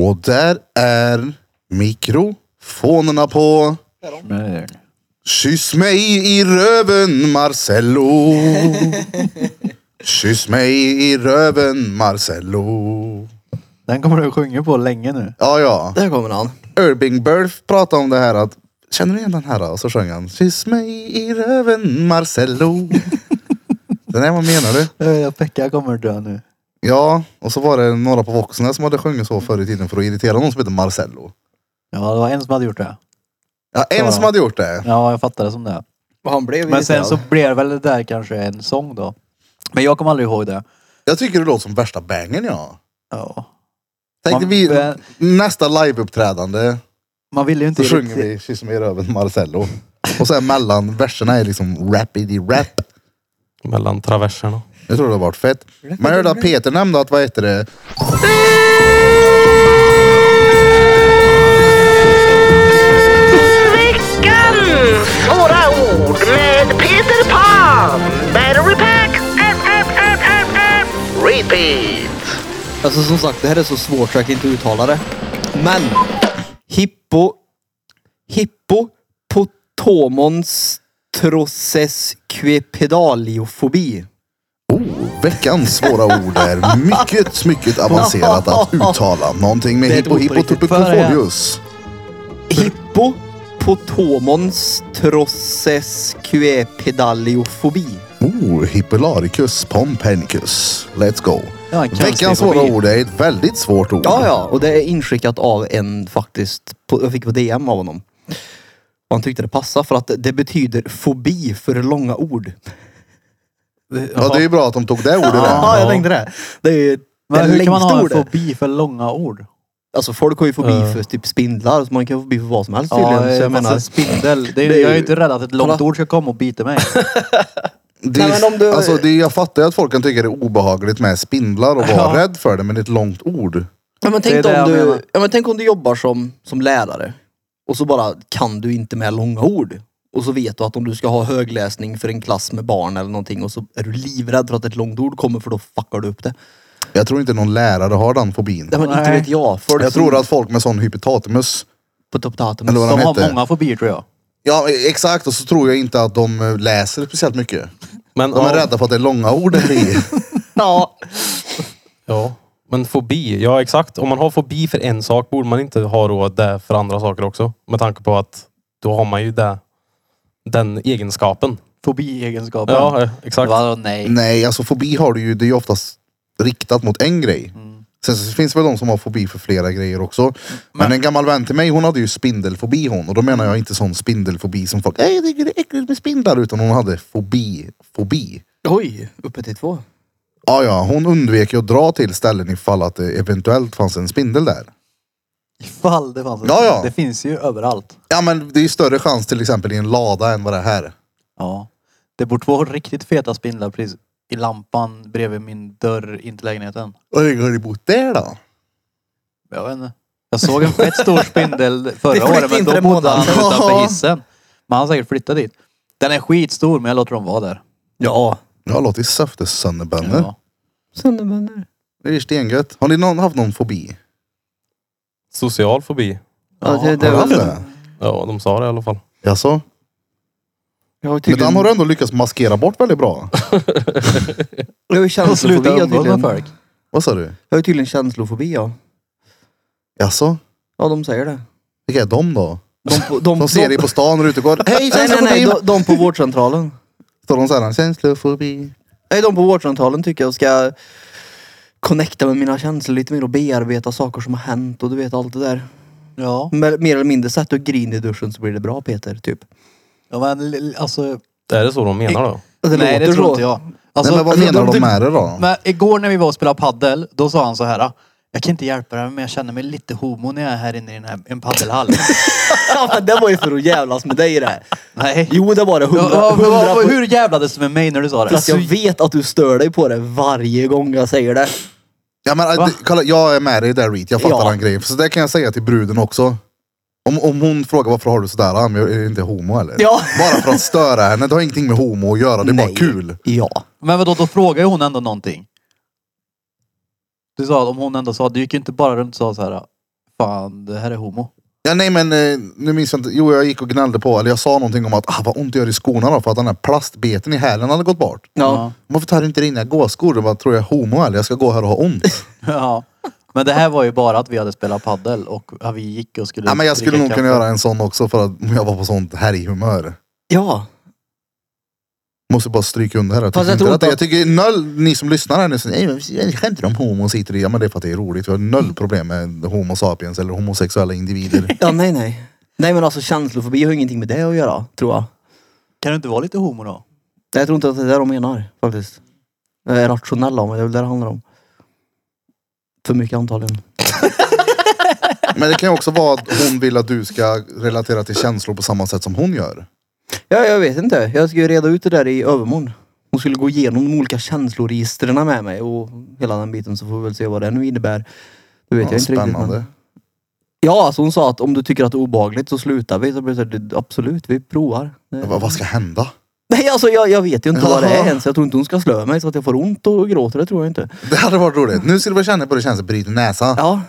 Och där är mikrofonerna på. Kyss mig i röven Marcello. Kyss mig i röven Marcello. Den kommer du sjunga på länge nu. Ja, ja. Där kommer han. Irving Berth pratade om det här att Känner du igen den här? Och så sjöng han Kyss mig i röven Marcello. den här, vad menar du? Jag Eh, Pekka kommer dö nu. Ja, och så var det några på Voxnäs som hade sjungit så förr i tiden för att irritera någon som hette Marcello. Ja, det var en som hade gjort det. Ja, en Ja. som hade gjort det. Ja, jag fattar det som det. Och han blev Men sen irriterad. så blev väl det där kanske en sång då. Men jag kommer aldrig ihåg det. Jag tycker det låter som värsta bängen ja. Ja. Tänkte Man- vi eh, nästa liveuppträdande Man ville ju inte så sjunger riktigt- vi Kyss mig i röven Marcello. Och sen mellan verserna är liksom rapid i rap. Mellan traverserna. Jag tror det har varit fett. Men jag hörde att Peter nämnde att vad heter det? Veckans svåra ord med Peter Pan. Battery pack. App, app, app, app, app. Repeat. Alltså som sagt, det här är så svårt så jag kan inte uttala det. Men. Hippo. Hippo. Potomons. Trosses kvepedaliofobi. Oh, veckans svåra ord är mycket, mycket avancerat att uttala. Någonting med Det är ett hippo ord på hippo riktigt. tupicopholius. Hippo. Potomons. Trosses kvepedaliofobi. Oh, hippolaricus pompernicus. Let's go. Ja, en Veckans cancerfobi. svåra ord är ett väldigt svårt ord. Ja, ja, och det är inskickat av en faktiskt, på, jag fick på DM av honom. Och han tyckte det passade för att det betyder fobi för långa ord. Ja, det är ju bra att de tog det ordet. där. Ah, Ja, jag tänkte det. Det är ju det Men hur kan man längsta ha en ordet. fobi för långa ord? Alltså folk har ju fobi Ja. för typ spindlar, så man kan ha fobi för vad som helst tydligen. så jag men menar, en spindel. Det är, Det jag är är ju- ju inte rädd att ett långt Kolla. ord ska komma och bita mig. Det, Nej, men om du- alltså, det, jag fattar ju att folk kan tycka det är obehagligt med spindlar och vara Ja. rädd för det, men det är ett långt ord. ja, men det är tänk, det jag om menar. du, ja, men tänk om du jobbar som, som lärare och så bara kan du inte med långa ord. Och så vet du att om du ska ha högläsning för en klass med barn eller någonting och så är du livrädd för att ett långt ord kommer för då fuckar du upp det. Jag tror inte någon lärare har den fobin. Nej, men inte Nej. vet jag. Folk Jag som- tror att folk med sån hypotatimus På Toptatum. Eller vad de De har heter. många fobier tror jag. Ja exakt och så tror jag inte att de eh, läser speciellt mycket. Men, De är ja, rädda för att det är långa ord där i. Ja. Ja. Men fobi, ja exakt. Om man har fobi för en sak borde man inte ha då det för andra saker också. Med tanke på att då har man ju det, den egenskapen. Fobiegenskapen. Ja, eh, exakt. Vadå nej? Nej alltså fobi har du ju, det är ju oftast riktat mot en grej. Sen så finns det väl de som har fobi för flera grejer också. Men, en gammal vän till mig hon hade ju spindelfobi hon. Och då menar jag inte sån spindelfobi som folk, nej jag tycker det är äckligt med spindlar. Utan hon hade fobi, fobi. Oj, uppe till två. Ja ja, hon undvek ju att dra till ställen ifall att det eventuellt fanns en spindel där. Ifall det fanns. en Ja, ja. spindel. Det finns ju överallt. Ja men det är ju större chans till exempel i en lada än vad det här är. Ja. Det bor två riktigt feta spindlar precis i lampan bredvid min dörr in till lägenheten. Och hur har du bott där då? Jag vet inte. Jag såg en fett stor spindel förra flyttade året men in då för en bodde månad han sedan. utanför hissen. Men han har säkert flyttat dit. Den är skitstor men jag låter dem vara där. Ja. Ja, låter söfte sönderbönder. Ja. Sönderbönder. Det är ju stengött. Har ni någon haft någon fobi? Social fobi. Ja, det, det, Har du haft var- det? Ja, de sa det i alla fall. Jaså? jag har Men den tydligen... har du ändå lyckats maskera bort väldigt bra. Jag har ju Och känslofobi. sluta Jag har umgås med tydligen, folk. Vad sa du? jag har ju tydligen känslofobi ja. Jaså? Ja, de säger det. Vilka är de då? De, på, de, De ser dig på stan när du är ute och går. Hej Nej, nej, nej. känslofobi! De, de på vårdcentralen. Står de såhär, känslofobi. Nej, de på vårdcentralen tycker jag ska connecta med mina känslor lite mer och bearbeta saker som har hänt och du vet allt det där. Ja. Men, mer eller mindre sätt och grin i duschen så blir det bra Peter, typ. ja men li- alltså. Är det så de menar då? Det nej det låter tror så. inte jag. Alltså, Nej men vad alltså, menar de tyck- med det då? Men igår när vi var och spelade paddel, då sa han så här. "Ah, Jag kan inte hjälpa det men jag känner mig lite homo när jag är här inne i den här, en paddelhall. Ja, men det var ju för att jävlas med dig det. här. Nej. Jo, det var det. Ja, Hundra, ja, men hundra vad- på hur jävlades du med mig när du sa det? Alltså, Fast jag vet att du stör dig på det varje gång jag säger det. Ja, men, äh, Va? det- kolla, jag är med dig där Reet. Jag fattar Ja. den grejen. Så det kan jag säga till bruden också. Om, om hon frågar varför har du sådär? "Ah, men jag är inte homo eller? Ja. Bara för att störa henne. Det har ingenting med homo att göra. Det är bara Nej. kul. Ja. Men vadå, då frågar ju hon ändå någonting. Du sa, om hon ändå sa, du gick ju inte bara runt och sa så här. fan det här är homo. Ja, nej men eh, nu minns jag inte. Jo jag gick och gnällde på, eller jag sa någonting om att ah, vad ont det gör i skorna då för att den här plastbeten i hälen hade gått bort. Ja. Varför tar du inte dina gåskor? Jag bara, tror jag är homo eller? Jag ska gå här och ha ont. ja. Men det här var ju bara att vi hade spelat paddel och ja, vi gick och skulle ja, men jag skulle dricka nog kunna kaffe. göra en sån också för att jag var på sånt härjhumör. Ja. Måste bara stryka under här. Jag tycker, Fast jag inte tror att det, jag inte tycker noll, ni som lyssnar här nu, så, nej, men jag skämtar om homo och sitter i. Ja men det är för att det är roligt. Jag har noll problem med homo sapiens eller homosexuella individer. Ja, nej, nej. Nej, men alltså känslofobi har ju ingenting med det att göra, tror jag. Kan du inte vara lite homo då? Jag tror inte att det är det de menar, faktiskt. Det är rationella om det, det är väl det det handlar om. För mycket antagligen. men det kan ju också vara att hon vill att du ska relatera till känslor på samma sätt som hon gör. Ja, jag vet inte. Jag ska ju reda ut det där i övermorgon. Hon skulle gå igenom de olika känsloregistren med mig och hela den biten så får vi väl se vad det nu innebär. Ja, Det vet jag inte riktigt. spännande. men- Ja, alltså hon sa att om du tycker att det är obehagligt så slutar vi. Så blev det så här, "Det- absolut, vi provar. Det- Vad- vad ska hända? Nej, alltså jag, jag vet ju inte vad det Jaha. är än, så jag tror inte hon ska slå mig så att jag får ont och gråter. Det tror jag inte. Det hade varit roligt. Nu skulle du känna på det känns att bryta näsan. Ja,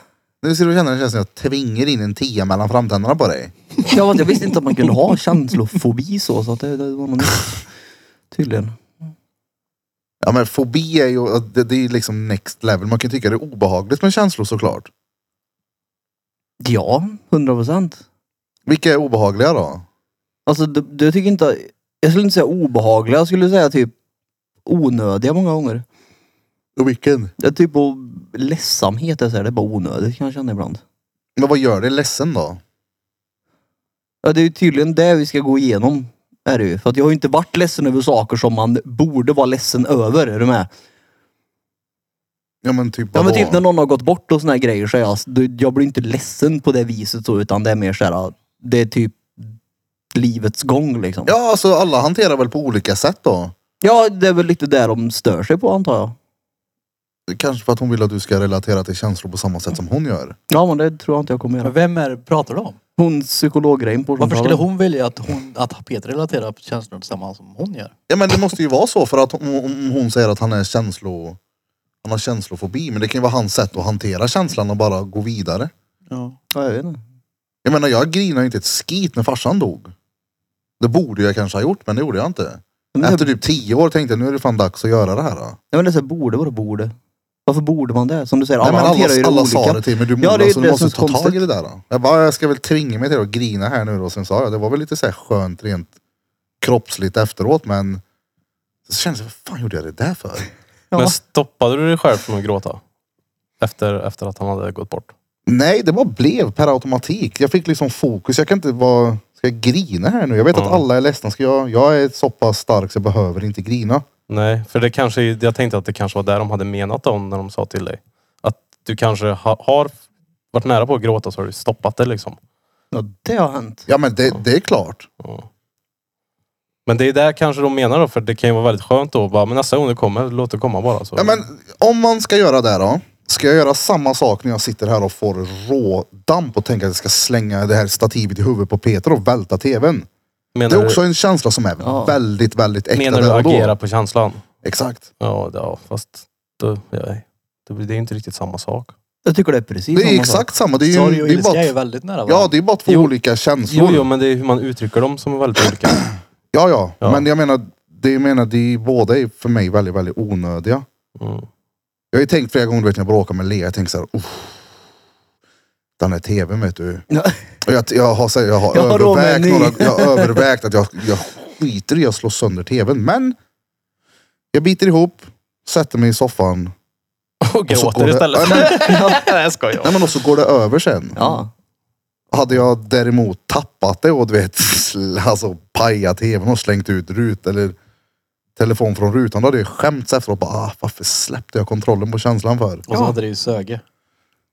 Nu skulle du känna det känns som jag tvingar in en tia mellan framtänderna på dig. jag, vet, jag visste inte att man kunde ha känslofobi så, så att det, det var något nytt. Tydligen. Ja men fobi är ju det, det är ju liksom next level. Man kan tycka det är obehagligt med känslor såklart. Ja, hundra procent. Vilka är obehagliga då? Alltså, du, du tycker inte... Jag skulle inte säga obehagliga, jag skulle säga typ onödiga många gånger. Och vilken? Det är typ och ledsamhet, det är, så här, det är bara onödigt kan jag känna ibland. Men vad gör dig ledsen då? Ja, det är ju tydligen det vi ska gå igenom. Är det ju. För att jag har ju inte varit ledsen över saker som man borde vara ledsen över. Är du med? Ja men typ Ja men vadå? typ när någon har gått bort och såna här grejer så är jag, du- jag blir inte ledsen på det viset så utan det är mer såhär, det är typ livets gång liksom. Ja alltså alla hanterar väl på olika sätt då. ja det är väl lite där de stör sig på antar jag. Kanske för att hon vill att du ska relatera till känslor på samma sätt som hon gör. Ja men det tror jag inte jag kommer Men göra. vem är det- pratar du om? Hon psykologgrejen på Varför samtalen. skulle hon vilja att, hon, att Peter relaterar på känslor på samma som hon gör? Ja men det måste ju vara så för att hon, om hon säger att han är känslo... Han har känslofobi men det kan ju vara hans sätt att hantera känslan och bara gå vidare. Ja. Ja, jag vet inte. Jag menar jag grinade inte ett skit när farsan dog. Det borde jag kanske ha gjort men det gjorde jag inte. Men det, Efter typ tio år tänkte jag nu är det fan dags att göra det här. Då. nej, men det är såhär, borde vara borde. Varför borde man det? Som du säger, Nej, alla men hanterar ju alla det alla sa olika. det till mig, du, Ja, det är alltså, det du måste som är ta tag i konstigt. det där. Då. Jag bara, jag ska väl tvinga mig till att grina här nu då. Sen sa jag, det var väl lite så här skönt rent kroppsligt efteråt men så kändes det, vad fan gjorde jag det där för? Ja. Men stoppade du dig själv från att gråta? Efter, efter att han hade gått bort? Nej, det bara blev per automatik. Jag fick liksom fokus. Jag kan inte vara... Ska jag grina här nu? Jag vet att Mm. alla är ledsna. Ska jag, jag är så pass stark så jag behöver inte grina. Nej, för det kanske, jag tänkte att det kanske var där de hade menat om när de sa till dig. Att du kanske ha, har varit nära på att gråta så har du stoppat det liksom. Ja, det har hänt. Ja, men det, det är klart. Ja. Men det är där kanske de menar då, för det kan ju vara väldigt skönt då. Bara, men nästa gång det kommer, låt det komma bara. Så. Ja, men om man ska göra det då. Ska jag göra samma sak när jag sitter här och får rådamp och tänker att jag ska slänga det här stativet i huvudet på Peter och välta tvn. menar Det är du- också en känsla som är Ja. väldigt, väldigt äkta. Menar du där och då. agera på känslan? Exakt. Ja, det- ja fast då, ja, det blir- det är inte riktigt samma sak. Jag tycker det är precis Det är samma sak. exakt samma. Det är ju, Sorg och det är ilska är ju bara, väldigt nära ja, varandra. det är bara två Jo. olika känslor. Jo, jo, men det är hur man uttrycker dem som är väldigt olika. Ja, ja, Ja. men jag menar, det jag menar, de båda är för mig väldigt, väldigt onödiga. Mm. Jag har ju tänkt flera gånger du vet, när jag bråkar med Lea, jag tänker så här, uff. Den här tvn vet du. Ja. Och jag, jag har, så här, jag har Jag har råd med en övervägt, ny. några, jag har övervägt att jag, jag skiter i att slå sönder tvn. Men jag biter ihop, sätter mig i soffan. Och Och så går gråter det- istället. Ja, men- Nej, jag skojar. Nej men och så går det över sen. Ja. Hade jag däremot tappat det och du vet, sl- alltså pajat tvn och slängt ut rut eller telefon från rutan, då hade jag skämts efteråt. Bara, ah, varför släppte jag kontrollen på känslan för? Och så hade det ju söge.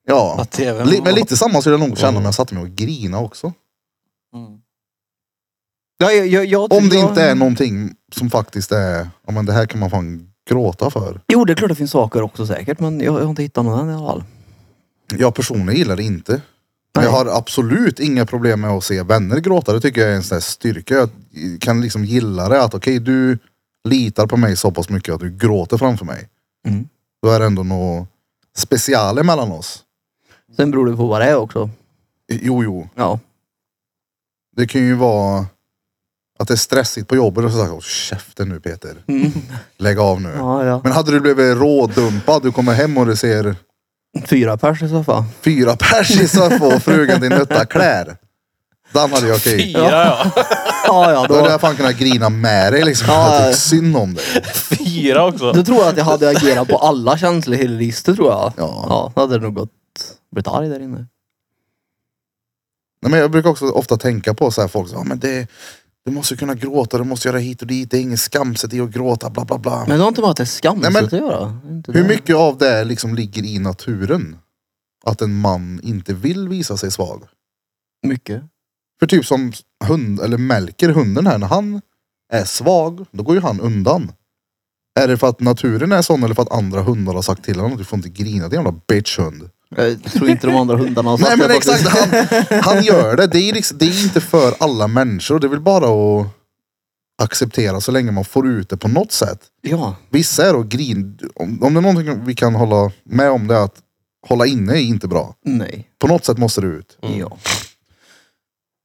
Ja. Att TVn Li- Men var- lite samma skulle jag nog känna om jag satte mig och grina också. Mm. Ja, jag, jag, jag Om det jag- inte är någonting som faktiskt är, ja men det här kan man fan gråta för. Jo, det är klart det finns saker också säkert, men jag, jag har inte hittat någon än i alla fall. Jag personligen gillar det inte. Men jag Nej. har absolut inga problem med att se vänner gråta. Det tycker jag är en sån där styrka. Jag kan liksom gilla det att okej du litar på mig så pass mycket att du gråter framför mig. Mm. Då är det ändå något speciellt mellan oss. Sen beror det på vad det är också. Jo, jo. Ja. Det kan ju vara att det är stressigt på jobbet och så sagt, "Åh, käften nu Peter. Lägg av nu. Mm. Ja, ja. Men hade du blivit rådumpad, du kommer hem och du ser Fyra pers i så fall. fyra pers i soffan och frugan din nötta klär. Den hade jag okej. Fyra ja. Ja, ja, Då hade då, jag fan kunnat grina med dig liksom. Ja, Jag ja. tycker synd om dig. Fyra också. då tror jag att jag hade agerat på alla känsloregister tror jag. Ja. ja. Då hade det nog gått blivit arg där inne. Nej, men jag brukar också ofta tänka på så här folk som, ja, men det, du måste kunna gråta, du måste göra hit och dit, det är ingen skamset i att gråta, bla bla bla. Men det har inte med att det är Nej, men- skamset att göra. Det är inte Hur det. mycket av det liksom ligger i naturen? Att en man inte vill visa sig svag. Mycket. För typ som hund, eller mälker hunden här, när han är svag, då går ju han undan. Är det för att naturen är sån eller för att andra hundar har sagt till honom att du får inte grina din jävla bitchhund? Jag tror inte de andra hundarna har sagt Nej men det faktiskt. exakt, han, han gör det. Det är, liksom, det är inte för alla människor. Det är väl bara att acceptera så länge man får ut det på något sätt. Ja. Vissa är då grin... Om, om det är någonting vi kan hålla med om det är att hålla inne är inte bra. Nej. På något sätt måste det ut. Ja.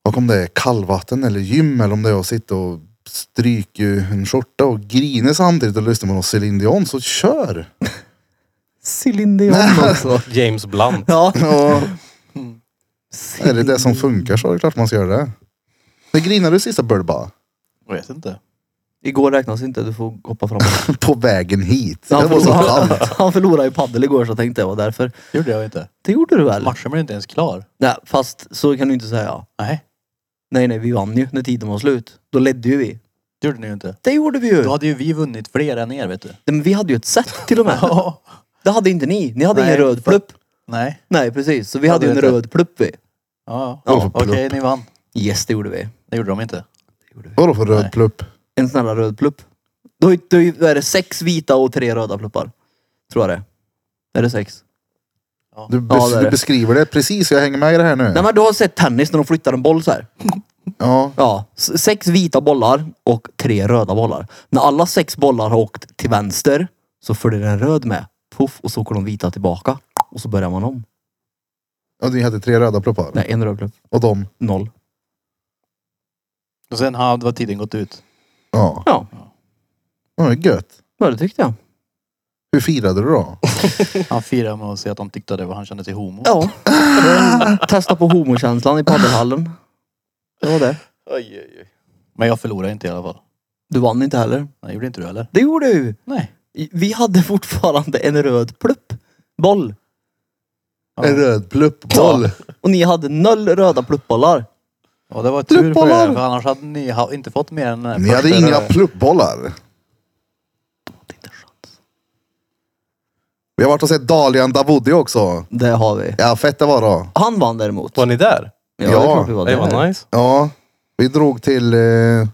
Och om det är kallvatten eller gym eller om det är att sitta och stryka en skjorta och grina samtidigt och lyssna på någon Céline Dion så kör! Céline Dion också. James Blunt. Ja. Och är det det som funkar så är det klart man ska göra det. När grinade du sista Burba? Jag vet inte. Igår räknas inte, du får hoppa framåt. På vägen hit. Det Han var så förlorade, kallt. han förlorade i padel igår så tänkte jag var därför. gjorde jag inte. Det gjorde du väl? Matchen blev inte ens klar. Nej, fast så kan du inte säga. Nej, Nej, nej, vi vann ju när tiden var slut. Då ledde ju vi. det gjorde ni ju inte. Det gjorde vi ju. Då hade ju vi vunnit fler än er vet du. Nej, Men vi hade ju ett set till och med. Ja. Det hade inte ni. Ni hade Nej, ingen röd för- plupp. Nej. Nej, precis. Så vi Ja, hade ju det en vet jag. röd plupp vi. Ja. Vad för Okej, plupp? ni vann. Yes, det gjorde vi. Det gjorde de inte. Vadå för Nej. röd plupp? En sån här röd plupp. Då, är- då är- då är det sex vita och tre röda pluppar. Tror jag det är. Är det sex? Du, bes- Ja, det är du det. beskriver det precis, jag hänger med i det här Nej nu. men du har sett tennis när de flyttar en boll så här. Ja, Ja, s- sex vita bollar och tre röda bollar. När alla sex bollar har åkt till vänster så följer en röd med. Puff, och så åker de vita tillbaka. Och så börjar man om. och ni hade tre röda pluppar. Nej, en röd plupp. Och de, Noll. Och sen hade var tiden gått ut. ja. Ja, ja det är gött. ja det tyckte jag. Hur firade du då? Han firade med att säga att de tyckte det var han kände sig homo. Ja. Eh, Testa på homokänslan i paddelhallen. Det var det. Men jag förlorade inte i alla fall. Du vann inte heller. Nej, gjorde inte du heller? Det gjorde du. Nej. Vi hade fortfarande en röd plupp. Boll. Ja. En röd pluppboll. Och ni hade noll röda pluppbollar. Ja, det var tur på Pluppbollar! er, för annars hade ni ha- inte fått mer än eh, den här Ni hade första inga röda- pluppbollar. Vi har varit och sett Dalian Davudi också. Det har vi. Ja, fett det var då. Han vann däremot. Var ni där? Ja, det Ja, är klart vi var Det var där. nice. Ja, vi drog till eh,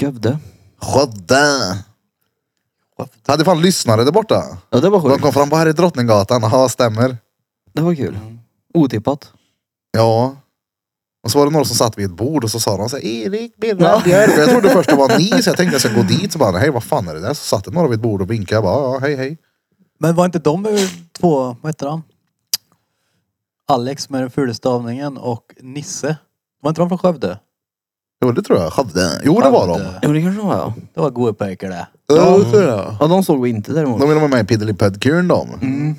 Skövde. Skövde. Hade fan lyssnare där borta. Ja, det var De sjukt. kom fram, bara här är Drottninggatan. Jaha, stämmer. Det var kul. Otippat. Ja. Och så var det några som satt vid ett bord och så sa de så här, Erik Birra Björk. Jag trodde först det var ni så jag tänkte jag ska gå dit. Så bara, hej vad fan är det där? Så satt det några vid ett bord och vinkade. Jag bara, ja hej hej. Men var inte de ur två, vad heter han? Alex med den fula stavningen och Nisse. Var inte de från Skövde? Jo det tror jag. Skövde. Jo det var de. Jo, det kanske det var ja. Det var goa pojkar det. Ja, det tror jag. Ja, de såg vi inte däremot. De ville vara med i Piddelipödkuren de. Mm.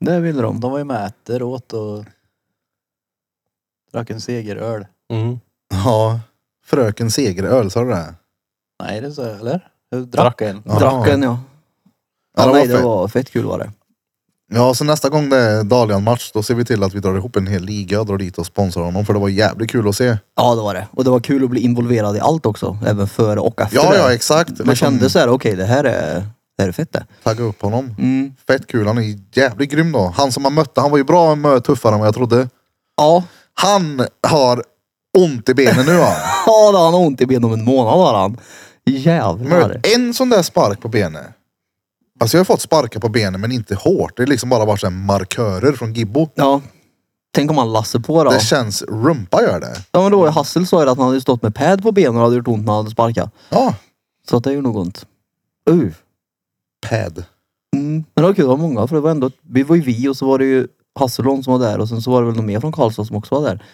Det ville de. De var ju med äter, åt och drack en segeröl. Mm. Ja. Fröken Segeröl, sa du det? Nej, det är så, eller? Jag drack en. Ja. Drack en ja. Ja, ja det var nej, det fett. var fett kul var det. Ja, så nästa gång det är Dalian-match då ser vi till att vi drar ihop en hel liga och drar dit och sponsrar honom. För det var jävligt kul att se. Ja, det var det. Och det var kul att bli involverad i allt också. Även före och efter Ja, det. ja exakt. Liksom, Man kände så här, okej det här är, det här är fett det. Tagga upp honom. Mm. Fett kul. Han är jävligt grym då. Han som man mötte, han var ju bra mycket tuffare än vad jag trodde. Ja. Han har ont i benen nu han. Ja, då har han ont i benen om en månad har han. Jävlar. Mött en sån där spark på benet. Alltså jag har fått sparkar på benen men inte hårt. Det är liksom bara varit så här markörer från Gibbo. Ja. Tänk om han Lasse på då. Det känns, rumpa gör det. Ja men då var ju Hassel sa ju att han hade stått med pad på benen och hade gjort ont när han hade sparkat. Ja, Så att det gjorde nog ont. Uh. pad. Mm. Men det var kul, det var många för det var ändå, vi var ju vi och så var det ju Hasselholm som var där och sen så var det väl någon mer från Karlstad som också var där.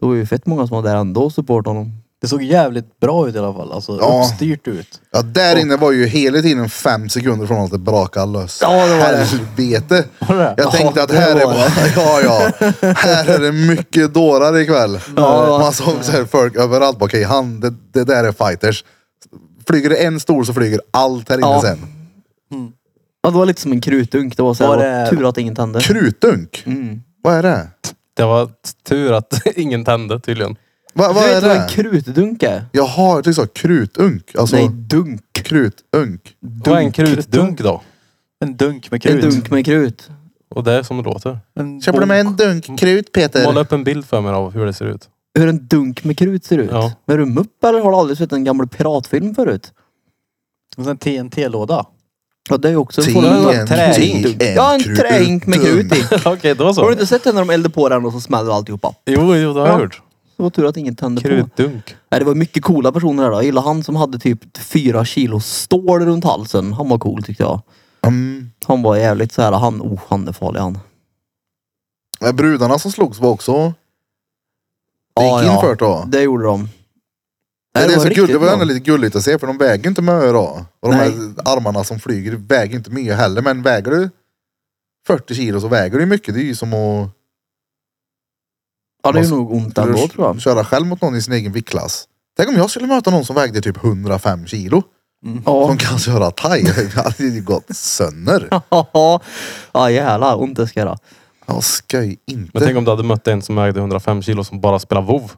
Det var ju fett många som var där ändå och supportade honom. Det såg jävligt bra ut i alla fall. Alltså Ja. uppstyrt ut. Ja, där inne var ju hela tiden fem sekunder från att det brakade lös. Ja, det var det. Helvete! Var det det? Jag tänkte att här det är var bara, ja, ja. Här är det mycket dårar ikväll. Ja. Man såg så här folk överallt. Okej, han, det, det där är fighters. Flyger det en stor så flyger allt här inne Ja. sen. Ja, det var lite som en krutdunk. Det var så här, Var det var det- tur att inget hände. Krutdunk? Mm. Vad är det? Det var tur att ingen tände tydligen. Va, vad du är vet vad en det? krutdunk är? Jaha, jag tyckte du sa krutunk. Alltså, Nej, dunk. krutunk. Vad är en krutdunk då? En dunk med En krut. dunk med krut. Och det är som det låter. En Köper du bom- med en dunk krut Måla Peter? upp en bild för mig av hur det ser ut. Hur en dunk med krut ser ut. Ja. Men är du mupp eller har du aldrig sett en gammal piratfilm förut? Och sen TNT-låda. Ja, det är ju också en Ti- form av en- trähink. ti- en Ja, en krut- Alltså. trähink med krut i. Okej, då Har du så. inte sett den när de eldar på den och så smäller alltihopa? Jo, jo, det har jag hört. Det var tur att ingen tände på. Krutdunk. Nej, det var mycket coola personer där då. Jag gillar han som hade typ fyra kilo stål runt halsen. Han var cool tyckte jag. Mm. Han var jävligt så här, han, oh han är farlig han. Men Brudarna som slogs var också... Det Ja, gick in ja. för då. Det gjorde de. Det, Nej, det, är var så riktigt gulligt, det var bra. ändå lite gulligt att se för de väger inte mycket då. Och de Nej. här armarna som flyger väger inte mycket heller. Men väger du 40 kilo så väger du mycket. Det är ju som att Ja, det är nog ont ändå tror jag. köra själv mot någon i sin egen viktklass. Tänk om jag skulle möta någon som vägde typ 105 kilo. Ja. Som kan köra thai. Det hade ju gått sönder. ja jävlar, ont det ska jag göra. Jag skoj Men inte. tänk om du hade mött en som vägde 105 kilo som bara spelar WoW.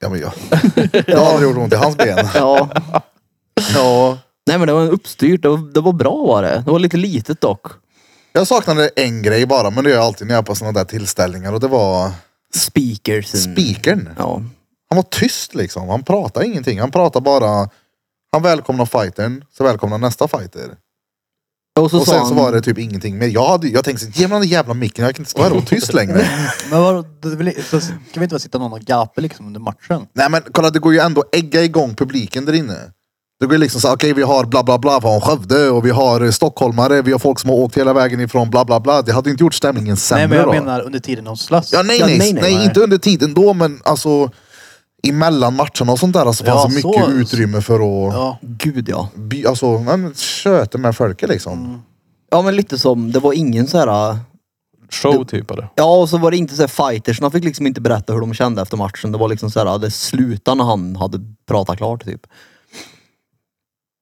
Ja, men jag, jag har aldrig gjort ont i hans ben. Ja. Ja. Nej men det var uppstyrt. Det var, det var bra var det. Det var lite litet dock. Jag saknade en grej bara, men det gör jag alltid när jag är på sådana där tillställningar. Och det var Speakers. spikern. Ja. Han var tyst liksom. Han pratade ingenting. Han pratade bara. Han välkomnar fightern, så välkomnar nästa fighter. Och så och sa sen han, så var det typ ingenting mer. Jag, hade, jag tänkte, så, ge mig den där jävla micken. Jag kan inte stå här och vara tyst längre. Men vad, det är väl- så ska vi inte bara sitta någon och gapa liksom under matchen? Nej men kolla, det går ju ändå att ägga igång publiken där inne. Det går ju liksom så här, okej vi har bla bla bla från Skövde och vi har eh, stockholmare. Vi har folk som har åkt hela vägen ifrån bla bla bla. Det hade ju inte gjort stämningen sämre Nej men jag då. menar under tiden de slåss. Ja, nej, Ja, nej, nej, nej, nej, nej. inte under tiden då, men alltså emellan matcherna och sånt där så Ja, fanns det så- mycket utrymme för att Ja. Gud ja. by, alltså, man köter med folket liksom. Ja men lite som, det var ingen så här. Show typ av det. Ja och så var det inte så här fightersna fick liksom inte berätta hur de kände efter matchen. Det var liksom så här, det slutade när han hade pratat klart typ.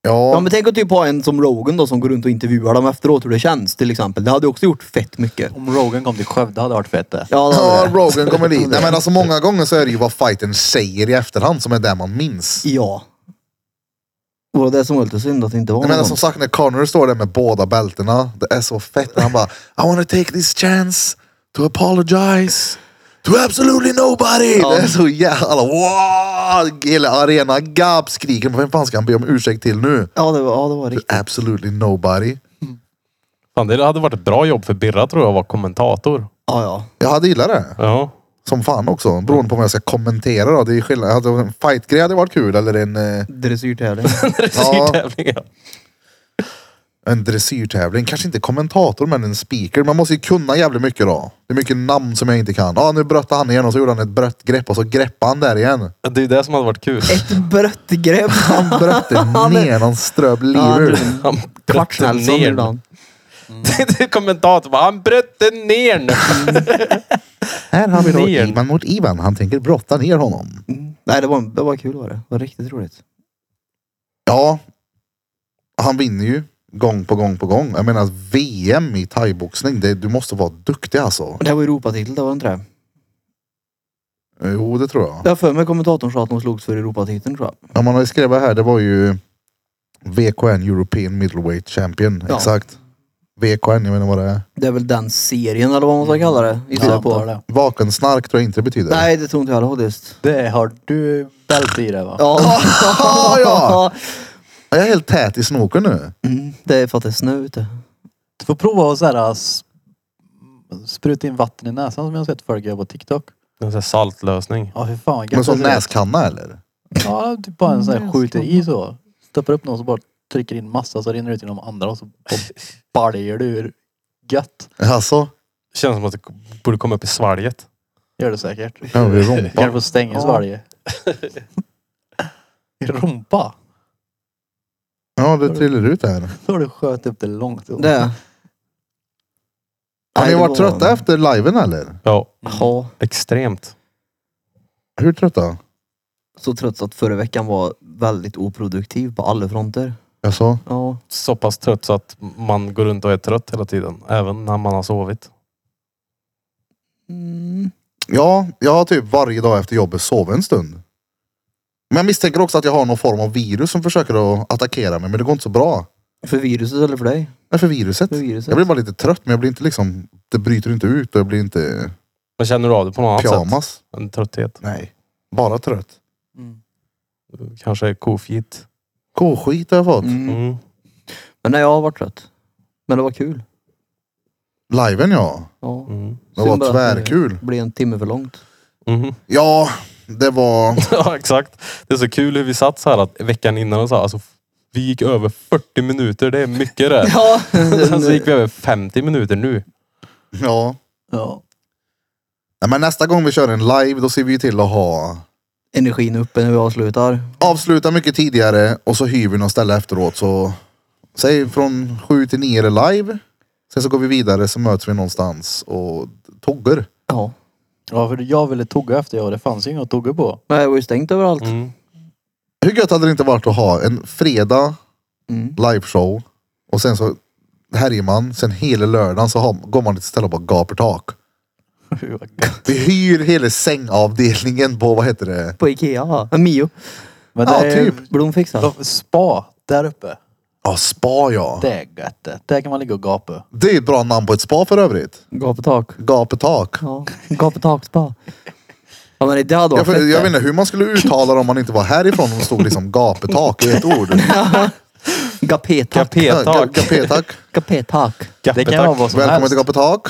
Ja, Ja men tänk att typ ha en som Rogan då som går runt och intervjuar dem efteråt hur det känns till exempel. Det hade också gjort fett mycket. Om Rogan kom till Skövde hade det varit fett det. Ja, det ja, hade det. Rogan kommer dit. Nej, men alltså, många gånger så är det ju vad fighten säger i efterhand som är det man minns. ja. Det var det som var lite synd att det inte var Jag menar någon. som sagt när Connor står där med båda bältena. Det är så fett. Han bara I wanna take this chance to apologize to absolutely nobody. Ja. Det är så jävla wow! Hela arena gapskriker. Men Vem fan ska han be om ursäkt till nu? Ja det var, ja, det var riktigt. Absolutely nobody. Fan, det hade varit ett bra jobb för Birra tror jag att vara kommentator. Ja ja. Jag hade gillat det. Ja. Som fan också. Beroende på vad jag ska kommentera då. Det är skillnad. Hade En fightgrej hade varit kul eller en, eh, Dressyrtävling. Dressyrtävlingar. en dressyrtävling. Kanske inte kommentator men en speaker. Man måste ju kunna jävligt mycket då. Det är mycket namn som jag inte kan. Ja ah, nu brötte han igen och så gjorde han ett brött grepp och så greppade han där igen. Ja. Det är det som hade varit kul. Ett brött grepp. Han brötte ner någon ströbb Ja, lever. Han brötte Kvartsnällsson gjorde han. Det är Kommentatorn bara, han brötte ner nu. Här har vi då ner. Ivan mot Ivan. Han tänker brotta ner honom. Mm. Nej det var, det var kul var det. Det var riktigt roligt. Ja. Han vinner ju. Gång på gång på gång. Jag menar VM i thaiboxning. det- Du måste vara duktig alltså. Det var Europatitel det var inte det? Jo det tror jag. Jag har för mig kommentatorn sa att de slogs för Europatiteln tror jag. Ja, man har ju skrivit här, det var ju VKN European Middleweight Champion. Ja. Exakt. VKN, jag menar vad det är. Det är väl den serien eller vad man ska Mm. kalla det. Gissar Ja, jag på. det. Vakensnark tror jag inte det betyder. Nej det tror inte jag heller faktiskt. det har du bälte i det va? Ja. ja. Jag är helt tät i snoken nu. Mm, det är för att det är snö ute. Du får prova att så här, äh, s- spruta in vatten i näsan som jag har sett folk göra på TikTok. En sån här saltlösning. Ja fy fan vad Men gött som det är. näskanna eller? Ja typ bara en sån här skjuter i så. Stoppar upp någon så bara trycker in massa så rinner det ut genom andra och så bara baljer du ur. Gött. Alltså, Det känns som att det borde komma upp i svalget. Gör det säkert. Ja, vi rompar. Kanske stänges varje. I rumpa? Ja, det trillar ut här. Då har du sköt upp det långt. Det. Har ni Nej, det varit var- trötta efter liven eller? Ja, Ja, extremt. Hur trötta? så trött så att förra veckan var väldigt oproduktiv på alla fronter. Jag sa. Ja. Så pass trött så att man går runt och är trött hela tiden. Även när man har sovit. Mm. Ja, jag har typ varje dag efter jobbet sovit en stund. Men jag misstänker också att jag har någon form av virus som försöker att attackera mig, men det går inte så bra. För viruset eller för dig? Nej, för viruset. För viruset. Jag blir bara lite trött, men jag blir inte liksom... Det bryter inte ut och jag blir inte Men känner du av det på något annat sätt? pyjamas. En trötthet. Nej, bara trött. Mm. Kanske kofit. K-skit har jag fått. Mm. Mm. Men nej, jag har varit trött. Men det var kul. Liven ja. Ja. Mm. Det var Synd bara att tvärkul. Det blev en timme för långt. Mhm. Ja, det var... Ja, exakt. Det är så kul hur vi satt så här att veckan innan och så här, alltså, vi gick över 40 minuter, det är mycket det. Ja. Sen så gick vi över 50 minuter nu. Ja. Ja. Nej, men nästa gång vi kör en live, då ser vi ju till att ha... Energin uppe när vi avslutar. Avsluta mycket tidigare och så hyr vi något ställe efteråt. Så säg från sju till nio är det live. Sen så går vi vidare så möts vi någonstans och toggar. Ja. ja, för jag ville tugga efter jag och det fanns ju inget att tugga på. Nej, det var ju stängt överallt. Mm. Hur gött hade det inte varit att ha en fredag Mm. liveshow och sen så härjer man. Sen hela lördagen så har, går man till ett ställe och bara gapar tak. Vi hyr hela sängavdelningen på, vad heter det? På Ikea. En Mio. Men Ja, det är typ. Blomfixa. de- spa där uppe. Ja, spa ja. Det är gött det. Där kan man ligga och gapa. Det är ett bra namn på ett spa för övrigt. Gapetak. Gapetak. Ja. Gapetakspa. Ja men det hade Jag, varit för, fett, jag det. vet inte hur man skulle uttala det om man inte var härifrån och det stod liksom gapetak i ett ord. Gapetak. Ja, Gapetak. ga- Gapetak. Gapetak. Det kan vara vad som Välkommen helst. till gapetak.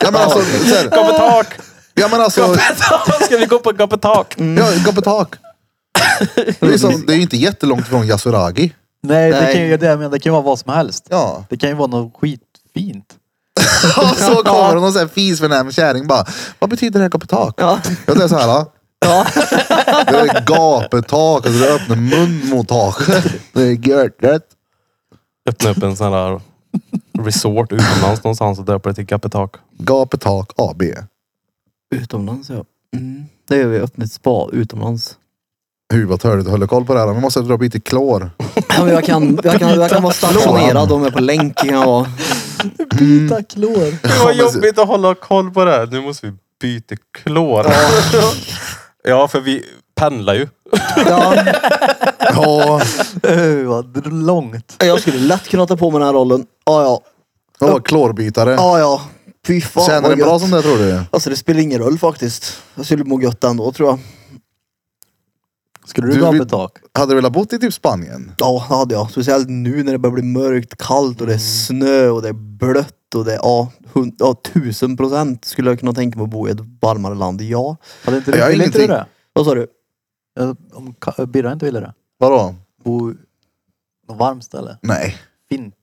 ja men alltså, så här, Gapetak! ja Mm. men alltså, Ska vi gå på gapetak? ja, gapetak. Det är, ju som, det är ju inte jättelångt från Yasuragi. Nej, Det, Nej. kan ju, det, jag menar, det kan ju vara vad som helst. Ja. Det kan ju vara något skitfint. Och så kommer det någon sån här fisförnäm kärring bara, vad betyder det här gapetak? Ja. Jag tänker så här, ja. Det är gapetak, alltså det öppnar mun mot taket. Det är görtet. Öppna upp en sån här resort utomlands någonstans och döpa det till gapetak. Gapetak AB. Utomlands ja. Mm. Det gör vi öppet spa utomlands. Hur vad törligt att hålla koll på det här. Vi måste dra bit i klor. Ja, men jag, kan, jag, kan, jag kan vara stationerad om jag är på länk. Kan jag vara. Mm. Byta klor. Det var jobbigt att hålla koll på det här. Nu måste vi byta klor. Ja, för vi pendlar ju. Ja, Ja, Öh, vad långt. jag skulle lätt kunna ta på mig den här rollen. Ja ja. det var klorbytare. Ja ja. Fy fan Tjänar vad den bra gött. som det tror du? Alltså det spelar ingen roll faktiskt. Jag skulle må gött ändå tror jag. Skulle du, Du, vi- gapa tak? Hade du velat bo i typ Spanien? Ja det hade jag. Speciellt nu när det börjar bli mörkt, Mm. kallt och det är snö och det är blött och det är ja, hund, ja tusen procent skulle jag kunna tänka mig att bo i ett varmare land. Ja. Hade inte Jag du, har ville inte du det? Vad sa du? Ja, Om Ka- eh, Birra inte ville det? Vadå? Bo i något varmt ställe. Nej. Fint.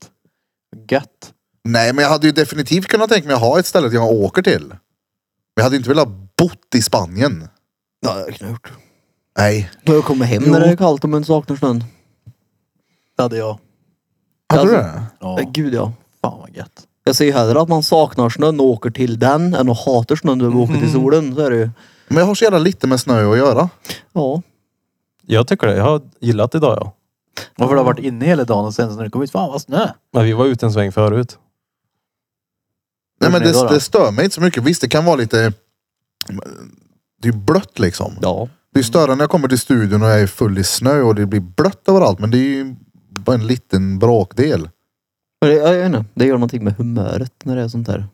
Gött. Nej, men jag hade ju definitivt kunnat tänka mig att ha ett ställe jag åker till. Men jag hade inte velat bott i Spanien. Ja det hade jag kunnat gjort. Nej. Då jag kommer hem Jo. när det är kallt och man saknar snön. Det hade jag. Hade du Alltså- det? Ja. Ja. Gud ja. Fan vad gött. Jag säger hellre att man saknar snön och åker till den än att hatar snön och åker Mm. till solen. Så är det ju. Men jag har så jävla lite med snö att göra. Ja. Jag tycker det. Jag har gillat idag ja. Varför du har varit inne hela dagen och sen när du kom ut, fan vad snö. Men vi var ute en sväng förut. Nej, men Hur är det det, då? det stör mig inte så mycket. Visst, det kan vara lite... Det är ju blött liksom. Ja. Det är större när jag kommer till studion och jag är full i snö och det blir blött överallt. Men det är ju bara en liten bråkdel. Men det, jag vet inte. Det gör någonting med humöret när det är sånt här.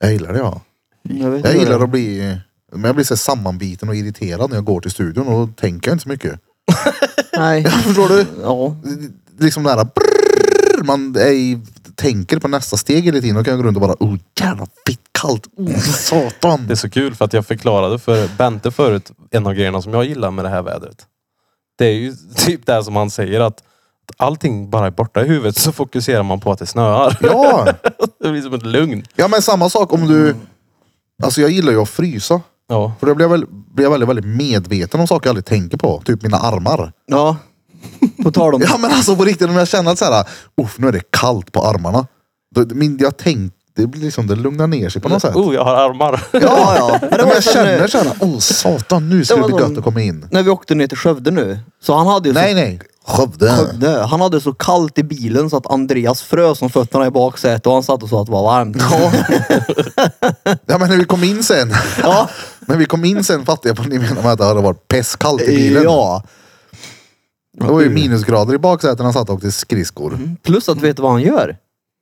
Jag gillar det ja. Jag, vet Jag inte gillar vad att bli... Men jag blir så här sammanbiten och irriterad när jag går till studion och då tänker jag inte så mycket. det. Nej. Förstår du? Ja. Det är Liksom det här brrrr, man är i, tänker på nästa steg hela tiden. Då kan jag gå runt och bara oh jävla fitt kallt. Oh satan. Det är så kul för att jag förklarade för Bente förut en av grejerna som jag gillar med det här vädret. Det är ju typ det här som han säger att allting bara är borta i huvudet så fokuserar man på att det snöar. Ja, Det blir som ett lugn. ja men samma sak om du... Alltså jag gillar ju att frysa. Ja. För då blir jag, väl, blir jag väldigt, väldigt medveten om saker jag aldrig tänker på. Typ mina armar. Ja. På tal om... Ja men alltså på riktigt, om jag känner att så här, uff nu är det kallt på armarna. Då, min, jag tänk, det blir liksom, det lugnar ner sig på något sätt. Oh, jag har armar. Ja, ja. Men det Men var jag som känner när- såhär, åh satan nu skulle Det det var bli gött som- att komma in. När vi åkte ner till Skövde nu. Så han hade ju så Nej nej, Skövde. Skövde. Han hade så kallt i bilen så att Andreas frös om fötterna i baksätet och han satt och sa att det var varmt. Ja. ja men när vi kom in sen. Ja. När vi kom in sen fattade jag på ni menar med att det hade varit pestkallt i bilen. Ja. Det var ju minusgrader i baksätet när han satt och åkte skridskor. Plus att vet du vad han gör?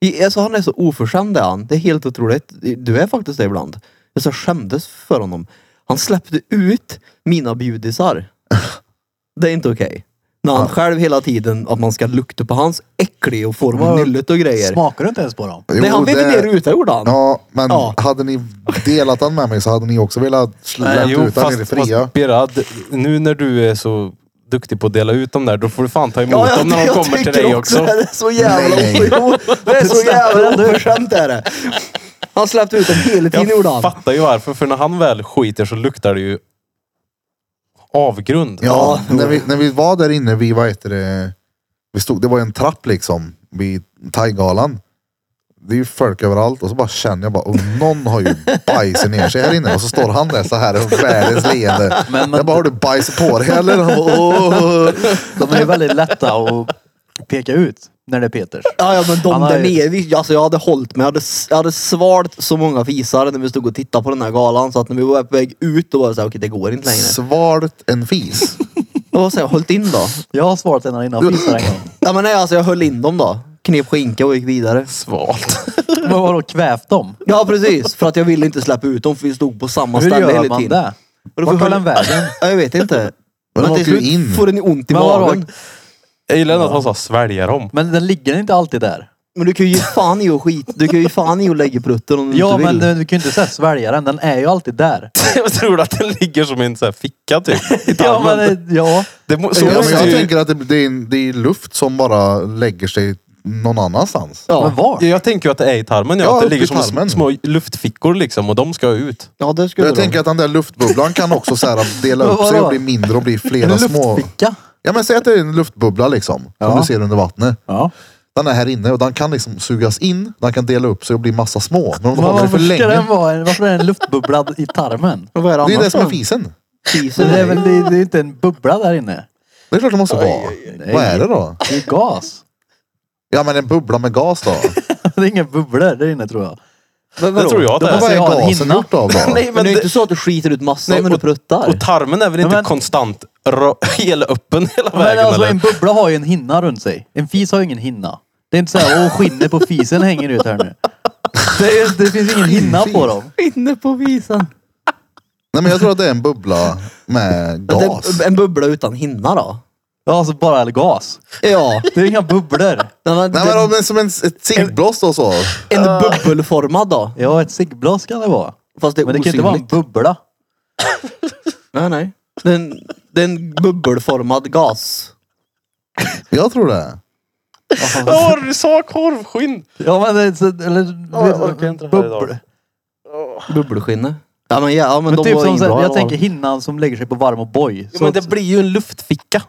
I, alltså han är så oförskämd är han. Det är helt otroligt. Du är faktiskt det ibland. Alltså, jag skämdes för honom. Han släppte ut mina bjudisar. Det är inte okej. När han själv hela tiden att man ska lukta på hans äckliga och forma nyllet och grejer. Smakar du inte ens på dem? Jo, Nej, han ville det- ner och ut, det gjorde han. Ja, men Ja. hade ni delat den med mig så hade ni också velat släppa Jo, ut den i det fria. fast Birra, d- nu när du är så duktig på att dela ut dem där, då får du fan ta emot Ja, dem när de kommer till tycker dig också. Det är så jävla Nej. Jo, Det är så jävla oförskämt är det. Han släppte ut dem hela tiden gjorde Jag han. fattar ju varför, för när han väl skiter så luktar det ju avgrund. Ja, Ja. när vi, när vi var där inne, vi, vad heter det, vi stod, det var ju en trapp liksom vid thaigalan. Det är ju folk överallt och så bara känner jag bara, och någon har ju bajsat ner sig här inne och så står han där så här och världens leende. Men- men- jag bara, har du bajs på dig eller? Han bara, "Åh." De är ju väldigt lätta att peka ut när det är Peters. Ja, ja men de Han har där ju- nere, vi- alltså jag hade hållit mig. Jag hade, s- jag hade svalt så många fisar när vi stod och tittade på den här galan så att när vi var på väg ut då var det såhär, okej det går inte längre. Svalt en fis. Och vad säger jag, hållit in då? Jag har svarat en innan fisar en gång. Ja men nej alltså jag höll in dem då. Knep skinka och gick vidare. Svalt. Men vadå kvävt dem? Ja precis, för att jag ville inte släppa ut dem för vi stod på samma Hur ställe gör hela man tiden. det? Och då Vart får- tar den vägen? Ja, jag vet inte. Men de till åker ju slut in. får den ju ont i Men vadå? magen. Jag gillar ändå att han sa svälja dem. Men den ligger inte alltid där. Men du kan ju ge fan i och skit. Du kan ju ge fan i och lägga prutten om du Ja, inte men vill. du, du kan ju inte säga svälja den. Den är ju alltid där. Jag tror att den ligger som en sån här ficka typ. i Ja, tarmen. men eh, ja. det må, så Ja, men måste jag ju- tänker att det, det, är, det är luft som bara lägger sig någon annanstans. ja. Men var? Ja, Jag tänker ju att det är i tarmen. Ja, Ja, att det upp ligger i som tarmen. små luftfickor liksom och de ska ut. ja, det skulle Jag tänker att den där luftbubblan kan också så här dela upp sig och bli mindre och bli En flera små. luftficka. Ja men säg att det är en luftbubbla liksom. Som Ja. du ser under vattnet. Ja. Den är här inne och den kan liksom sugas in. Den kan dela upp sig och bli massa små. Men om de Men håller det varför, för ska den länge. vara, en- varför är det en luftbubbla i tarmen? Vad är det Det är annars det som är då? fisen. Fisen Så det är är väl det, det är inte en bubbla där inne? Det är klart det måste vara. nej. Vad är det då? Det är gas. Ja men en bubbla med gas då. Det är inga bubblor där inne tror jag. väl... Det tror jag att det Men är. vad är Alltså, jag ha en gasen hinna? gjort av då? Nej, Men men det är inte det, så att du skiter ut massan Nej, när du pruttar. och tarmen är väl inte men- konstant ra- helöppen hela Men vägen alltså, en eller? bubbla har ju en hinna runt sig. En fis har ju ingen hinna. Det är inte så här, åh skinnet på fisen hänger ut här nu. Det, är, det finns ingen hinna på dem. Inne på visan. Nej men jag tror att det är en bubbla med gas. En bubbla utan hinna då? Ja, alltså bara gas. Ja. Det är inga bubblor. Den, den, Nej men om det är som en, ett ciggblås då så. En bubbelformad då? Ja, ett ciggblås kan det vara. Fast det är Men det kan ju inte vara en osynligt. bubbla. Nej, nej. Det är en- det är en bubbelformad gas. Jag tror det. Åh, du sa korvskinn! Ja, men det är så, eller... Ja, jag orkar inte det här idag. bubblor. Bubbelskinne. Ja men, ja, men, Men de typ var som inga så bra här, jag val. tänker hinnan som lägger sig på varm och boj. Jo, Så men det blir ju en luftficka.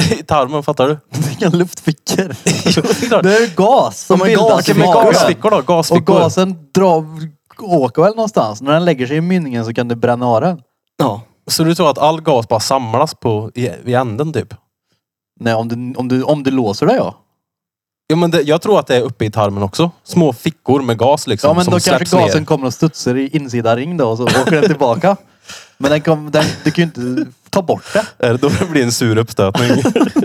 I tarmen, fattar du? inga luftfickor. Jo, det är klart. Det är ju gas som Ja, men bildas gas- i Men magen. gasfickor då? Och Gasfickor. gasen drar, åker väl någonstans. När den lägger sig i mynningen så kan du bränna av den. Ja. Så du tror att all gas bara samlas på i, i änden typ? Nej, om du, om du, om du låser det ja. Ja, men det, jag tror att det är uppe i tarmen också. Små fickor med gas liksom. Ja men som då släpps kanske gasen ner. kommer och studsar i insida ring då och så åker den tillbaka. Men den kom, den, du kan ju inte ta bort det. Är det då det blir en sur uppstötning?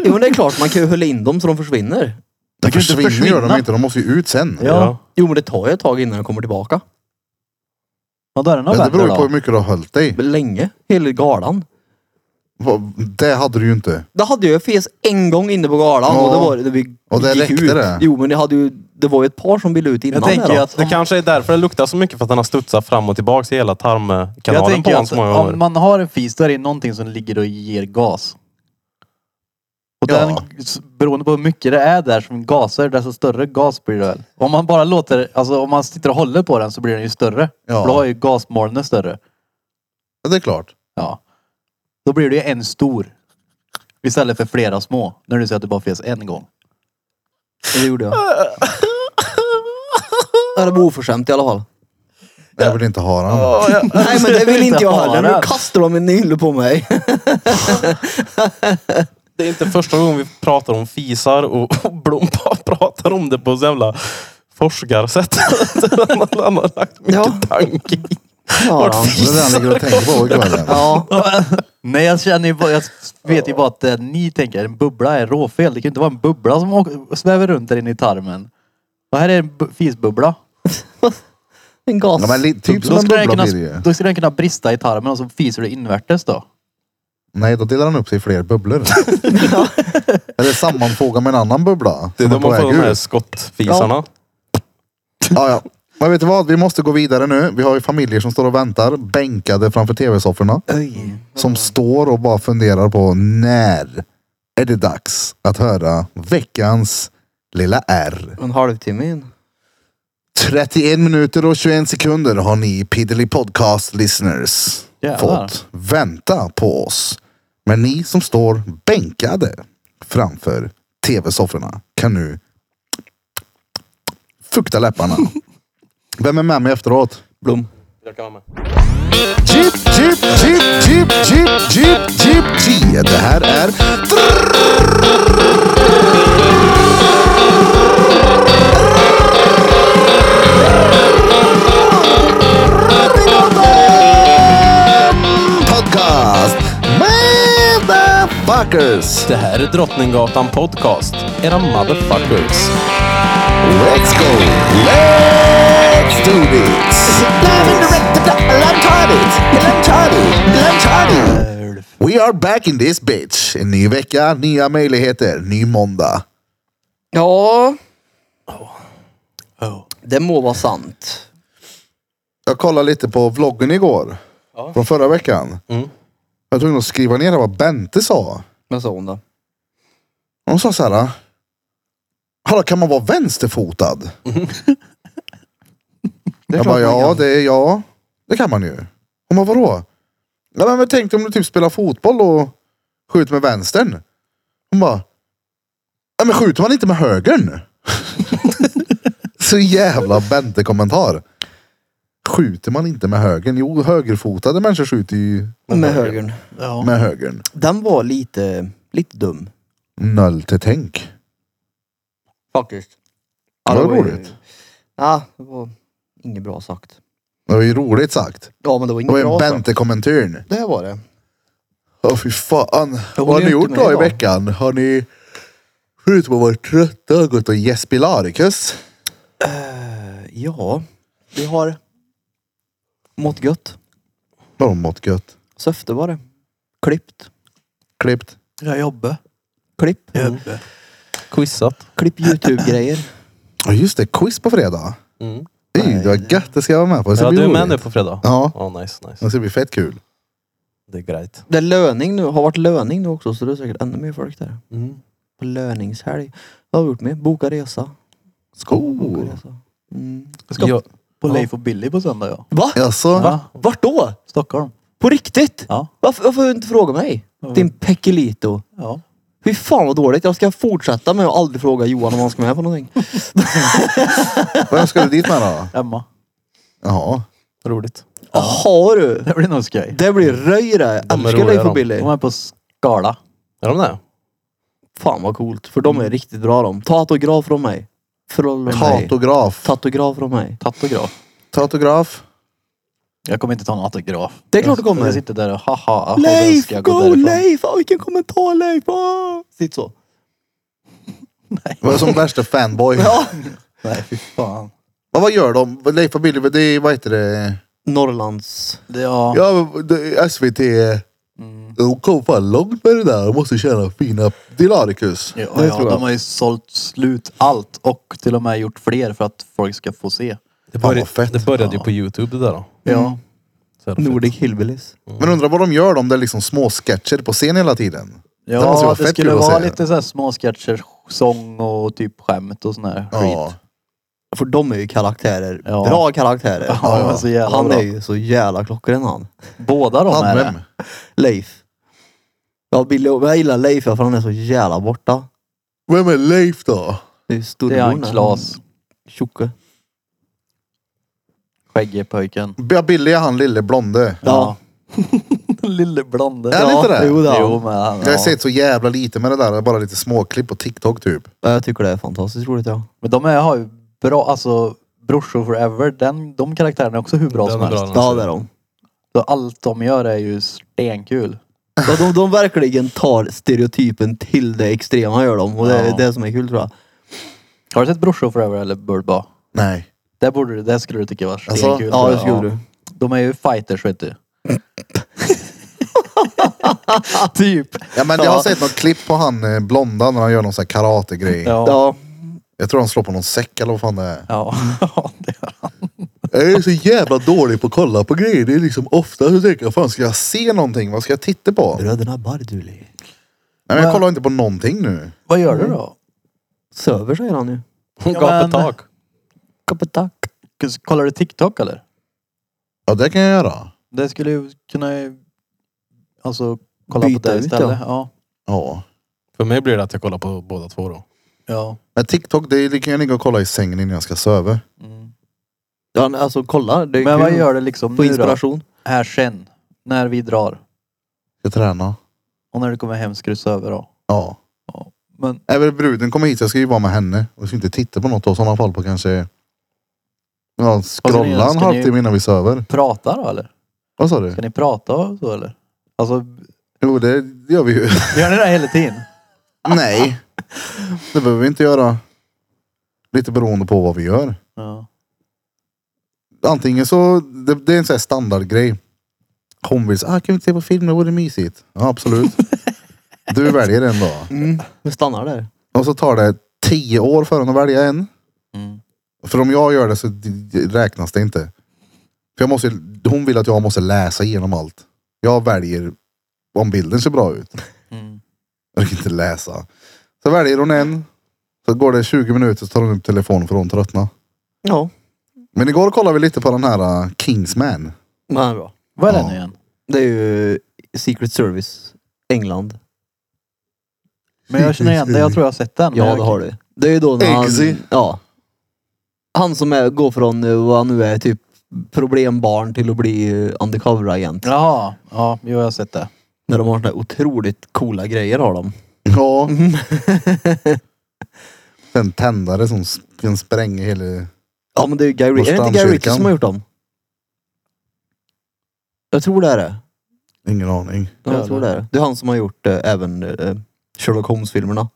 Jo men det är klart man kan ju hålla in dem så de försvinner. De kan ju inte försvinner gör de försvinna. inte. De måste ju ut sen. Ja. Jo men det tar ju ett tag innan de kommer tillbaka. Ja, då är den Men det beror avvänd ju på hur då. mycket du har hållit dig. Länge. Hela galan. Vad- Det hade du ju inte. Det hade jag fes en gång inne på galan Ja. och det var det vi Och det gick räckte ut. det? Jo men det, hade ju, det var ju ett par som ville ut innan Jag tänker det ju då. att Det om, kanske är därför det luktar så mycket för att den har studsat fram och tillbaks i hela jag tarmkanalen på tänker ju honom att så många gånger. om man har en fis då är det någonting som ligger och ger gas. Och Ja. den, s- beroende på hur mycket det är där som gaser, desto större gas blir det väl. Om man bara låter, alltså om man sitter och håller på den så blir den ju större. Ja. För då är ju gasmolnet större. Ja, det är klart. Ja. Då blir det ju en stor. Istället för flera små. När du säger att det bara finns en gång. Det gjorde jag. Ja, det var oförskämt i alla fall. Jag vill inte ha den. Nej men det vill inte jag ha heller. Nu den. kastar de en nylle på mig. Det är inte första gången vi pratar om fisar och, och Blom bara pratar om det på så jävla forskarsätt. Han har lagt mycket Ja. tanke i. Ja, Vart då. Det är det han ligger och tänker på ikväll. ja. Nej jag känner ju bara, jag vet ju bara att det ni tänker, en bubbla är råfel. Det kan ju inte vara en bubbla som åker, svävar runt där inne i tarmen. Och här är en bu- fisbubbla. En gas. Ja, men li- typ som Då en skulle, den bubbla kunna, blir det ju. då skulle den kunna brista i tarmen och så fiser du invärtes då. Nej, då delar han upp sig i fler bubblor. Eller sammanfogar med en annan bubbla. Det är som då på man får väg de här ut. skottfisarna. Ja, ja. Men vet du vad? Vi måste gå vidare nu. Vi har ju familjer som står och väntar bänkade framför tv-sofforna. Oj. Som står och bara funderar på när är det dags att höra veckans lilla R. En halvtimme in. 31 minuter och 21 sekunder har ni Piddly Podcast listeners Jävlar. fått vänta på oss. Men ni som står bänkade framför tv-sofforna kan nu fukta läpparna. Vem är med mig efteråt? Blom. Jag kan vara med. Jeep, jeep, jeep, jeep, jeep, jeep, jeep, jeep. Det här är... Podcast! Motherfuckers! Det här är Drottninggatan Podcast. Era motherfuckers. Let's go! Let's do this! We are back in this bitch! En ny vecka, nya möjligheter, ny måndag. Ja. Det må vara sant. Jag kollade lite på vloggen igår. Från förra veckan. Mm. Jag tog nog skriva ner vad Bente sa. Men så hon då. Hon sa så här. Hallå, kan man vara vänsterfotad? Det Jag är bara, klart man ja kan. det, är, ja, det kan man ju. Hon bara, vadå? Ja, men, men tänk dig om du typ spelar fotboll och skjuter med vänstern. Hon bara, ja, men skjuter man inte med högern? Så jävla Bente-kommentar. Skjuter man inte med högern? Jo, högerfotade människor skjuter ju Med högern. Ja. med högern. eh, Den var lite, lite dum. Noll till tänk. Faktiskt. Det var ju- roligt. Ja, det var inget bra sagt. Det var ju roligt sagt. Ja men det var Det inget var ju bra en sagt. Bente-kommenturen. Det var det. Ja fy fan. hon Vad har är ni ju inte gjort med då i idag. veckan? Har ni förutom att vara trötta och gått och gäspilarikus? Ja, vi har mått gött. Har de mått gött? Söfte var det. Klippt. Klippt? Jag jobbar. Klipp. Quizat. Klipp YouTube-grejer. Ja just det, quiz på fredag. Mm. Ej, det var gött, det ska jag vara med på. Det ska Ja, bli du är med roligt. nu på fredag? Ja, Ja, nice, nice. det ska bli fett kul. Det är grejt. Det är löning nu. Har varit löning nu också så det är säkert ännu mer folk där. Mm. På löningshelg. Vad har vi gjort med? Boka resa. Boka Skål! resa. Mm. Jag ska Ja. på Leif och Billy på söndag ja. Va? Jaså? Ja. Vart då? Stockholm. På riktigt? Ja. Varför, varför har du inte frågat mig? Din pekelito. Ja. Fy fan vad dåligt. Jag ska fortsätta med att aldrig fråga Johan om han ska med på någonting. Vem ska du dit med då? Emma. Jaha. Roligt. Jaha du. Det blir nog skoj. Det blir röj det. De är Älskar roliga, Leif och de. Billy. De är på Skala. Är de det? Fan vad coolt. För de är riktigt bra de. Tatograf från mig. Från mig. Tatograf. Tatograf från mig. Tatograf. Tatograf. Jag kommer inte ta någon autograf. Det är klart du kommer. Jag sitter där och haha. och så Leif! ska jag Go därifrån. Leif! Oh, vilken kommentar Leif! Ah! Sitt så. Vad är som värsta fanboy. Ja. Nej fy fan. Men vad gör de? Leif och Billy, det är, vad heter det? Norrlands... Det- Ja. Mm. Ja, det, SVT. De kom fan långt med det där. De måste tjäna fina dilarikus. Ja, det ja, tror jag. de har ju sålt slut allt och till och med gjort fler för att folk ska få se. Det, Fan, vad började- fett. det började ju på Youtube det där då. Mm. Ja. Så jävla fett. Nordic Hillbillies. Men undrar vad de gör om det är liksom små sketcher på scen hela tiden. Det måste ju Ja, vara det, fett skulle kul att vara se. lite så här småsketcher, sång och typ skämt och sån här Ja. skit. För de är ju karaktärer. Ja. Bra karaktärer. Ja, de är så jävla han bra. är ju så jävla klockren han. Båda de Han, här. vem? Leif. Ja, Billy, jag gillar Leif ja, för han är så jävla borta. vem är Leif då? Det är ju Det är han storebror. Klas, Tjocke. skäggige pojken. Ja, Billy är han lille blonde. Ja. Lille blonde. Är han inte det? Jo, det är Jo, han. men han, Jag har ja. sett så jävla lite med det där. Bara lite småklipp på TikTok typ. Ja, Jag tycker det är fantastiskt roligt ja. Men de är, har ju bra, alltså Brorsor Forever, den, de karaktärerna är också hur bra Den som är bra, helst. den. Ja det är de. Så allt de gör är ju stenkul. Ja, de, de verkligen tar stereotypen till det extrema gör de. Och det är Ja. det som är kul tror jag. Har du sett Brorsor Forever eller Bird Ba? Nej. Det, borde, du- det skulle du tycka var stenkul. Alltså, Ja det skulle du. De är ju fighters vet du. typ. Ja, men jag har Ja. sett något klipp på han eh, blonda när han gör någon sån här karategrej. Ja. Ja. Jag tror han slår på någon säck eller vad fan det är. Ja. det gör han. Jag är så jävla dålig på att kolla på grejer. Det är liksom ofta så tänker jag, fan ska jag se någonting? Vad ska jag titta på? Nej, Bröderna Barduli. men jag kollar inte på någonting nu. Vad gör du då? Söver säger han ju. Hon Ja, gav men- ett tak. Kapatak. Kollar du TikTok eller? Ja, det kan jag göra. Det skulle ju kunna alltså kolla Byta på det ut, istället. Ja. Ja. För mig blir det att jag kollar på båda två då. Ja. Men TikTok, det, är- det kan jag ligga och kolla i sängen innan jag ska söva. Mm. Ja, alltså kolla. Det är Men kul. vad gör det liksom Få nu då? inspiration. Här sen. När vi drar. Ska träna. Och när du kommer hem ska du söva då. Ja. Men Även bruden kommer hit, jag ska ju vara med henne. Och ska inte titta på något då. I sådana fall på kanske... Ja, ni- ska scrolla en ni- halvtimme innan vi söver. prata då eller? Vad sa du? Ska ni prata och så eller? Alltså, Jo, det gör vi ju. gör ni det hela tiden? Nej. Det behöver vi inte göra. Lite beroende på vad vi gör. Ja. antingen så, det, det är en sån här standardgrej. Kompis, ah, kan vi inte se på film, det vore mysigt. Ja, absolut. du väljer en då. Men stannar där. Och så tar det tio år för en att välja en. Mm. För om jag gör det så d- d- räknas det inte. För jag måste, hon vill att jag måste läsa igenom allt. Jag väljer om bilden ser bra ut. Mm. Jag kan inte läsa. Så väljer hon en. Så går det 20 minuter så tar hon upp telefonen för hon tröttnar. Ja. Men igår kollade vi lite på den här uh, Kingsman. Men han är bra. Vad är Ja. det nu igen? Det är ju Secret Service. England. Men jag känner igen det. Jag tror jag har sett den. men Ja jag... det har du. Det är ju då när Eggsy. han... Ja. Han som är, går från eh, vad han nu är typ problembarn till att bli eh, undercover-agent. Jaha. Ja, jo jag har sett det. När de har såna här otroligt coola grejer har de. Ja. Den tändare som sp- den spränger hela... Ja men det är ju Guy Ritchie. Är det inte Guy Stamkyrkan. Ritchie Ritchie som har gjort dem? Jag tror det är det. Ingen aning. Ja, jag tror det är det. Det är han som har gjort eh, även eh, Sherlock Holmes-filmerna.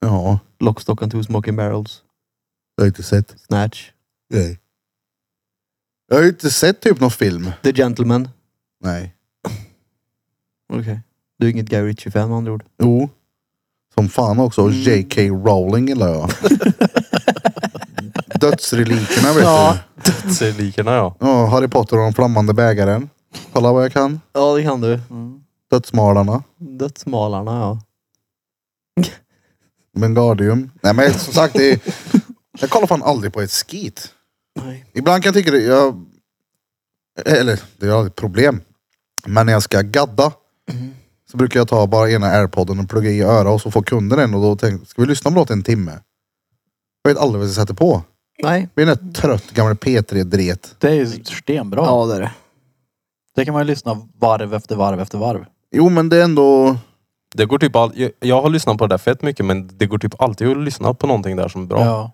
Ja, Lock, Stock and Two Smoking Barrels. jag har inte sett. Snatch. Nej. Jag har ju inte sett typ någon film. The Gentleman. Nej. Okej. Du är inget Guy Ritchie-fan med andra ord. Jo. Som fan också. Och Mm. J.K. Rowling gillar jag. Dödsrelikerna vet Ja. du. Dödselikerna ja. Ja, Harry Potter och den flammande bägaren. Kolla vad jag kan. Ja det kan du. Mm. Dödsmalarna. Dödsmalarna ja. Wingardium. Nej men som sagt, det är... jag kollar fan aldrig på ett skit. Nej. Ibland kan jag tycka det, jag, eller det är aldrig ett problem. Men när jag ska gadda så brukar jag ta bara ena airpodden och plugga i öra och så får kunden den och då tänker ska vi lyssna på låt en timme? Jag vet aldrig vad jag sätter på. Nej. Vi är en där trött gammal P3-dret. Det är ju stenbra. Ja det är det. Det kan man ju lyssna varv efter varv efter varv. Jo men det är ändå, Det går typ all... jag- Jag har lyssnat på det där fett mycket men det går typ alltid att lyssna på någonting där som är bra. Ja.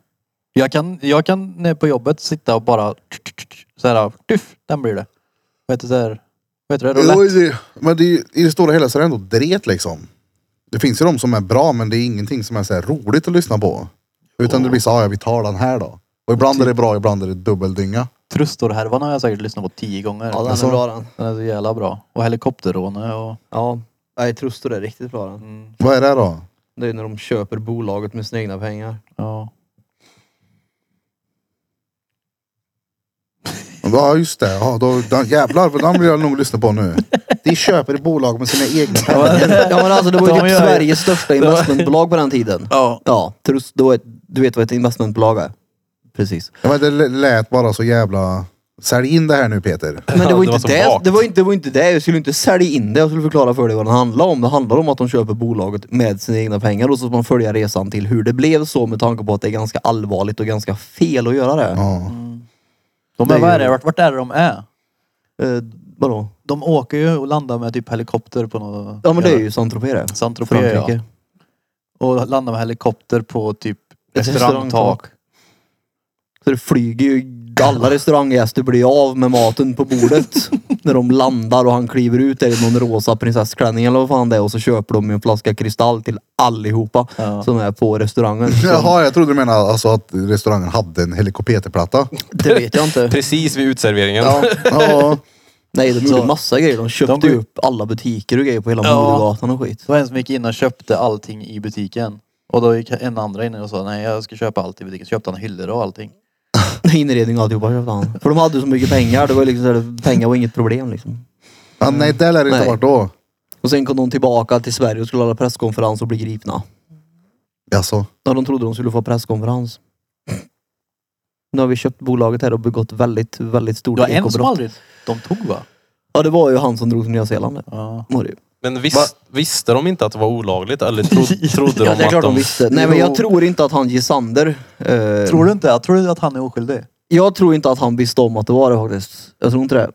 Jag kan, jag kan när jag är på jobbet sitta och bara så här, tuff, den blir det. Vad heter det? Där? Vad heter det? Roulette? Jo, det- men det, är ju- i det stora hela så är det ändå dret liksom. Det finns ju de som är bra men det är ingenting som är så här roligt att lyssna på. Utan det blir så, ah, ja vi tar den här då. Och ibland är det bra, ibland är det dubbeldynga. Trustorhärvan har jag säkert lyssnat på tio gånger. Ja den Alltså, är bra den. den är så jävla bra. Och helikopterrånare och... Ja. Nej Trustor är riktigt bra den. Vad är det då? Det är när de köper bolaget med sina egna pengar. Ja. Ja just det, ja, då, den, jävlar för den vill jag nog lyssna på nu. De köper bolag med sina egna Ja pengar. men, ja, men alltså det var ju De typ gör ju- Sveriges största investmentbolag på den tiden. Ja. Ja, Trust, då är, du vet vad ett investmentbolag är? Precis. Ja, men det lät bara så jävla... Sälj in det här nu Peter. Men det var Ja, ju inte det var så det, vagt. det, var inte, det var inte det. Jag skulle inte sälja in det. Jag skulle förklara för dig vad det handlar om. Det handlar om att de köper bolaget med sina egna pengar och så får man följa resan till hur det blev så med tanke på att det är ganska allvarligt och ganska fel att göra det. Ja. De är, vad är det? Vart, vart är det de är? Eh, vadå? De åker ju och landar med typ helikopter på något... Ja men det är ju Saint-Tropez det. Saint-Tropez ja. Frankrike. Och landar med helikopter på typ Ett restaurangtak. restaurangtak. Så det flyger ju, alla restaurangäster blir av med maten på bordet. när de landar och han kliver ut där i någon rosa prinsessklänning eller vad fan det är och så köper de ju en flaska kristall till allihopa Ja. som är på restaurangen. Så- Jaha, jag trodde du menade alltså att restaurangen hade en helikopterplatta. Det vet jag inte. Precis vid utserveringen. Ja. Ja, Nej de gjorde Så- massa grejer. De köpte De- ju upp alla butiker och grejer på hela Ja. Modegatan och skit. Det var en som gick in och köpte allting i butiken. Och då gick en andra in och sa nej jag ska köpa allt i butiken. Så köpte han hyllor och allting. Inredning och alltihopa köpte han. För de hade ju så mycket pengar. Det var ju liksom, så här, pengar var inget problem liksom. ja nej det lär det inte Nej. varit då. Och sen kom de tillbaka till Sverige och skulle hålla presskonferens och bli gripna. Alltså, När de trodde de skulle få presskonferens. Nu har vi köpt bolaget här och begått väldigt, väldigt stort Det var en som ekobrott. aldrig de tog va? Ja, det var ju han som drog till Nya Zeeland. Ja. Var det ju. Men visst, visste de inte att det var olagligt? Eller tro, Ja, trodde de det är att klart de de... visste. Nej, men Jo. jag tror inte att han Gisander... Eh, Tror du inte? Jag tror att han är oskyldig. Jag tror inte att han visste om att det var det faktiskt. Jag tror inte det.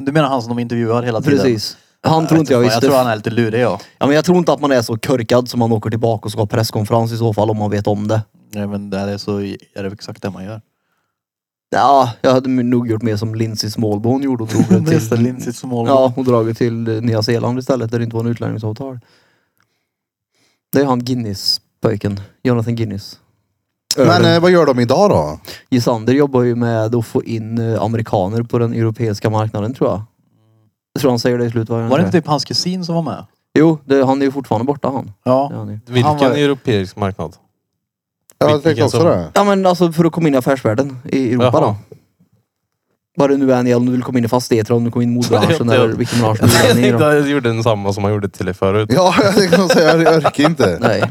Du menar han som de intervjuar hela tiden? Precis. Han tror inte jag vet visste. Jag tror han är lite lurig ja. ja, men jag tror inte att man är så körkad som man åker tillbaka och ska ha presskonferens i så fall om man vet om det. Nej men där är så är det exakt det man gör. Ja, jag hade nog gjort mer som Lindsey Smallbone hon gjorde och drog det till... Nästa Lindsay Small. Ja, och dragit till eh, Nya Zeeland istället där det inte var en utlänningsavtal. Det är han Guinness-pojken. Jonathan Guinness. men eh, vad gör de idag då? Gisander jobbar ju med att få in eh, amerikaner på den europeiska marknaden tror jag. Jag tror han säger det i slutvarven. Var det inte typ hans kusin som var med? Jo, det, han är ju fortfarande borta han. Ja. Det är han ju. Vilken Han var- europeisk marknad? Jag Vilken tänkte också som- det. Ja men alltså för att komma in i affärsvärlden i Europa Jaha. då. Vad det nu än är, om du vill komma in i fastigheter, om du kommer in i modebranschen Ja, ja. eller vilken bransch du Jag vill in i tänkte då. att jag gjorde densamma som man gjorde till dig förut. Ja, jag tänkte också säga, jag orkar inte. Nej.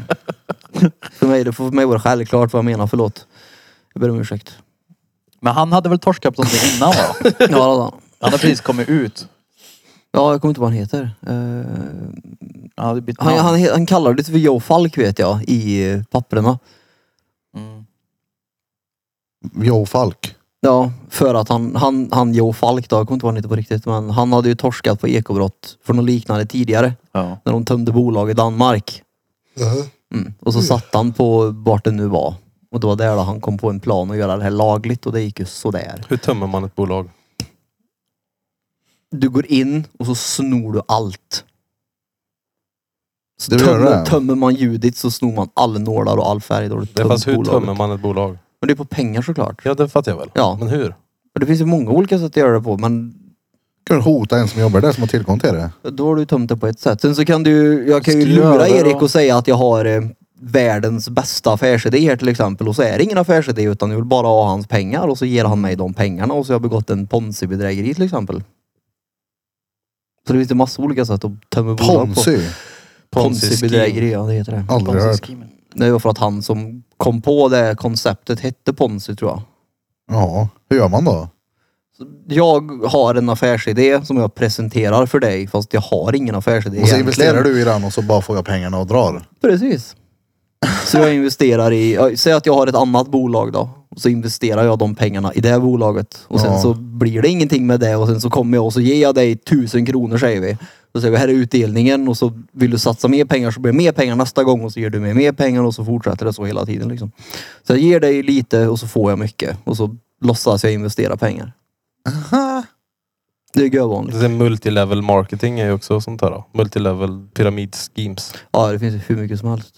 För mig, det- för mig var det självklart vad jag menar, förlåt. Jag ber om ursäkt. Men han hade väl torskat på någonting innan va? Ja, det hade han. Han hade precis kommit ut. Ja, jag kommer inte ihåg vad han heter. Eh, Han hade bytt han, namn. han, he- han kallades för Joe Falk vet jag i eh, papperna. Mm. Joe Falk. Ja, för att han, han, han Joe Falk då, jag kommer inte ihåg vad han heter på riktigt, men han hade ju torskat på ekobrott för något liknande tidigare. Ja. När de tömde bolag i Danmark. Mm. Och så satt han på vart det nu var. Och det var där då han kom på en plan att göra det här lagligt och det gick ju sådär. Hur tömmer man ett bolag? Du går in och så snor du allt. Så Det gör tömmer, det. tömmer man Judit så snor man alla nålar och all färg. Då har du Det tömt fast hur bolaget. tömmer man ett bolag? Men det är på pengar såklart. Ja, det fattar jag väl. Ja. Men hur? Och det finns ju många olika sätt att göra det på men Kan du hota en som jobbar där som har tillgång till det? då har du tömt det på ett sätt. Sen så kan du jag kan ju Ska jag göra lura det Erik då? och säga att jag har eh, världens bästa affärsidé här till exempel och så är det ingen affärsidé utan jag vill bara ha hans pengar och så ger han mig de pengarna och så har jag begått en ponzi-bedrägeri till exempel. Så det finns ju massa olika sätt att tömma bolag på. Ponzy. Ponzi-bedrägeri, ja det heter det. Aldrig hört. Ponzi-schemen. Det var för att han som kom på det konceptet hette ponzi tror jag. Ja, hur gör man då? Jag har en affärsidé som jag presenterar för dig fast jag har ingen affärsidé Och så egentligen. investerar du i den och så bara får jag pengarna och drar. Precis. Så jag investerar i, ja, säg att jag har ett annat bolag då. Och så investerar jag de pengarna i det bolaget. Och sen Ja. så blir det ingenting med det och sen så kommer jag och så ger jag dig tusen kronor säger vi. Så säger vi här är utdelningen och så vill du satsa mer pengar så blir det mer pengar nästa gång och så ger du mig mer pengar och så fortsätter det så hela tiden liksom. Så jag ger dig lite och så får jag mycket och så låtsas jag investera pengar. Det är görvanligt. Det är multilevel marketing är ju också sånt här. Då. Multilevel pyramid schemes. Ja det finns ju hur mycket som helst.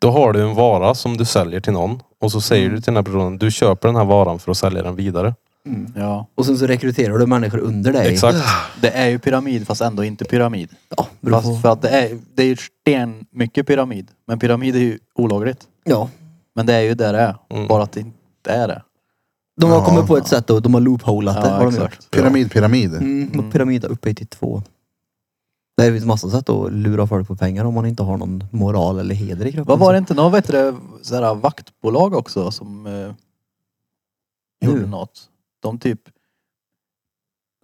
Då har du en vara som du säljer till någon och så säger du till den här personen, du köper den här varan för att sälja den vidare. Ja. Och sen så rekryterar du människor under dig. Exakt. Det är ju pyramid fast ändå inte pyramid. Ja, beror på. Fast för att det är, det är ju sten mycket pyramid. Men pyramid är ju olagligt. ja. Men det är ju det det är. Mm. Bara att det inte är det. De har Ja. kommit på ett sätt och de har loopholat det. Ja, har de exakt. gjort. Pyramid, pyramid. Mm, och pyramida upphöjt till två. Det finns massa sätt att lura folk på pengar om man inte har någon moral eller heder i kroppen. Vad var det inte något vet du, så här, vaktbolag också som eh, gjorde Jo. något? De typ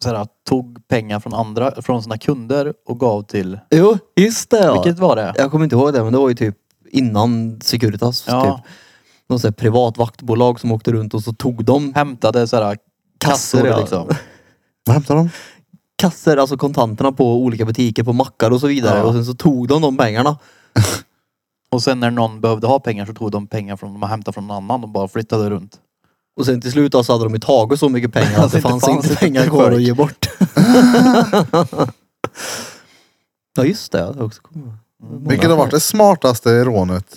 så här, tog pengar från andra, från sina kunder och gav till, Jo, just det ja. vilket var det? Jag kommer inte ihåg det men det var ju typ innan Securitas. Ja. Typ. Någon sån här privat vaktbolag som åkte runt och så tog de Hämtade så här, kassor, Kassor, ja. liksom. Vad hämtar de? kasser, alltså kontanterna på olika butiker, på mackar och så vidare. Ja. Och sen så tog de de pengarna. Och sen när någon behövde ha pengar så tog de pengar från, de hämtade från någon annan och bara flyttade runt. Och sen till slut alltså hade de ju tagit så mycket pengar att Alltså, det inte fanns fanns inte det pengar till kvar folk. att ge bort. ja just det, jag också kommer ihåg. Mm. Vilket har varit det smartaste rånet?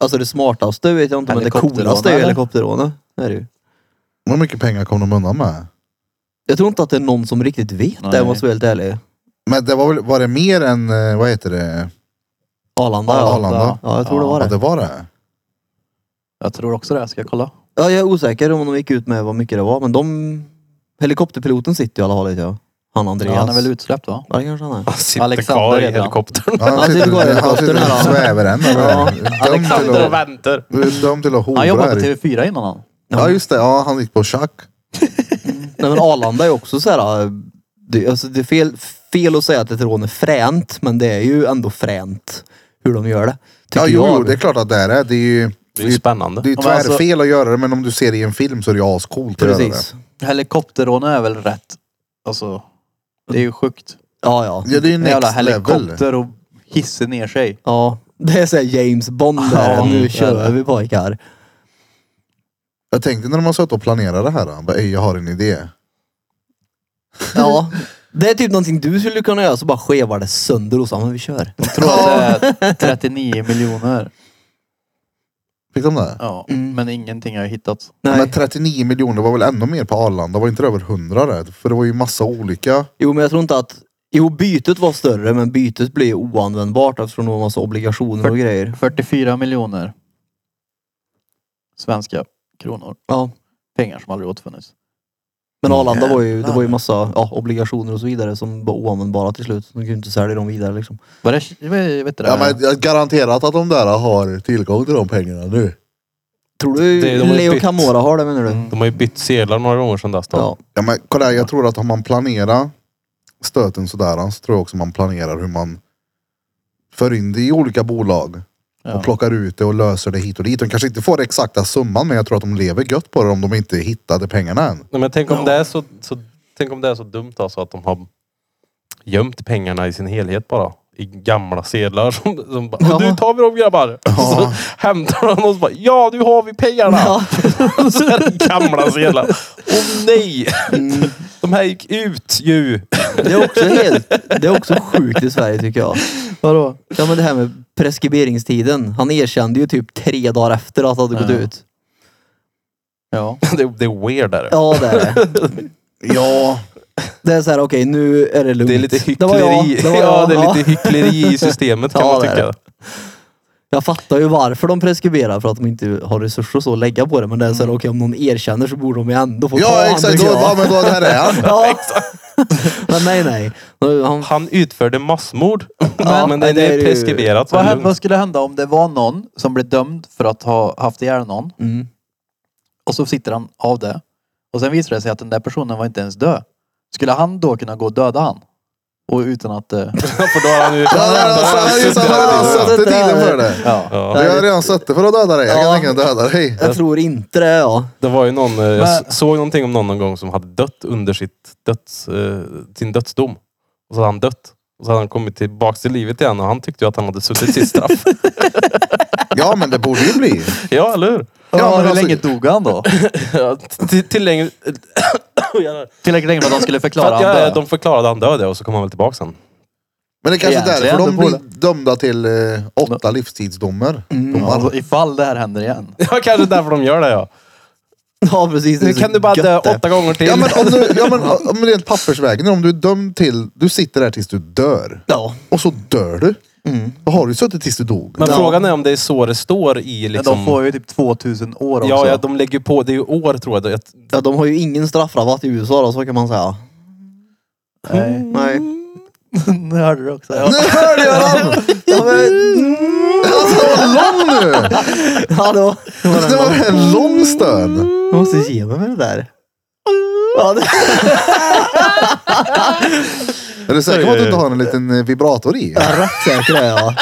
Alltså det smartaste vet jag inte men det Helikopterrån, coolaste är ju eller? helikopterrånet. Det är det ju. Hur mycket pengar kom de undan med? Jag tror inte att det är någon som riktigt vet det om jag Nej. ska vara helt ärlig. Men det var, väl, var det mer än, eh, vad heter det? Arlanda ja. Arlanda. Ja jag tror det Ja, var Ja, det. det var det. Jag tror också det, ska jag kolla? Ja jag är osäker om de gick ut med vad mycket det var men de... Helikopterpiloten sitter ju i alla fall lite ja. Han Andreas. Ja, han är väl utsläppt va? Ja det kanske han är. Han sitter Alexander kvar i heter han. helikoptern. Ja, han Alltså, det går i sitter han helikoptern sitter här, och då. svävar än. Ja, Dömd till Alexander att- väntar. Dömd till att hora. Han jobbade på typ- här i- TV4 innan han. Ja just det, ja han gick på schack. Nej men Arlanda är också så här. eh, Det, alltså det är fel, fel att säga att ett rån är fränt, men det är ju ändå fränt hur de gör det. Tycker Ja jo, jag. jo, det är klart att det är det. Det är ju, Det är ju spännande. det är ju Ja, men alltså- tvärfel att göra det men om du ser det i en film så är det ju ascoolt att göra det. Precis. Helikopterrånet är väl rätt, alltså. Det är ju sjukt. Ja, ja. Ja det är ju En jävla next level. helikopter och hisser ner sig. Ja, det är såhär James Bond där. Ja, det nu är kör det. vi pojkar. Jag tänkte när de har suttit och planerat det här, han bara, "Ey, jag har en idé. Ja, det är typ någonting du skulle kunna göra så bara skevar det sönder och så, men vi kör. Jag tror att det är 39 miljoner. Fick de det? Ja, Mm. men ingenting har jag hittat. Men Nej. 39 miljoner var väl ännu mer på Arlanda? Var inte det över 100 där? För det var ju massa olika. Jo, men jag tror inte att... Jo, bytet var större, men bytet blev oanvändbart eftersom det var massa obligationer och grejer. 44 miljoner svenska kronor. Ja. Pengar som aldrig återfunnits. Men Arlanda var ju, det Jävlar. var ju massa ja, obligationer och så vidare som var oanvändbara till slut. De kunde inte sälja dem vidare liksom. Var det, vad- vet du det? Ja, men jag garanterat att de där har tillgång till de pengarna nu. Tror du Det- de har ju Leo bytt. Mm. Camora har det menar du? De har ju bytt sedlar några gånger sedan dess. Då. Ja. Ja men kolla här, jag tror att om man planerar stöten sådär så tror jag också man planerar hur man för in det i olika bolag Ja. och plockar ut det och löser det hit och dit. De kanske inte får den exakta summan men jag tror att de lever gött på det om de inte hittade pengarna än. Nej, Men tänk om, det är så, så, tänk om det är så dumt alltså att de har gömt pengarna i sin helhet bara. I gamla sedlar som, som bara, Ja. du tar vi dem grabbar. Så hämtar de och så bara, ja nu har vi pengarna. Ja. så är det gamla sedlar. Åh nej! Mm. De här gick ut ju. Det är också helt, det är också sjukt i Sverige tycker jag. Vadå? Ja men det här med preskriberingstiden. Han erkände ju typ tre dagar efter att det hade gått Ja. ut. Ja. Det, det är weird är det. Ja det är det. Ja, Det är såhär okej nu är det lugnt. Det är lite var jag, hyckleri. det var ja, jag. det är lite hyckleri i systemet kan Ja, man det är tycka. det. Jag fattar ju varför de preskriberar för att de inte har resurser och så att lägga på det. Men det är Mm. såhär okej om någon erkänner så borde de ju ändå få ta ja han, exakt. Då, tycker jag. ja, men då, här är han. Ja. Men nej nej. Nu, Han, Han utförde massmord. Ja, men det, det det är är ju- preskriberat. så Vad, det är hä- lugnt. vad skulle hända om det var någon som blev dömd för att ha haft ihjäl någon mm. och så sitter han av det och sen visar det sig att den där personen var inte ens död. Skulle han då kunna gå och döda han? Och utan att... eh, För då har han ju... Ja, där har han satt- just det, där har han satt i tiden för det. ja. Ja. Jag har redan suttit för att döda dig. Jag kan Ja. tänka mig att döda dig. Jag tror inte det ja. Det var ju någon, eh, jag Men- s- såg någonting om någon någon gång som hade dött under sitt döds, eh, sin dödsdom. Och så hade han dött. Och så hade han kommit tillbaks till livet igen och han tyckte ju att han hade suttit sitt straff. Ja men det borde ju bli. ja, eller hur? Ja, Ja, men hur alltså- länge dog han då? Ja, till, till längre... Oj, jävlar. Tillräckligt länge för att de skulle För förklara att, han ja, död. de förklarade han död ja, och så kom han väl tillbaka sen. Men det är kanske är Egentligen, därför de då blir borde- dömda till eh, åtta livstidsdomar. Ja, Domar. alltså, ifall det här händer igen. Ja, kanske därför de gör det ja. Ja precis. det är Nu så kan du bara gött dö det. åtta gånger till. Ja men, om du, ja, men om rent pappersvägen, om du är dömd till, du sitter där tills du dör. Ja. Och så dör du. Då har du suttit tills du dog. Men Ja. frågan är om det är så det står i Men liksom... De får ju typ 2000 år också. ja, ja, de lägger på. Det är ju år tror jag. Det- Ja, de har ju ingen straffrabatt i USA då, så kan man säga. Mm. Nej. Nej. nu Mm. hörde du också. Ja. Nu hörde jag den! Ja, men, Alltså det var lång nu! hallå. Det var en lång stön. Du måste ge mig med det Mm. där. Ja, det, Är du säker på att du inte har en liten eh, vibrator i? rättssäker är jag.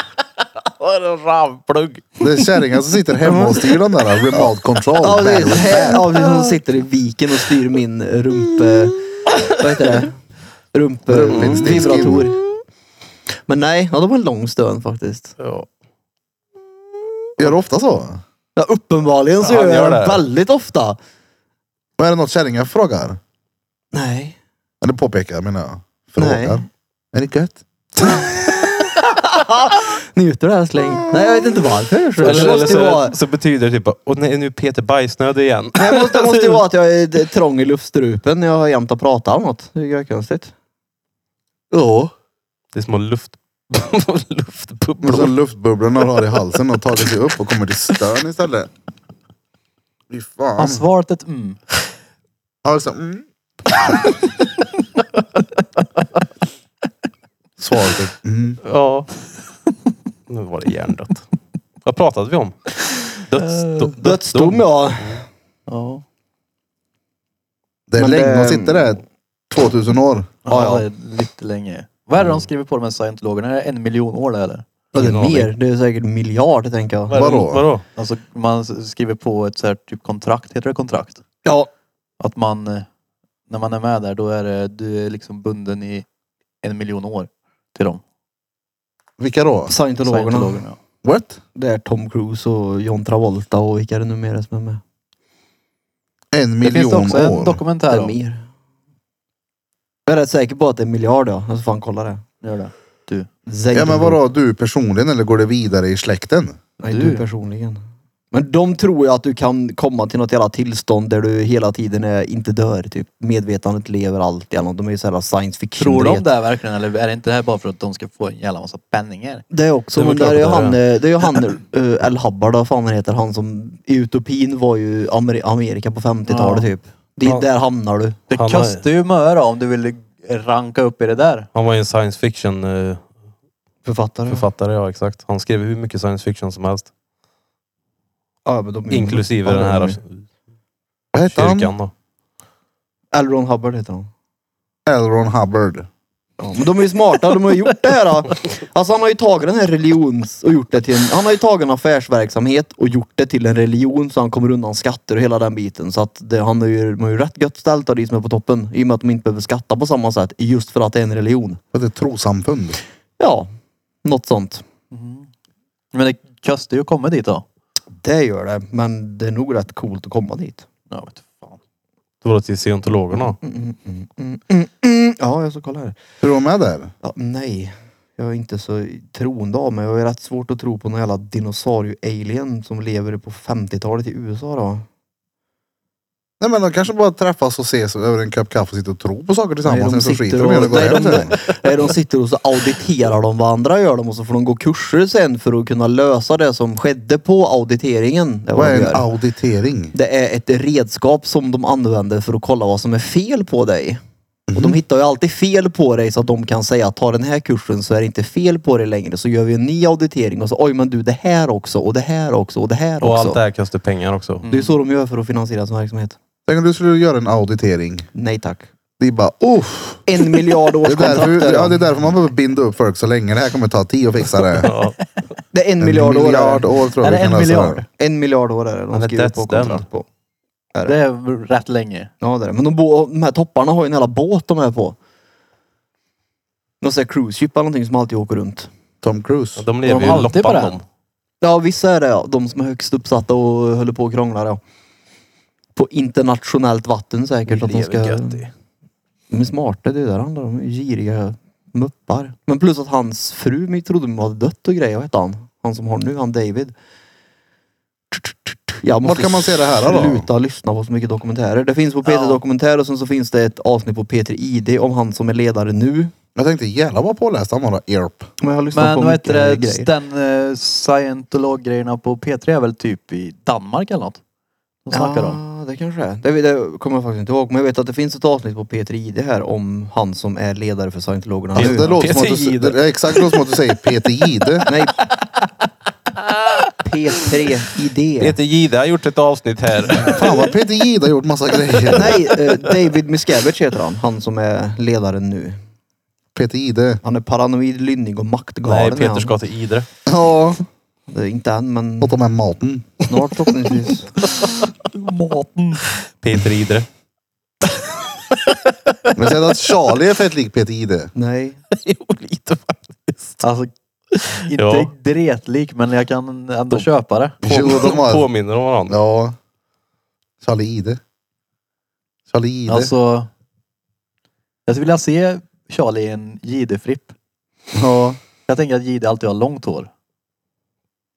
Ravplugg! Det är kärringar som sitter hemma och styr den där remote control. Ja, det är så Bam, här. bam. Ja, precis. Hon sitter i viken och styr min rumpe... Vad heter det? Rumpe... Rumpinstick. Vibrator. Men nej, ja, det var en lång stön faktiskt. Ja. Gör du ofta så? Ja, uppenbarligen så Ja, han gör jag gör det det. väldigt ofta. Men är det något kärringar frågar? Nej. Eller påpekar menar jag. Frågar. Nej. Är det gött? Njuter du här släng? Nej, jag vet inte varför. Så Eller, Det eller måste ju så, vara... så betyder det typ och nej, nu är Peter bajsnödig igen. Det måste, det måste ju vara att jag är trång i luftstrupen när jag jämt har pratat om något. Det är ju konstigt. Ja. Det är små luft... Men så luftbubblor. luftbubblorna du har i halsen och tagit sig upp och kommer till stön istället. Fy fan. Han svarat ett mm. Alltså, mm. Svaret är mm. Ja. Nu var det hjärndött. Vad pratade vi om? Dödsdom. Dödsdom ja. Ja. Det är Men det- länge att sitta där. 2000 år. Ja, Ja, det är lite länge. Vad är det de skriver på de här scientologerna? Är det en miljon år där eller? Ja, det är Ingen aning. mer. Det är säkert en miljard tänker jag. Vad är det- Vadå? Vadå? Alltså man s- skriver på ett så här typ kontrakt, heter det kontrakt? Ja. Att man, eh, när man är med där, då är det, du är liksom bunden i en miljon år till dem. Vilka då? Scientologerna. Scientologerna. What? Det är Tom Cruise och John Travolta och vilka är det nu mer som är med? En Det finns miljon det också en år. Det dokumentär är om. mer. Jag är rätt säker på att det är en miljard ja. Jag ska fan kolla det. Gör det. Ja men vadå, du personligen eller går det vidare i släkten? Nej, Du. du. personligen. Men de tror ju att du kan komma till något jävla tillstånd där du hela tiden är, inte dör. Typ. Medvetandet lever alltid. Eller något. de är ju såhär science fiction. Tror du de vet. det här verkligen eller är det inte det här bara för att de ska få en jävla massa penningar? Det är också, Det är men väl där är ju klart han, eh, att det är ju han eh, El Hubbard, vad fan han heter, han som i Utopin var ju Ameri- Amerika på 50-talet Ja. typ. Dit, Ja. Där hamnar du. Det Han har- kostar ju möra om du vill ranka upp i det där. Han var ju en science fiction eh, Författare. författare, ja exakt. Han skrev hur mycket science fiction som helst. Ja, men de är ju- Inklusive Ja, den de är här ju- Vad hette han? kyrkan då. L. Ron Hubbard heter han. Elron Hubbard. Ja, men de är ju smarta, de har ju gjort det här. då. Alltså han har ju tagit den här religions och gjort det till en, han har ju tagit en affärsverksamhet och gjort det till en religion så han kommer undan skatter och hela den biten. Så att det, han har ju, de har ju rätt gött ställt av de som är på toppen i och med att de inte behöver skatta på samma sätt just för att det är en religion. Vad är det? Trossamfund? Ja, något sånt. Men det kostar ju att komma dit då. Det gör det, men det är nog rätt coolt att komma dit. Ja, vet fan. Det var till scientologerna. Mm, Ja, jag ska kolla här. Hur är de med där? Ja, nej, jag är inte så troende av mig. Jag är rätt svårt att tro på någon jävla dinosaurie-alien som lever på 50-talet i USA då. Nej men de kanske bara träffas och ses över en kopp kaffe och sitter och tror på saker Nej, tillsammans. de Sen så sitter skiter de i det och går och- hem nej, de- sen. Nej, de sitter och så auditerar de vad andra gör de och så får de gå kurser sen för att kunna lösa det som skedde på auditeringen. Det, är Vad de är en gör. auditering? det är ett redskap som de använder för att kolla vad som är fel på dig. Och Mhm. de hittar ju alltid fel på dig så att de kan säga att ta den här kursen så är det inte fel på dig längre. Så gör vi en ny auditering och så oj men du det här också och det här också och det här Och också. allt det här kostar pengar också. Det är så de gör för att finansiera sin verksamhet. Tänk om du skulle göra en auditering. Nej tack. Det är bara uff. En miljard Det är, därför, årskontrakt är ja, det. det är därför man behöver binda upp folk så länge. Det här kommer ta tio att fixa det. Ja. Det är en En miljard år. är miljard det. alltså år tror Är jag vi det kan en lösa miljard? det. En miljard år är det. Ja, De men skriver that's på kontrakt them. på. Det är rätt länge. Ja det är det. Men de, bo- de här topparna har ju en jävla båt de är på. Någon sån här cruise ship eller någonting som alltid åker runt. Tom Cruise. De lever De ju i alltid på loppan den. de. Ja, vissa är det ja. De som är högst uppsatta och håller på och krånglar ja. På internationellt vatten säkert. Att de, ska, de är smarta, det är där handlar om. De är giriga muppar. Men plus att hans fru vi trodde hon hade dött och grejer. Vad hette han? Han som har nu, han David. Jag måste kan man se det här då? Sluta lyssna på så mycket dokumentärer. Det finns på P3 Dokumentär och sen så finns det ett avsnitt på P3 ID om han som är ledare nu. Jag tänkte jävlar vad påläst han var då. ERP. Men jag har lyssnat Men på vad heter mycket det, grejer. den eh, scientologgrejerna på P3 är väl typ i Danmark eller något? De snackar om. Ja, det kanske det är. Det, det kommer jag faktiskt inte ihåg. Men jag vet att det finns ett avsnitt på P3 ID här om han som är ledare för scientologerna Alltså, det nu. låter som att Peter du, Jihde. det är exakt låter som att du säger Peter Jihde. Nej. P3 ID. Peter Jihde har gjort ett avsnitt här. Fan vad Peter Jihde har gjort massa grejer. Nej, eh, David Miscavige heter han. Han som är ledaren nu. Peter Jihde. Han är paranoid, lynnig och maktgalen. Nej, är Peter han. ska till Idre. Ja. Det är Inte än, men Något om den maten. snart förhoppningsvis. Maten. Peter Idre. Men sen att Charlie är fett lik Peter Jihde. Nej. jo, lite faktiskt. Alltså, inte Ja. dretlik men jag kan ändå De- köpa det. Jo, de har- Påminner om varandra. Ja. Charlie Jihde. Charlie Jihde. Alltså, jag skulle vilja se Charlie i en jidefripp. Ja. Jag tänker att jide alltid har långt hår.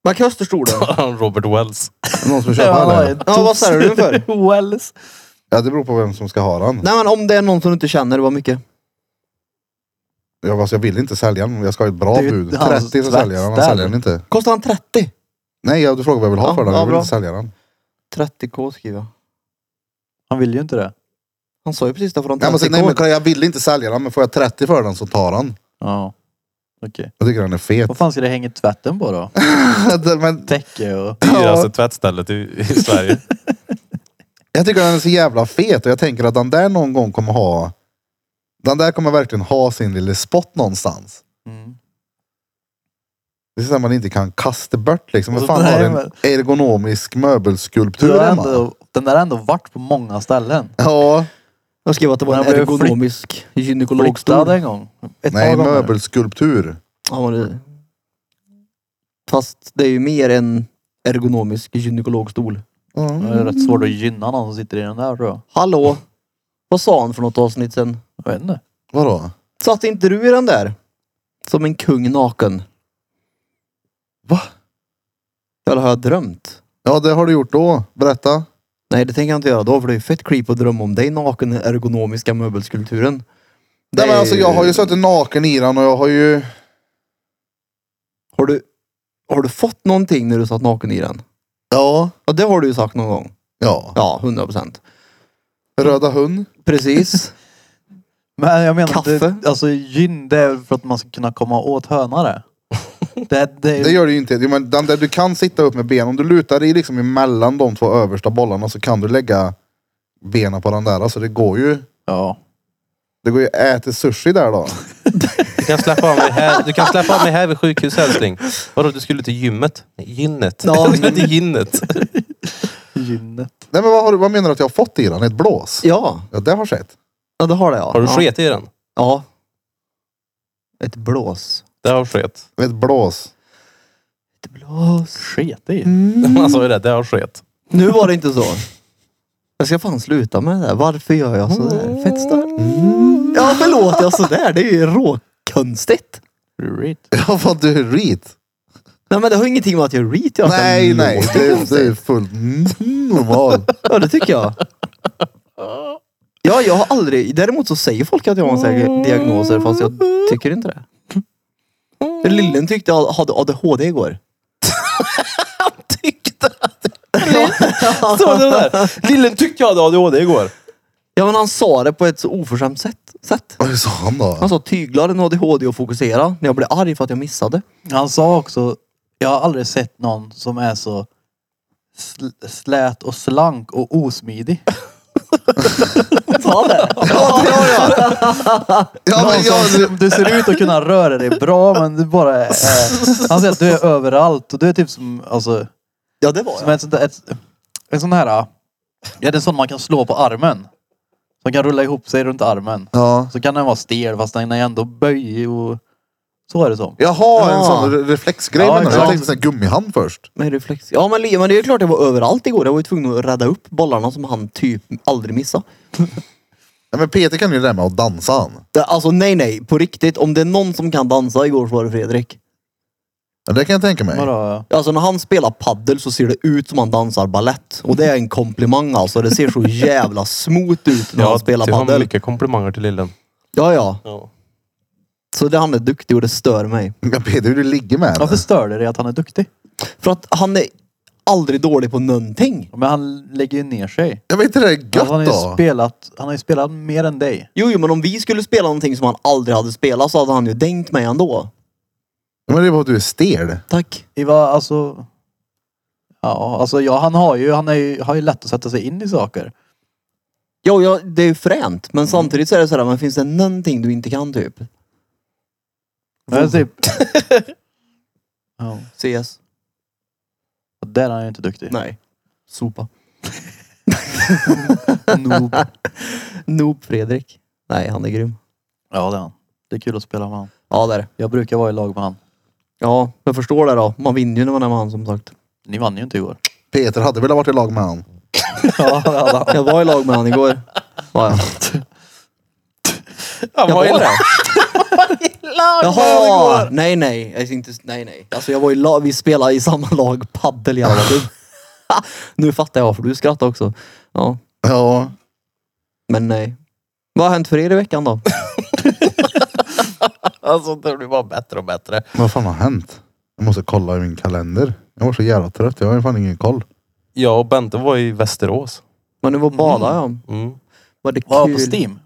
Man kan österstol den. Robert Wells. Någon som köper den? eller? Ja, vad säger du för? Wells. Ja det beror på vem som ska ha den. Nej men om det är någon som du inte känner, det var mycket. Jag, alltså, jag vill inte sälja den. Jag ska ha ett bra Det är ju bud. hans 30 så säljer jag den. Han tvättstäd. säljer den inte. Kostar han 30? Nej jag- du frågar vad jag vill ha Ja, för den. ja, Jag vill bra. inte sälja den. 30k skriver jag. Han vill ju inte det. Han sa ju precis det, för han Nej men, 30k. sen, nej, men kolla, jag vill inte sälja den men får jag 30 för den så tar han. Ja. Okej. Jag tycker den är fet. Vad fan ska det hänga i tvätten på då? men Täcke och... Dyraste tvättstället i, i Sverige. jag tycker den är så jävla fet och jag tänker att den där någon gång kommer ha den där kommer verkligen ha sin lilla spot någonstans. Mm. Det är så att man inte kan kasta bort liksom. Men Alltså, fan nej, har en men- ergonomisk möbelskulptur Du har hemma. ändå, den där har ändå varit på många ställen. Ja. Jag skrev att det var en Han blev ergonomisk Flyttad gynekologstol. en gång. Ett Nej, par gånger. möbelskulptur. Ja, men det... Fast det är ju mer en ergonomisk gynekologstol. Det är rätt svårt att gynna någon som sitter i den där tror jag. Hallå? Vad sa han för något avsnitt sen? Jag vet inte. Vadå? Satt inte du i den där? Som en kung naken. Va? Eller har jag drömt? Ja, det har du gjort då. Berätta. Nej det tänker jag inte göra då för det är ju fett creep att drömma om dig naken i den ergonomiska möbelskulpturen. Nej, men alltså, jag har ju suttit naken i den och jag har ju... Har du, har du fått någonting när du satt naken i den? Ja. Ja det har du ju sagt någon gång. Ja. Ja, 100 procent. Röda hund. Precis. Men jag menar, Kaffe? Det, alltså gyn det är för att man ska kunna komma åt hönare. det, det, Det gör du ju inte. Jo, Men den där du kan sitta upp med ben. Om du lutar dig liksom emellan de två översta bollarna så kan du lägga benen på den där. Alltså det går ju. Ja. Det går ju att äta sushi där då. Du kan släppa av mig här, du kan släppa av mig här vid sjukhuset älskling. Vadå, du skulle till gymmet? Nej, gynnet. Ja. Jag skulle till gynnet. Gynnet. Nej men vad, har du, vad menar du att jag har fått i den? Ett blås? ja, Ja det har skett. ja, det har det ja. Har du ja. sket i den? Ja. Ett blås. Det har sket. Ett blås. Ett blås. Sket i. Mm. Han sa ju det, det har sket. Nu var det inte så. Jag ska fan sluta med det där. Varför gör jag sådär? Fett starkt. Mm. Ja, varför låter jag sådär? Det är ju råkonstigt. Right. Ja vad du är rit. Nej men det har ingenting med att Mm. jag är reet jag Nej nej. Det, det är fullt normal. Ja det tycker jag. Ja jag har aldrig, däremot så säger folk att jag har en säker diagnoser fast jag tycker inte det. För Lillen tyckte jag hade ADHD igår. Tyckte att... Såg du det där? Lillen tyckte jag hade ADHD igår. Ja men han sa det på ett så oförskämt sätt. sätt. Vad sa han Han då? sa tyglar en ADHD och fokusera när jag blev arg för att jag missade. Han sa också, jag har aldrig sett någon som är så sl- slät och slank och osmidig. Sa det? Ja, men jag, Alltså, du ser ut att kunna röra dig bra men du bara är... Han säger att du är överallt och du är typ som, alltså, Ja det var som jag. ett, sånt där- ett, en sån här... Ja, det är en sån man kan slå på armen. Som kan rulla ihop sig runt armen. ja. Så kan den vara stel fast den är ändå böjig och... Så är det som. Jaha, en Ja. sån re- reflexgrej. Ja, menar du? jag exakt. tänkte sån här gummihand först. Med reflex. Ja men, li- men det är klart jag var överallt igår. Jag var ju tvungen att rädda upp bollarna som han typ aldrig missade. Nej, men Peter kan ju det där med att dansa han. Det- Alltså nej nej, på riktigt. Om det är någon som kan dansa igår så var det Fredrik. Ja, det kan jag tänka mig. Vadå? Alltså när han spelar paddel så ser det ut som han dansar ballett. Och det är en komplimang alltså. Det ser så jävla smooth ut när han spelar det var paddel. mycket komplimanger till Lillen. Ja ja. Ja. Så det, han är duktig och det stör mig. Jag vet hur du ligger med Varför henne. stör det dig att han är duktig? För att han är aldrig dålig på någonting. Men han lägger ju ner sig. Jag vet inte, det är gött Alltså, han, har ju då. spelat, han har ju spelat mer än dig. Jo, jo, men om vi skulle spela någonting som han aldrig hade spelat så hade han ju dängt mig ändå. Men det är bara att du är stel. Tack. I vad, alltså... Ja, alltså ja, han har ju, han är ju, har ju lätt att sätta sig in i saker. Jo, ja, det är ju fränt. Mm. Men samtidigt så är det så här, men finns det någonting du inte kan typ? Men typ... ja, CS? och där är han ju inte duktig. Nej. Sopa. Noob. Noob Fredrik. Nej, han är grym. Ja, det är han. Det är kul att spela med han. Ja, det är det. Jag brukar vara i lag med han. Ja, jag förstår det då. Man vinner ju när man är med han som sagt. Ni vann ju inte igår. Peter hade velat varit i lag med han. ja, det hade han. Jag var i lag med han igår. Ja, ja. Jag var det. Jaha! Nej, nej. Jag är inte, nej, nej. Alltså jag var i lag, vi spelade i samma lag paddel i alla fall. nu fattar jag för du skrattar också. Ja, Ja. men nej. Vad har hänt för er i veckan då? Alltså det blir bara bättre och bättre. Vad fan har hänt? Jag måste kolla i min kalender. Jag var så jävla trött. Jag har ju fan ingen koll. Jag och Bente var i Västerås. Men nu var bada ja. Mm. Var det kul? Var på Steam?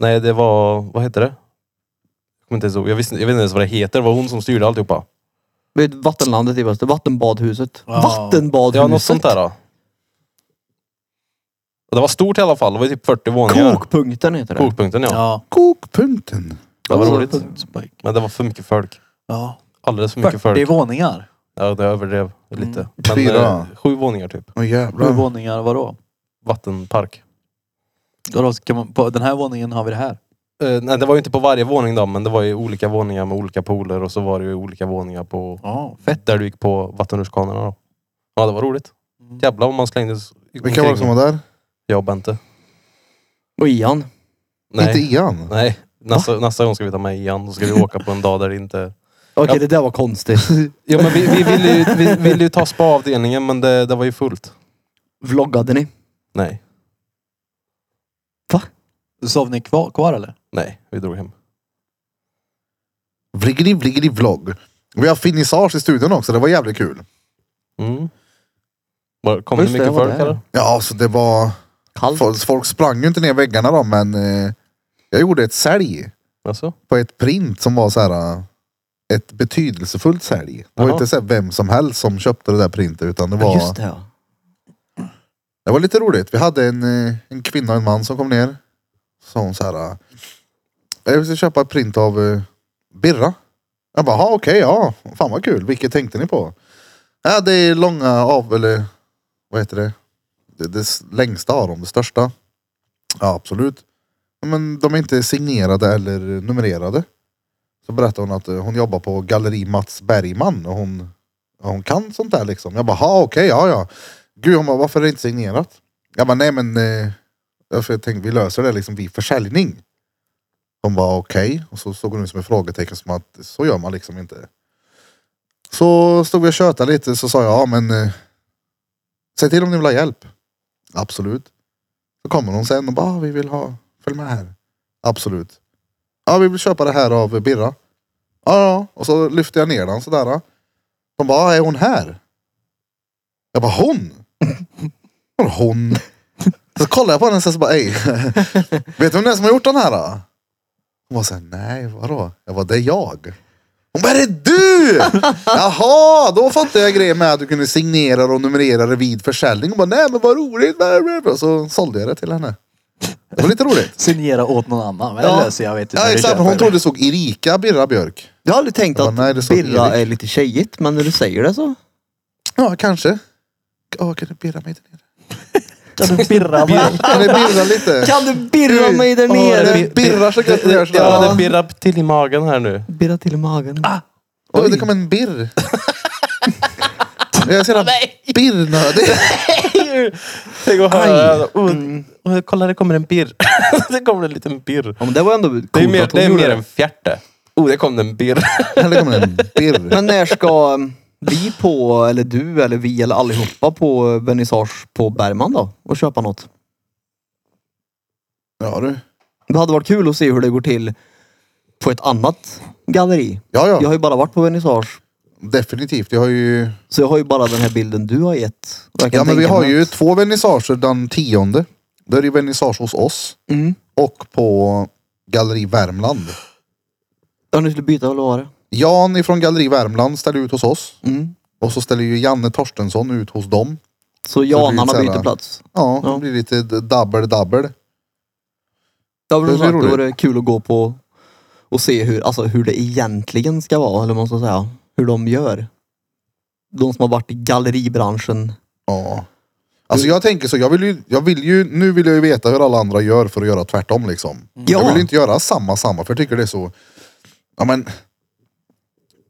Nej det var, vad heter det? Jag, kommer inte ens ihåg. jag, visste, jag vet inte ens vad det heter. Det var hon som styrde alltihopa. Vet du, Vattenlandet i Väster, Vattenbadhuset. Ja. Vattenbadhuset! Ja något sånt där då. Och Det var stort i alla fall. Det var ju typ 40 våningar. Kokpunkten heter det. Kokpunkten ja. Ja. Kokpunkten. Det var Alltså, roligt. Men det var för mycket folk. Ja. Alldeles för mycket 40 folk. våningar. Ja, det överdrev lite. Men, Fyra. eh, sju våningar typ. Åh Sju jävlar. våningar vadå? Vattenpark. Ja, då ska man, på den här våningen har vi det här. Eh, nej, det var ju inte på varje våning då, men det var ju olika våningar med olika pooler och så var det ju olika våningar på Ja, fett. där du gick på vattenrutschkanorna då. Ja, det var roligt. Jävlar vad man slängdes Vilka var det som var där? Jag och Bente. Och Ian. Nej, Inte Ian? nej. Nästa, nästa gång ska vi ta med Ian. Då ska vi åka på en dag där det inte... Okej, Ja. det där var konstigt. Ja, men vi, vi ville ju, vi, ville ju ta spa-avdelningen, men det, det var ju fullt. Vloggade ni? Nej, Sov ni kvar, kvar eller? nej. Vi drog hem. Vriggeli vriggeli vlogg. Vi har finissage i studion också. Det var jävligt kul. Mm. Var, kom Just det det, mycket jag var folk där. eller? Ja, så det var... Kallt. Folk, folk sprang ju inte ner väggarna då, men eh, jag gjorde ett sälj Alltså? på ett print som var så här eh, ett betydelsefullt sälj. Det var Jaha. inte så här vem som helst som köpte det där printet utan det Ja, var, just det ja. det var lite roligt. Vi hade en, eh, en kvinna och en man som kom ner. Sa hon så här. eh, Jag ska köpa ett print av eh, Birra. Jag bara, "Ja, okej, ja. Fan vad kul. Vilket tänkte ni på? Ja, det är långa av, eller vad heter det? Det, det s- längsta av dem, det största. Ja, absolut. Ja, Men de är inte signerade eller numrerade. Så berättade hon att eh, hon jobbar på galleri Mats Bergman och hon, ja, hon kan sånt där liksom. Jag bara, "Ha, okej, ja, ja. Gud, hon bara, varför är det inte signerat? Jag bara, nej men eh, därför jag tänkte, vi löser det liksom vid försäljning. De bara, okej. Och så såg hon ut som ett frågetecken, som att så gör man liksom inte. Så stod vi och tjötade lite, så sa jag, ja men eh, säg till om ni vill ha hjälp. Absolut. Så kommer hon sen och bara, ah, vi vill ha, följ med här. Absolut. Ja, vi vill köpa det här av Birra. Ja, ja. Och så lyfte jag ner den sådär. De bara, ah, är hon här? Jag bara, hon? Vadå hon? Så kollade jag på henne och så bara, ej. Vet du vem det är som har gjort den här då? Hon var såhär, nej vadå? Jag bara, det är jag. Hon bara, är det du? Jaha, då fattade jag grejen med att du kunde signera och numrera det vid försäljning. Hon bara, nej men vad roligt. Och så sålde jag det till henne. Det var lite roligt. Signera åt någon annan. Men Ja. det löser jag. vet inte Ja när du exakt, köper hon det. trodde det såg Erika Birra Björk. Jag har aldrig tänkt Jag bara, att nej, det sa Birra Erik. är lite tjejigt, men när du säger det så. Ja, kanske. Ja, kan du birra mig där nere? Kan du birra mig? Kan du birra lite? Kan du birra mig där nere? Det birrar så gött när jag gör sådär. Ja, det pirrar till i magen här nu. Birra till i magen. Oj, det kom en birr. jag är så jävla birrnödig. Tänk att höra. Oh, oh, kolla, det kommer en birr. det kommer en liten birr. Ja, men det var ändå coolt Det är mer, att hon det är gjorde mer det. en fjärte. Oh, det kom en birr. Här det kommer en birr. Men när ska um, vi på, eller du eller vi eller allihopa på uh, vernissage på Bergman då? Och köpa något? Ja du. Det hade varit kul att se hur det går till på ett annat galleri. Ja, ja. Jag har ju bara varit på vernissage. Definitivt. Jag har ju... Så jag har ju bara den här bilden du har gett. Och jag kan Ja, men vi tänka har mig ju att- två vernissager den tionde. Då är det ju vernissage hos oss Mm. och på Galleri Värmland. Ja, nu skulle byta, eller vad var det? Jan ifrån Galleri Värmland ställer ut hos oss Mm. och så ställer ju Janne Torstensson ut hos dem. Så lite janarna så här- byter plats. Ja, det Ja. blir lite d- double double. Det var, Det det, blir det roligt. var det kul att gå på och se hur, alltså, hur det egentligen ska vara, eller vad man ska säga. Hur de gör. De som har varit i galleribranschen. Ja. Alltså jag tänker så, jag vill ju, jag vill ju, nu vill jag ju veta hur alla andra gör för att göra tvärtom liksom. Jag vill ju inte göra samma samma för jag tycker det är så, ja men.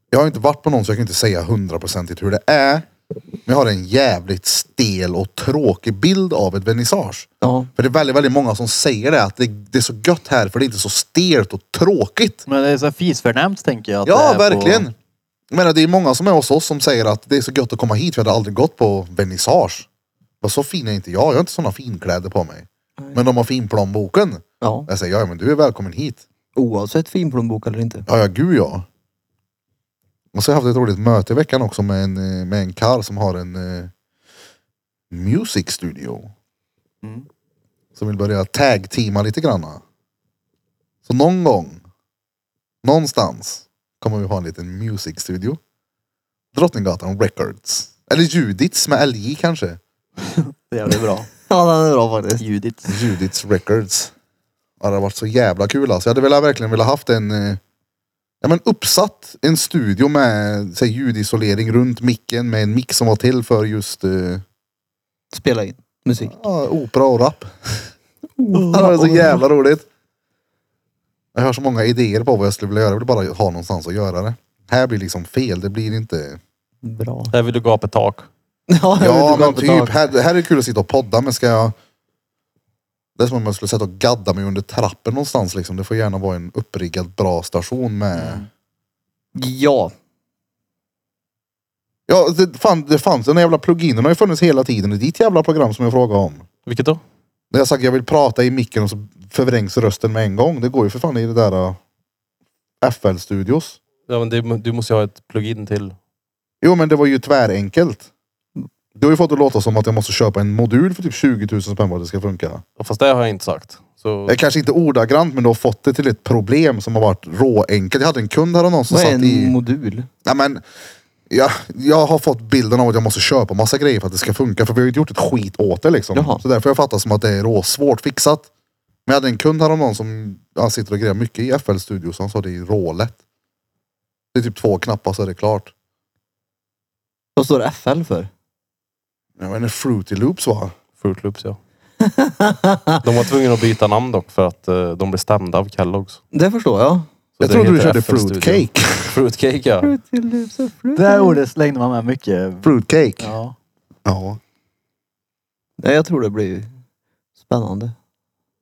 Jag har inte varit på någon så jag kan inte säga hundraprocentigt hur det är. Men jag har en jävligt stel och tråkig bild av ett vernissage. Ja. För det är väldigt, väldigt många som säger det, att det, det är så gött här för det är inte så stelt och tråkigt. Men det är så fisförnämt tänker jag. att det Ja, är på- verkligen. Jag menar, det är många som är hos oss som säger att det är så gött att komma hit. Vi hade aldrig gått på vernissage. Vad så fin är inte jag. Jag har inte sådana finkläder på mig. Men de har finplånboken. ja. Jag säger, ja men du är välkommen hit. Oavsett finplånbok eller inte. Ja, ja gud ja. Och så har jag haft ett roligt möte i veckan också med en, eh, med en karl som har en eh, music studio. Mm. Som vill börja tag-teama lite granna. Så någon gång, någonstans, kommer vi ha en liten music studio. Drottninggatan Records. Eller Judits med LJ kanske. Det är väl bra. Ja, den är bra faktiskt. Judit. Judits Records. Ja, det har varit så jävla kul alltså. Jag hade velat, verkligen velat haft en eh, ja, men uppsatt en studio med säg, ljudisolering runt micken med en mick som var till för just eh, Spela in musik. ja, opera och rap. det var så jävla roligt. Jag har så många idéer på vad jag skulle vilja göra. Jag vill bara ha någonstans att göra det. Här blir liksom fel. Det blir inte... Bra. Där vill du gapa tak. Ja, jag vet Ja inte men vad jag typ. Här, här är det kul att sitta och podda men ska jag... Det är som om jag skulle sätta och gadda mig under trappen någonstans liksom. Det får gärna vara en uppriggad bra station med... Ja. Ja, det, fan, det fanns den här jävla pluginen har ju funnits hela tiden i ditt jävla program som jag frågade om. Vilket då? När jag sagt jag vill prata i micken och så förvrängs rösten med en gång. Det går ju för fan i det där uh, FL Studios. Ja, men det, du måste ju ha ett plugin till. Jo men det var ju tvärenkelt. Du har ju fått det låta som att jag måste köpa en modul för typ 20 000 spänn för att det ska funka. Och Fast det har jag inte sagt. Så, Eh, Kanske inte ordagrant men du har fått det till ett problem som har varit råenkelt. Jag hade en kund häromdagen som Vad är satt en i... modul? Nej, men, jag, jag har fått bilden av att jag måste köpa massa grejer för att det ska funka. För vi har ju inte gjort ett skit åt det liksom. Jaha. Så därför har jag fattat som att det är råsvårt fixat. Men jag hade en kund häromdagen som han sitter och grejar mycket i FL Studios. Han sa det är rålätt. Det är typ två knappar så är det klart. Vad står FL för? Jag menar Fruity Loops va? Fruit Loops ja. De var tvungna att byta namn dock för att eh, de blev stämda av Kellogg's. Så Det förstår jag. Jag det trodde du heter körde FL Studio. Fruit Cake. Fruit Cake ja. Det här ordet slängde man med mycket. Fruit Cake. Ja. Ja. Nej, jag tror det blir spännande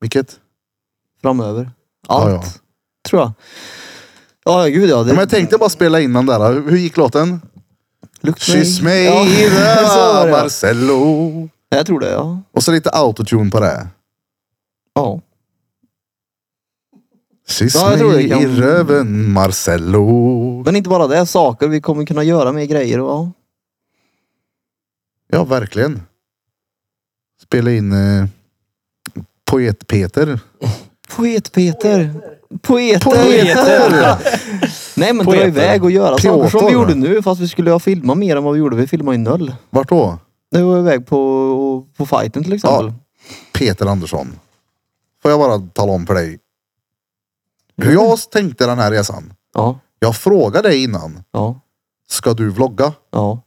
Vilket? framöver. Ja, Allt. ja. Tror jag. Ja, ja, gud ja. Det Men jag tänkte bara spela in den där. Hur hur gick låten? luktar Kyss mig Ja, i så var röva det, ja. Marcello. Nej, Jag tror det, ja. Och så lite autotune på det. Ja. Kyss Ja, jag tror det mig i kan- röven Marcello. Men inte bara det, saker vi kommer kunna göra med grejer och ja. Ja, verkligen. Spela in eh, Poet Peter. Poet-Peter. Poeter. Nej men dra Poeter. iväg och göra saker som Piotr. vi gjorde nu fast vi skulle ha filmat mer än vad vi gjorde. Vi filmade ju noll. Vart då? Nu var vi iväg på, på fighten till exempel. Peter Andersson. Får jag bara tala om för dig hur jag tänkte den här resan. Ja, Jag frågade dig innan, ja, ska du vlogga? ja.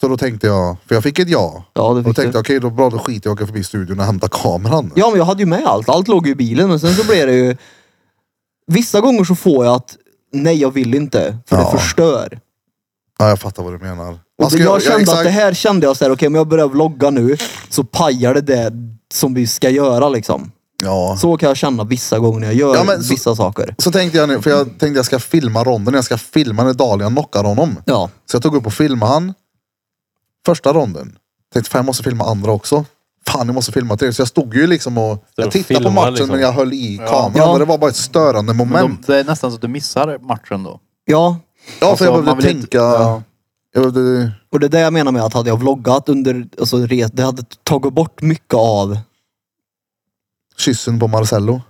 Så då tänkte jag, för jag fick ett ja. Ja, det Och då fick du. tänkte jag, okej då bra då skiter jag i att åka förbi studion och hämta kameran. Ja, men jag hade ju med allt. Allt låg ju i bilen, men sen så blev det ju... Vissa gånger så får jag att nej, jag vill inte, för Ja. det förstör. Ja, jag fattar vad du menar. Och Alltså, jag, kände exakt- att det här kände jag så här, okej, om jag börjar vlogga nu så pajar det det som vi ska göra liksom. Ja. Så kan jag känna vissa gånger när jag gör Ja, men så- vissa saker. Så tänkte jag nu, för jag tänkte jag ska filma ronden. Jag ska filma när Dahlia knockar honom. Ja, Så jag tog upp och filmade han. Första ronden. Tänkte fan jag måste filma andra också. fan jag måste filma till det. Så jag stod ju liksom och jag och tittade på filmade, matchen liksom. men jag höll i kameran. Ja. Och det var bara ett störande Men moment. de, det är nästan så att du missar matchen då. Ja, ja, för jag alltså, man behövde vill inte- tänka. ja. Jag behövde, och det är det jag menar med att hade jag vloggat under, alltså res- det hade tagit bort mycket av kyssen på Marcello.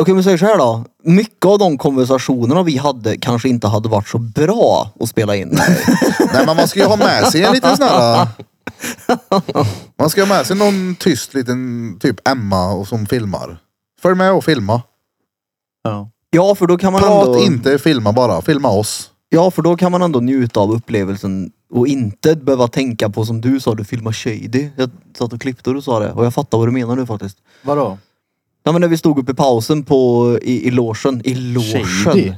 Okej men säg så här då. Mycket av de konversationerna vi hade kanske inte hade varit så bra att spela in. Nej men man ska ju ha med sig en liten sån här... Man ska ha med sig någon tyst liten typ Emma och som filmar. Följ med och filma. Ja. Ja för då kan man Prat ändå... inte, filma bara. Filma oss. Ja för då kan man ändå njuta av upplevelsen och inte behöva tänka på som du sa, du filmar shady. Jag satt och klippte och du sa det och jag fattar vad du menar nu faktiskt. Vadå? Ja men när vi stod uppe i pausen på, i, i logen. I logen. Shady?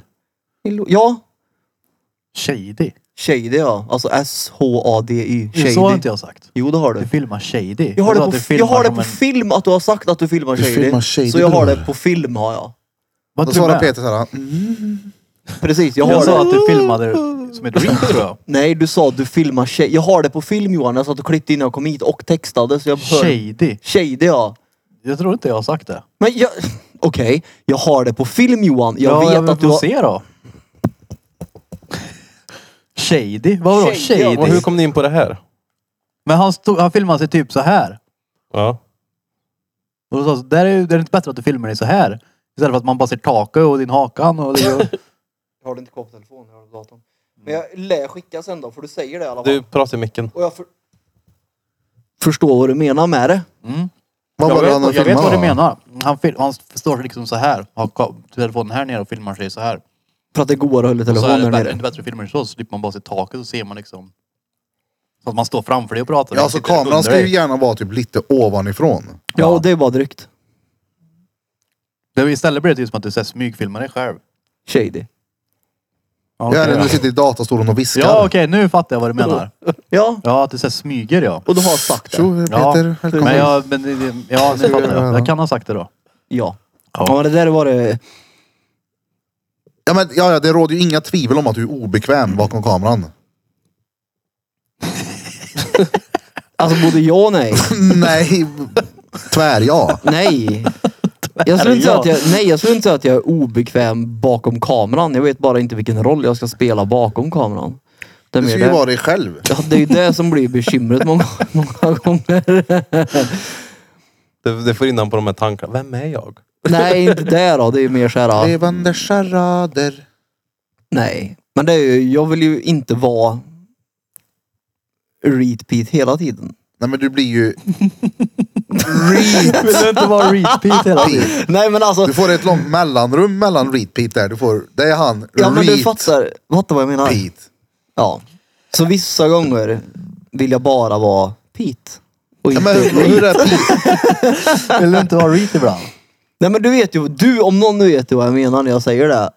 I lo- ja, Shady? shady ja. Alltså S-H-A-D-Y. Shady. Så har inte jag sagt. Jo det har Du du. filmar shady. Jag har, sa det att på, du filmar jag har det som på en- film att du har sagt att du filmar Du shady. filmar shady, så jag har bror. det på film har jag. Var Då inte du svarar med? Peter såhär. Mm. Precis, jag har Jag det. sa att du filmade som ett rim tror jag. Nej, du sa att du filmar tjej. Jag har det på film Johan. Jag satt och klippte innan jag kom hit och textade. Så jag hör... Shady. Tjej, det ja. Jag tror inte jag har sagt det. Men jag... Okej, jag har det på film Johan. Jag ja, vet jag vill att du få har... se då. Shady? Vad då? Shady, ja. Shady? Och hur kom ni in på det här? Men han, stod, han filmade sig typ så här. Ja. Och då sa jag, där är, ju- det är inte bättre att du filmar dig så här. Istället för att man bara ser taket och din hakan och det. och- Jag har det inte på telefonen, jag har det på datorn. Men jag lär skicka sen då, för du säger det i alla fall. Du pratar i micken. Och jag för... förstår vad du menar med det. Vad Jag var det han vet, jag vet filmade vad du då? menar. Han, fil, han står liksom så här. Har ka- telefonen här nere och filmar sig så här. För att det går att hålla Och så är telefonen det där bättre, nere. inte bättre att filma sig så. Så slipper man bara se taket så ser man liksom. Så att man står framför dig och pratar. Ja, alltså Sitter under kameran ska ju dig. gärna vara typ lite ovanifrån. Ja, och det var drygt. Det- Istället blir det typ som att du så här smygfilmar dig själv. Shady. Jag är när du sitter i datastolen och viskar. Ja okej, nu fattar jag vad du menar. Ja, Ja, att du så här smyger ja. och du har sagt det. Tjo Ja, Peter, välkommen. men jag, men, det- det- ja, nu fattar jag. Jag kan ha sagt det då. Ja. Ja. Ja, men det där var det... Ja, men, ja, ja, det råder ju inga tvivel om att du är obekväm bakom kameran. Alltså både ja och nej. Nej, tvär ja. Nej. Jag skulle, inte säga ja. att jag, nej, jag skulle inte säga att jag är obekväm bakom kameran. Jag vet bara inte vilken roll jag ska spela bakom kameran. Det är, Du mer ska ju det. vara dig själv. Ja, det är ju det som blir bekymret många, många gånger. Det, det får in honom på de här tankarna. Vem är jag? Nej, inte det då. Det är ju mer så här. Levande charader. Nej. Men det är ju, jag vill ju inte vara repeat hela tiden. Nej men du blir ju... Vill du inte vara repeat hela tiden? Nej men alltså. Du får ett långt mellanrum mellan reat Pete där. Du får, det är han. Ja men du reat fattar, fattar vad jag menar. Pete. Ja. Så vissa gånger vill jag bara vara Pete. Och Ja, inte men hur, hur är Pete? Vill du inte vara repeat ibland? Nej men du vet ju, du om någon vet ju vad jag menar när jag säger det.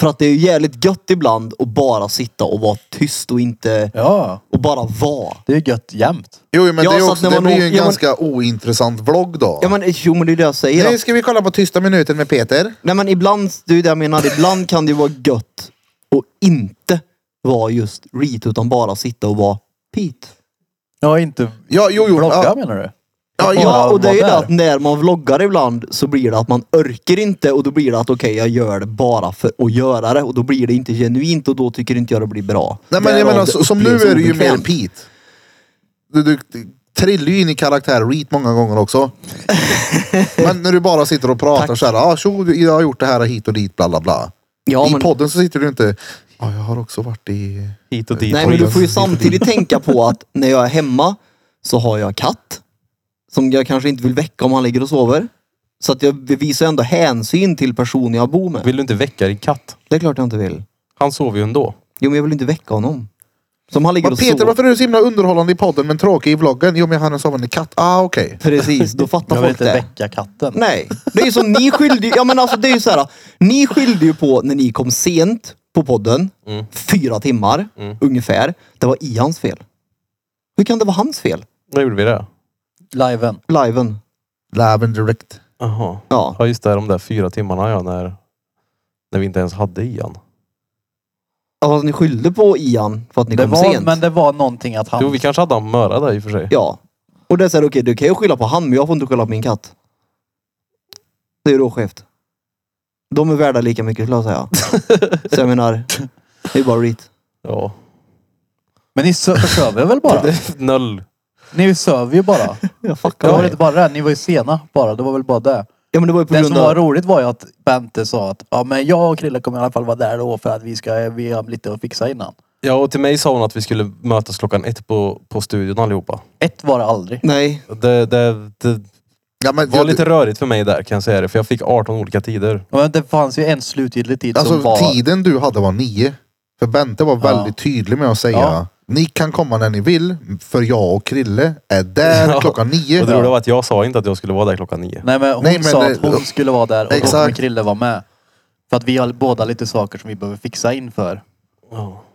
För att det är ju jävligt gött ibland att bara sitta och vara tyst och inte, Ja. och bara vara. Det är ju gött jämt. Jo men Ja, det, är så också, att det när man blir ju en åker- ja, men- ganska ointressant vlogg då. Ja men jo men det är det jag säger. Nu ska vi kolla på tysta minuten med Peter. Nej men ibland, det är ju det jag menar, ibland kan det ju vara gött och inte vara just Reet utan bara sitta och vara Pete. Ja, inte Ja, jo, jo. blogga Ja, menar du? ja, Bara ja. Ja och det är ju vara det där. att när man vloggar ibland så blir det att man orkar inte och då blir det att okej jag gör det bara för att göra det och då blir det inte genuint och då tycker inte jag det blir bra. Nej, men jag Därav menar, det så- som nu upplevs är du ju mer obekvämt. Pete. Du, du, du trillar ju in i karaktär reat många gånger också. men när du bara sitter och pratar så här. Ah, tjo, jag har gjort det här hit och dit bla bla bla. Ja, I men- podden så sitter du inte. Ja, jag har också varit i... Hit och dit. Nej och men du dit. får ju samtidigt tänka på att när jag är hemma så har jag katt. Som jag kanske inte vill väcka om han ligger och sover. Så att jag visar ändå hänsyn till personen jag bor med. Vill du inte väcka din katt? Det är klart jag inte vill. Han sover ju ändå. Jo men jag vill inte väcka honom. Som han ligger Men och Peter, sover. varför är du så himla underhållande i podden men tråkig i vloggen? Jo, men jag har en sovande katt. Ah, okej. Precis, då fattar Jag vill folk inte det. väcka katten. Nej, det är ju som ni skyllde ju, ja men alltså det är ju så här. Ni skyllde ju på när ni kom sent på podden. Mm. Fyra timmar ungefär. Det var Ians fel. Hur kan det vara hans fel? Då gjorde vi det. Liven. Liven. Laven direct. Jaha. Ja. Ja just det, de där fyra timmarna ja, när, när vi inte ens hade Ian. Alltså ni skyllde på Ian för att ni Det kom var, sent. men det var någonting att han... Jo vi kanske hade han på Möra där i och för sig. Ja. Och det är såhär, okej du kan ju skylla på han, men jag får inte skylla på min katt. Det är ju då skevt. De är värda lika mycket skulle jag säga. Så jag menar, det är bara reet. Ja. Men ni sö- söver väl bara? Noll. Ni söver ju bara. Jag Det fuckar var med inte bara det. Ni var ju sena bara. Det var väl bara det. Ja men det var ju på Det grund som av... var roligt var ju att Bente sa att ja, men jag och Krille kommer i alla fall vara där då för att vi ska vi har lite att fixa innan. Ja, och till mig sa hon att vi skulle mötas klockan ett på, på studion allihopa. Ett var det aldrig. Nej, Det, det, det Ja, men, var jag, lite rörigt för mig där kan jag säga det. För jag fick 18 olika tider. Men det fanns ju en slutgiltig tid som alltså, var... tiden du hade var nio. För Bente var väldigt tydlig med att säga Ja. ni kan komma när ni vill för jag och Krille är där Ja. klockan nio. Och det roliga var att jag sa inte att jag skulle vara där klockan nio. Nej men hon Nej, men sa det- att hon skulle vara där och då kommer Exakt. Krille vara med. För att vi har båda lite saker som vi behöver fixa inför.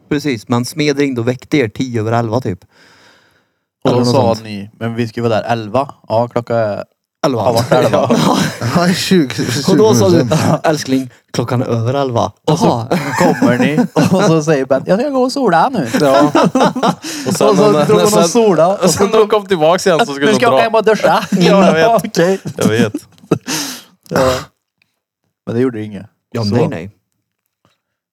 precis. Men Smed ringde och väckte er tio över elva typ. Och Eller då något sa sånt. ni, men vi ska vara där 11. Ja, klockan är... Elva. Ja, vart elva? Ja, 20, 20 Och då sa du, minuter sen. älskling, klockan är över elva. Och så Jaha. kommer ni och så säger Ben, jag ska gå och sola nu. Ja. Och sen, och så drog hon och sen, sola. Och och så, sen när hon kom tillbaks igen så skulle nu hon ska jag åka dra. hem och duscha. Ja, jag vet. Okej. Jag vet. Ja. Men det gjorde inget. Ja, Så. nej, nej.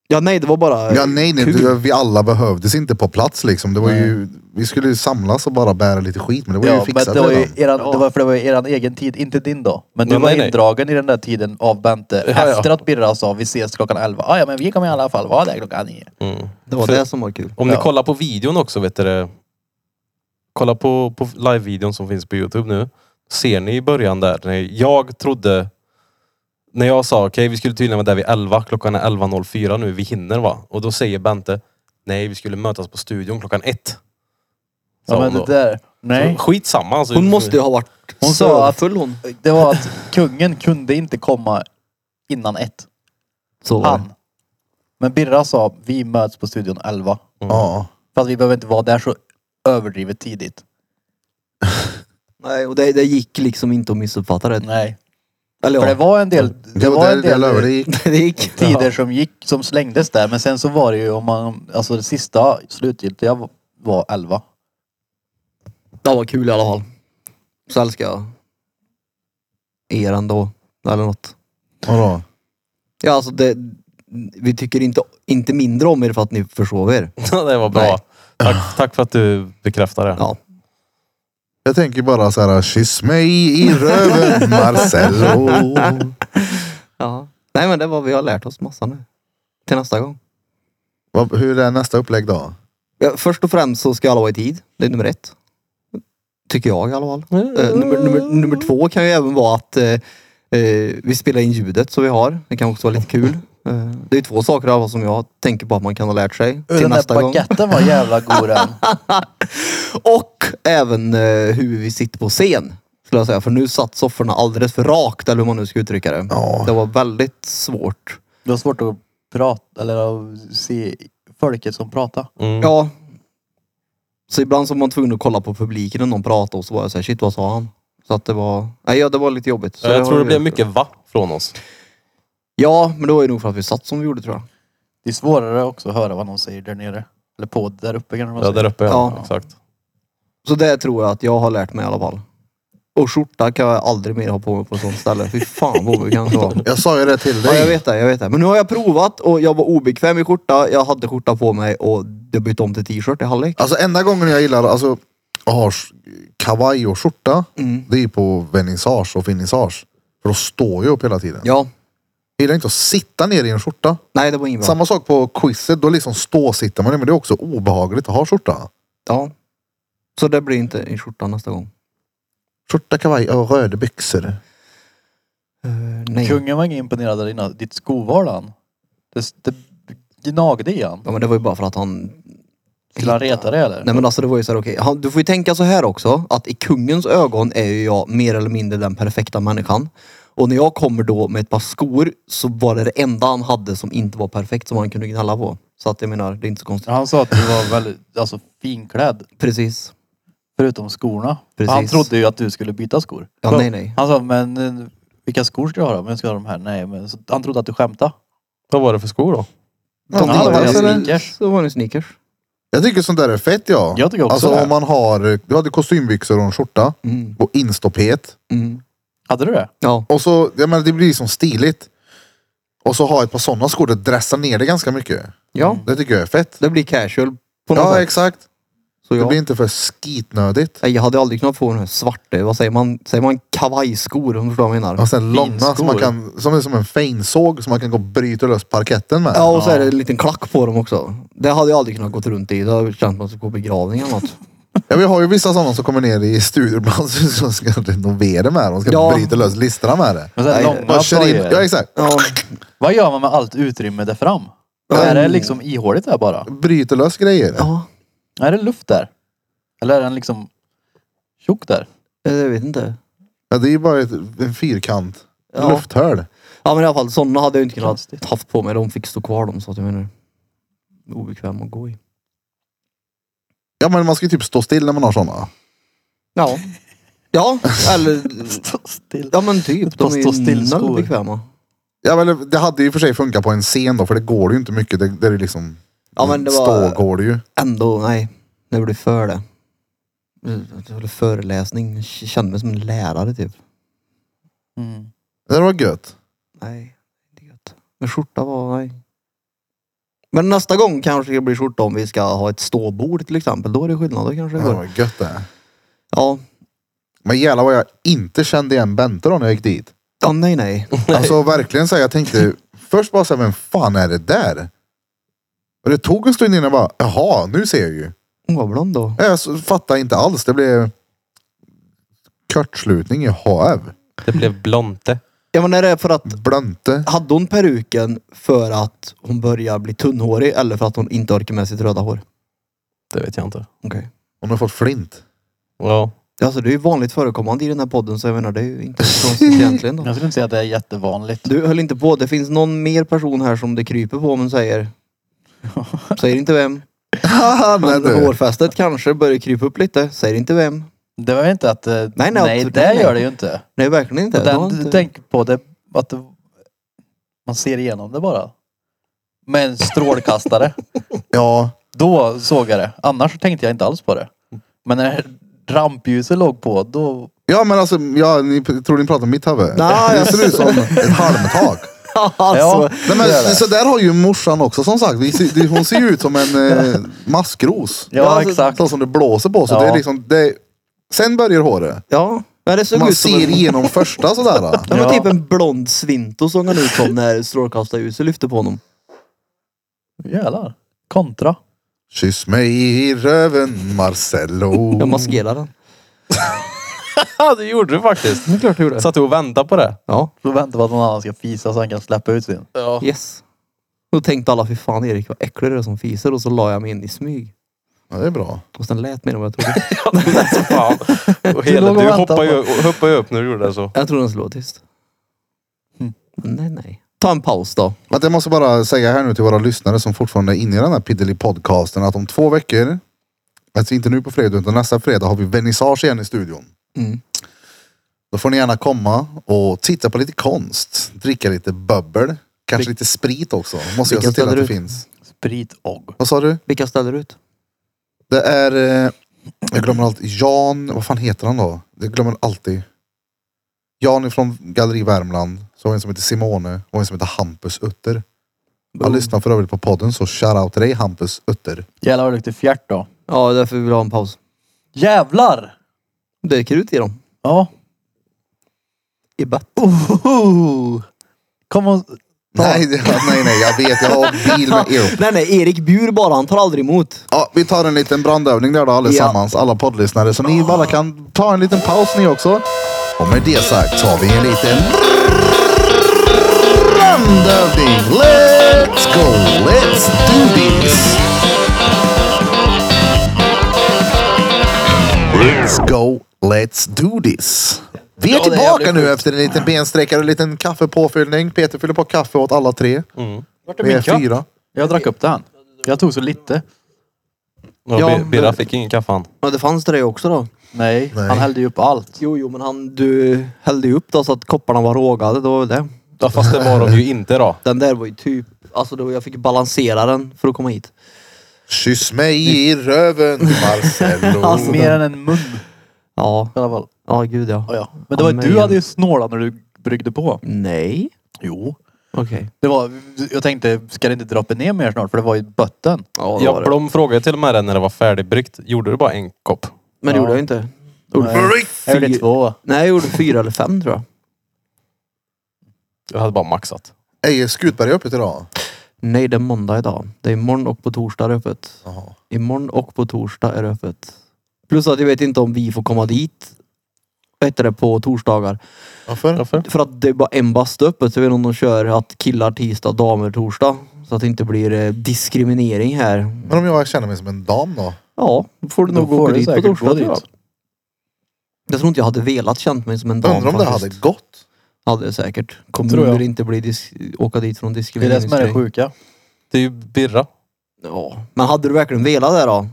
Ja, nej, det var bara... Ja, nej, nej, kul. du, vi alla behövdes inte på plats liksom. Det var ju, vi skulle ju samlas och bara bära lite skit, men det var Ja, ju men fixat det var ju redan. eran, det var, för det var ju eran egen tid, inte din då. Men du Ja, var nej, nej. indragen i den där tiden av Bente Ja, ja. efter att Birra sa vi ses klockan 11. Ah, ja men vi kommer i alla fall vara där klockan 9. Mm. Det var För- det som var kul. Om Ja. ni kollar på videon också, vet du det, Kolla på, på live-videon som finns på Youtube nu. Ser ni i början där, när jag trodde... När jag sa okej, vi skulle tydligen vara där vid 11, klockan är 11.04 nu, vi hinner va? Och då säger Bente, nej vi skulle mötas på studion klockan 1. Ja, men det där, nej. Skitsamma alltså. Hon måste ju ha varit Hon sa att- full hon. Det var att kungen kunde inte komma innan ett. Så var det. Han. Men Birra sa vi möts på studion 11. Ja. Fast vi behöver inte vara där så överdrivet tidigt. Nej, och det, det gick liksom inte att missuppfatta det. Nej. Eller För det ja, var en del, det var en del över det gick. det gick. tider som gick, som slängdes där. Men sen så var det ju om man, alltså det sista slutgiltiga var 11. Det var kul i alla fall. Så älskar jag er ändå. Eller något. Vadå? Ja, alltså det, vi tycker inte, inte mindre om er för att ni försov er. det var Nej. bra. Tack, tack för att du bekräftar det. Ja. Jag tänker bara så här, kyss mig i röven Marcello. Ja. Nej, men det var vi har lärt oss massa nu. Till nästa gång. Vad- Hur är nästa upplägg då? Ja, först och främst så ska alla vara i tid. Det är nummer ett. Tycker jag i alla fall. Eh, nummer, nummer, nummer två kan ju även vara att eh, eh, vi spelar in ljudet som vi har. Det kan också vara lite kul. Eh, det är två saker i alla fall som jag tänker på att man kan ha lärt sig till Den där nästa gång. baguetten var jävla god den. Och även eh, hur vi sitter på scen. Skulle jag säga. För nu satt sofforna alldeles för rakt eller hur man nu ska uttrycka det. Ja. Det var väldigt svårt. Det var svårt att prata, eller att se folket som pratade. Mm. Ja. Så ibland så var man tvungen att kolla på publiken när någon pratade och så var jag såhär, shit vad sa han? Så att det var, nej ja, det var lite jobbigt. Så jag har tror det vi- blev mycket va från oss. Ja, men det var ju nog för att vi satt som vi gjorde tror jag. Det är svårare också att höra vad någon säger där nere. Eller på där uppe kanske man Ja, säger. där uppe. Ja. Ja. Exakt. Så det tror jag att jag har lärt mig i alla fall. Och skjorta kan jag aldrig mer ha på mig på ett sånt ställe. Fy fan vad obekvämt det var. Jag sa ju det till Ja, jag dig. vet det, jag vet det. Men nu har jag provat och jag var obekväm i skjorta. Jag hade skjorta på mig och jag bytte om till t-shirt i halvlek. Alltså enda gången jag gillar alltså, att ha s- kavaj och skjorta, Mm. det är ju på vernissage och finissage. För då står jag upp hela tiden. Ja, Jag gillar inte att sitta ner i en skjorta. nej det var inget bra. Samma sak på quizet, då liksom ståsitter man ner, men det är också obehagligt att ha skjorta. Ja. Så det blir inte i skjorta nästa gång. Skjorta, kavaj och röda byxor. Eh, nej. Kungen var ingen imponerad av dina, ditt skoval han. Det, det gnagde i han. Ja men det var ju bara för att han... Skulle han reta dig eller? Nej men alltså det var ju såhär okej, han- du får ju tänka så här också att i kungens ögon är ju jag mer eller mindre den perfekta människan. Och när jag kommer då med ett par skor så var det det enda han hade som inte var perfekt som han kunde gnälla på. Så att jag menar, det är inte så konstigt. Han sa att du var väldigt alltså, finklädd. Precis. Förutom skorna. Precis. Han trodde ju att du skulle byta skor. Ja, Så- nej, nej. Han sa, men eh, vilka skor ska jag ha då? Men ska jag ha de här? Nej, men så, han trodde att du skämtade. Vad var det för skor då? Ja, De det var var ju ju sneakers. Så var det sneakers. Jag tycker sånt där är fett ja. Jag tycker också alltså det. om man har, du hade kostymbyxor och en skjorta och instoppet. Hade du det? Mm, Ja. Och så, jag menar det blir liksom stiligt. Och så ha ett par sådana skor, det dressar ner det ganska mycket. ja, Det tycker jag är fett. det blir casual på något Ja sätt. exakt. Så Det ja. blir inte för skitnödigt. Nej, Jag hade aldrig kunnat få den här svarta, vad säger man, säger man kavajskor om du förstår vad jag menar? Och sen långa Finskor. som, man kan, som är som en feinsåg som man kan gå och bryta lös parketten med. Ja och så är det en liten klack på dem också. Det hade jag aldrig kunnat gått runt i. Det hade känts som att gå på begravning eller något. Ja, vi har ju vissa sådana som kommer ner i studior ibland som ska renovera med det. De ska Ja. bryta lös listerna med det. Men sen Nej, långa Bara kör in. tröjor. Ja exakt. Ja. Vad gör man med allt utrymme där fram? Är det liksom ihåligt där bara? Bryter lös grejer. ja. Är det luft där? Eller är den liksom tjock där? eh, Jag vet inte. Ja, det är ju bara ett, en fyrkant. Ja. Lufthål. Ja men i alla fall sådana hade jag inte kunnat Konstigt. haft på mig. De fick stå kvar dem så att jag menar. Obekväm att gå i. Ja men man ska ju typ stå still när man har sådana. Ja. Ja eller. Stå still. Ja men typ. De Fast stå är ju still skor. noll bekväma. Ja, men det hade ju för sig funkat på en scen då för det går ju inte mycket. Det, det är ju liksom, Ja men det var Stå går det ju. ändå, nej. Det blev för det. Det var föreläsning. Jag kände mig som en lärare typ. Mm. Det var gött. Nej, inte gött. Men skjorta var, nej. Men nästa gång kanske det blir skjorta om vi ska ha ett ståbord till exempel. Då är det skillnad. Då kanske Det det går. var gött det. Ja. Men jävlar vad jag inte kände igen Bente då när jag gick dit. ja, nej nej. Alltså verkligen så här, jag tänkte först bara såhär, vem fan är det där? Och det tog en stund innan jag bara, jaha, nu ser jag ju. Hon var blond då. Jag s- fattar inte alls. Det blev kortslutning i HF. Det blev blonte. Ja men är det för att, Blönte. hade hon peruken för att hon börjar bli tunnhårig eller för att hon inte orkar med sitt röda hår? Det vet jag inte. Okej. Hon har fått flint. Ja. Alltså det är ju vanligt förekommande i den här podden så jag menar det är ju inte konstigt egentligen då. Jag skulle inte säga att det är jättevanligt. Du höll inte på. Det finns någon mer person här som det kryper på men säger... Säger inte vem. Nej, Men du. hårfästet kanske börjar krypa upp lite. Säger inte vem. Det var ju inte att... eh, nej, nej absolut, det nej, nej. gör det ju inte. Nej, verkligen inte. Och Det var Den, inte... Tänk på det, att det, man ser igenom det bara. Med en strålkastare. Ja, då såg jag det. Annars tänkte jag inte alls på det. Men när rampljuset låg på, då... ja men alltså, ja, ni p- tror ni pratar om mitt huvud? Nej, det ser jag- ut som ett halmtak. Ja, alltså, Nej, det gör men, det. så där har ju morsan också som sagt. Vi ser- det- Hon ser ju ut som en eh, maskros. Ja, alltså, exakt. Sån som det blåser på. Så Ja. det är liksom, det, sen börjar håret. ja. Men det såg Man ut som ser en... igenom första sådär. Det var Ja. typ en blond svinto som han ut som när strålkastarljuset lyfte på honom. Jävlar. Kontra. Kyss mig i röven Marcello. Jag maskerade den. Ja, det gjorde du faktiskt. Det är klart du gjorde. Satt du och väntade på det? Ja. Då väntar på att någon annan ska fisa så han kan släppa ut sin. Ja. Yes. Då tänkte alla, fy fan Erik vad äcklig du är som fiser. Och så la jag mig in i smyg. Ja, det är bra. Och sen lät mer än vad jag trodde. Fan. Och hela, låg och du väntade hoppade ju, hoppade ju upp när du gjorde det så. Jag trodde den skulle vara tyst. Mm. Men nej, nej. Ta en paus då. Men jag måste bara säga här nu till våra lyssnare som fortfarande är inne i den här piddly podcasten att om två veckor, alltså inte nu på fredag utan nästa fredag har vi vernissage igen i studion. Mm. Då får ni gärna komma och titta på lite konst, dricka lite bubbel, kanske lite sprit också. Måste jag se Vilken till att ställer det du? finns. Sprit och. Vad sa du? Vilka ställer ut? Det är, eh, jag glömmer alltid, Jan, vad fan heter han då? Jag glömmer alltid. Jan är från Galleri Värmland, så har vi en som heter Simone och en som heter Hampus Utter. Han lyssnar för övrigt på podden så shoutout till dig Hampus Utter. Jävlar vad det luktar fjärt då. Ja, därför vill jag ha en paus. Jävlar! Det är krut i dem. Ja. I bett. Ohoho. Kom och... Nej, det- nej, nej, jag vet, jag har bil med er. Nej, nej. Erik bjuder bara. Han tar aldrig emot. Ja, vi tar en liten brandövning där då allesammans, alla poddlyssnare. Så ni bara kan ta en liten paus ni också. Och med det sagt tar vi en liten brandövning. Let's go, let's do this. Let's go, let's do this. Vi är det är tillbaka jävligt nu efter en liten bensträckare och en liten kaffepåfyllning. Peter fyller på kaffe åt alla tre. Mm. Vart är Vi min är katt? fyra. Jag drack upp den. Jag tog så lite. Och Ja, Bi- Birra men- fick ingen kaffe han. Ja, det fanns det där också då. Nej, Nej. han hällde ju upp allt. Jo, jo, men han, du hällde ju upp då så att kopparna var rågade. Det var väl det. Ja, fast det var de ju inte då. Den där var ju typ... Alltså, då jag fick balansera den för att komma hit. Kyss mig i röven Marcello. Alltså, Mer än en mun Ja, i alla fall. ja gud ja. Ja, ja. Men det var, Ja, men- du hade ju snålat när du bryggde på. Nej. Jo. Okej. Det var, jag tänkte, ska det inte droppa ner mer snart? För det var ju botten. Ja, det Ja, var det. Blom frågade till och med det när det var färdigbryggt. Gjorde du bara en kopp? Men det Ja. gjorde jag inte. Jag gjorde Fy- två. Nej, jag gjorde fyra eller fem tror jag. Jag hade bara maxat. Ej, är Skutberg öppet idag? Nej, det är måndag idag. Det är imorgon och på torsdag är det öppet. Jaha. Imorgon och på torsdag är det öppet. Plus att jag vet inte om vi får komma dit. Vad heter det på torsdagar? Varför? Mm. Varför? För att det är bara en bastu öppet. Så jag vet inte om de kör att killar tisdag, damer torsdag. Så att det inte blir eh, diskriminering här. Men om jag känner mig som en dam då? Ja, då får du Då nog får åka du dit på säkert gå torsdag tror jag. dit. Jag tror inte jag hade velat känt mig som en dam Undrar om det hade faktiskt. gått? Hade jag säkert. Kommer Tror jag. du inte bli dis- åka dit från Det är det som är det diskrimineringsgrej. sjuka. Det är ju Birra. Ja. Men hade du verkligen velat det då?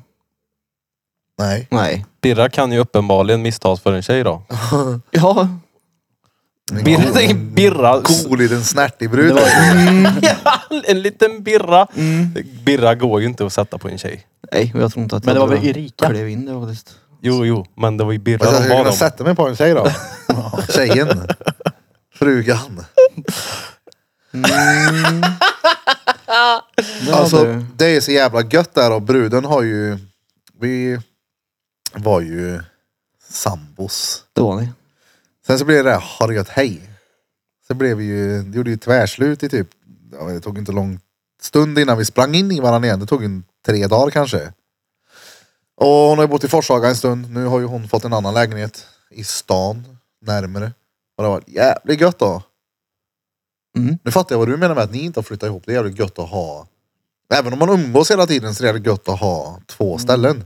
Nej. Nej. Birra kan ju uppenbarligen misstas för en tjej då. Ja. Birra, det är birra. Cool i den snärtig brud. Det var, en liten birra. Mm. Birra går ju inte att sätta på en tjej. Nej, och jag tror inte att men det jag var väl hade Erika? klev in det faktiskt. Jo, jo, men det var ju birra Alltså, Fast jag de skulle bad kunna om. Alltså, sätta mig på en tjej då. Tjejen. Frugan. Mm. Det Alltså hade du. det är så jävla gött där och bruden har ju... Vi var ju sambos. det var ni. Sen så blev det där, har det gött hej. Sen blev vi ju, det gjorde ju tvärslut i typ, ja, det tog inte lång stund innan vi sprang in i varandra igen. Det tog en tre dagar kanske. Och hon har ju bott i Forshaga en stund. Nu har ju hon fått en annan lägenhet i stan närmare. Och det var jävligt gött då. Mm. Nu fattar jag vad du menar med att ni inte har flyttat ihop. Det är jävligt gött att ha. Även om man umgås hela tiden så är det jävligt gött att ha två ställen.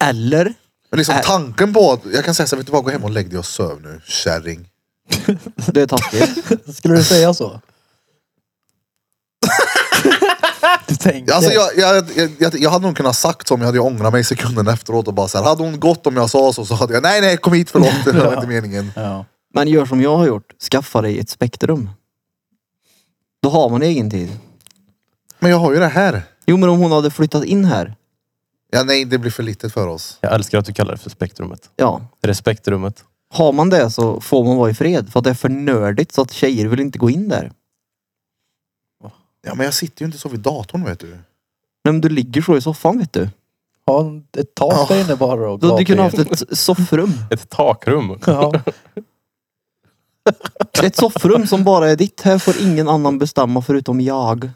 Eller? Men liksom Mm. Ä- tanken på att jag kan säga så här, vet du vad, gå hem och lägg dig och söv nu kärring. Det är taskigt. Skulle du säga så? du tänker? Alltså jag, jag, jag, jag, jag hade nog kunnat sagt så om jag hade ju ångrat mig sekunden efteråt och bara så här, hade hon gått om jag sa så så hade jag, nej nej kom hit förlåt, det var inte meningen. Ja. Men gör som jag har gjort. Skaffa dig ett spektrum. Då har man egen tid. Men jag har ju det här. Jo men om hon hade flyttat in här. Ja nej det blir för litet för oss. Jag älskar att du kallar det för spektrummet. Ja. Respektrummet. Har man det så får man vara i fred. För att det är för nördigt så att tjejer vill inte gå in där. Ja men jag sitter ju inte så vid datorn vet du. Nej men du ligger så i soffan vet du. Ha en- ett tak där inne bara och Då hade gapa du kunnat igen. haft ett soffrum. Ett takrum. Ja. Ett soffrum som bara är ditt. Här får ingen annan bestämma förutom jag.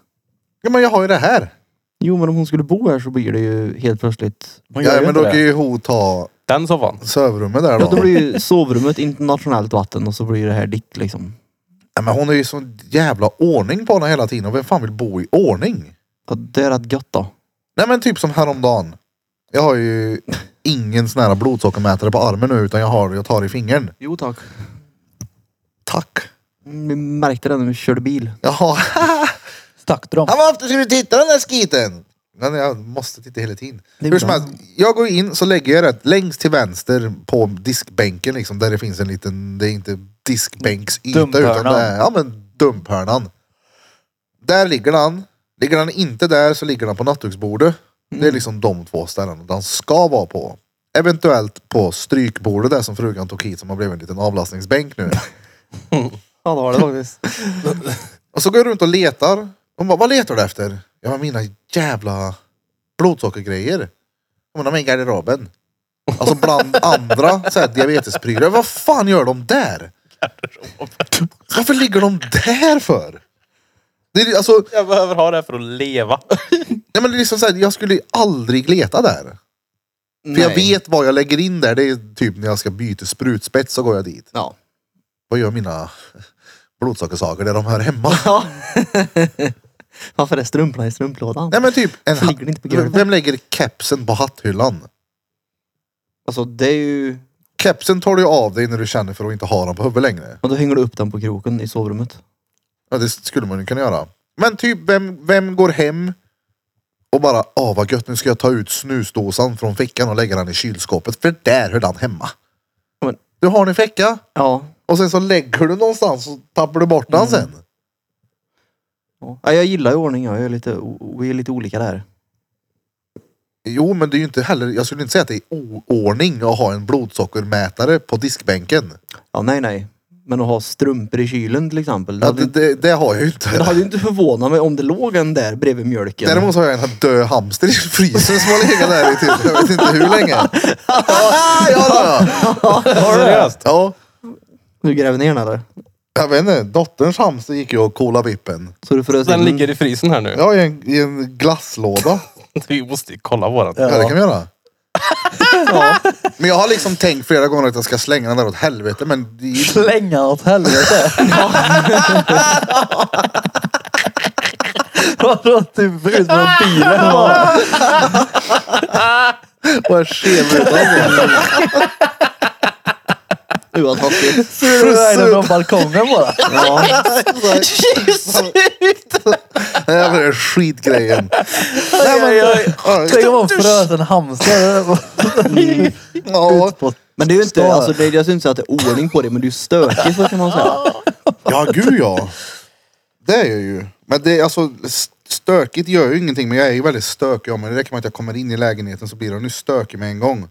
Ja men jag har ju det här. Jo men om hon skulle bo här så blir det ju helt plötsligt. Man gör Ja ju men inte då det. kan ju hon ta Den soffan. sovrummet där Ja, då. då blir ju sovrummet internationellt vatten och så blir det här ditt liksom. Ja, men hon är ju sån jävla ordning på henne hela tiden och vem fan vill bo i ordning? Ja, det är rätt gött då. Nej men typ som häromdagen. Jag har ju ingen sån här blodsockermätare på armen nu utan jag har jag tar i fingern. Jo tack. Tack. Vi märkte det när vi körde bil. Jaha. Stack du dem? Han var ofta skulle du titta den där skiten? Men jag måste titta hela tiden. Det är Hur som bra. helst, jag går in så lägger jag det längst till vänster på diskbänken liksom där det finns en liten, det är inte diskbänksyta utan det Dumphörnan. är, ja men dumphörnan. Där ligger den. Ligger den inte där så ligger den på nattduksbordet. Det är Mm. liksom de två ställena den ska vara på. Eventuellt på strykbordet där som frugan tog hit som har blivit en liten avlastningsbänk nu. Ja det var det faktiskt. Och så går jag runt och letar. Hon bara, vad letar du efter? Jag har mina jävla blodsockergrejer. Hon har i garderoben. Alltså bland andra så här, diabetesprylar. Vad fan gör de där? Varför ligger de där för? Det är, alltså, Jag behöver ha det här för att leva. nej, men det är liksom så här, jag skulle aldrig leta där. För jag vet vad jag lägger in där. Det är typ när jag ska byta sprutspets så går jag dit. Ja. Vad gör mina blodsockersaker där de hör hemma? Ja. Varför är strumporna i strumplådan? Nej men typ, en Ligger det inte på golvet? hatt. vem lägger kepsen på hatthyllan? Alltså det är ju... Kepsen tar du ju av dig när du känner för att inte ha den på huvudet längre. Och då hänger du upp den på kroken i sovrummet. Ja, det skulle man ju kunna göra. Men typ, vem, vem går hem och bara, åh vad gött, nu ska jag ta ut snusdosan från fickan och lägga den i kylskåpet, för där hör den hemma. Men- Du har den i ficka Ja. och sen så lägger du någonstans och tappar du bort den Mm. sen. ja. Jag gillar ju ordning jag. jag är lite, vi är lite olika där. Jo, men det är ju inte heller, jag skulle inte säga att det är oordning att ha en blodsockermätare på diskbänken. Ja, nej, nej. Men att ha strumpor i kylen till exempel. Det Ja, hade, det, ju inte- det, det har jag ju inte. det hade ju inte förvånat mig om det låg en där bredvid mjölken. Däremot så har jag en död hamster i frysen som har legat där i typ, jag vet inte hur länge. Ja, ja, ja. Seriöst? ja, Du gräver ner den eller? jag vet inte. Dotterns hamster gick ju och kolade vippen. Så du frös Mm. Den in ligger i frysen här nu. Ja, i en, i en glasslåda. Vi måste ju kolla våran. Ja, det kan vi göra. Men jag har liksom tänkt flera gånger att jag ska slänga den där åt helvete, men det är ju Slänga åt helvete. Vadå typ ut från bilen bara. bara skev Du har taskigt. Frusen från balkongen bara. Den jävla skitgrejen. Nej, men, Ja, Tänk om man frös en hamster. ja. På Men det är ju Stör. inte, alltså det, jag syns att det är oordning på det, men du är ju stökig så kan man säga. Ja, Alltså. gud ja. Det är jag ju. Men det är alltså st- stökigt gör ju ingenting, men jag är ju väldigt stökig om det. Det räcker med att jag kommer in i lägenheten så blir den ju stökig med en gång.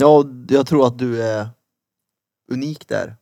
Ja, jag tror att du är unik där.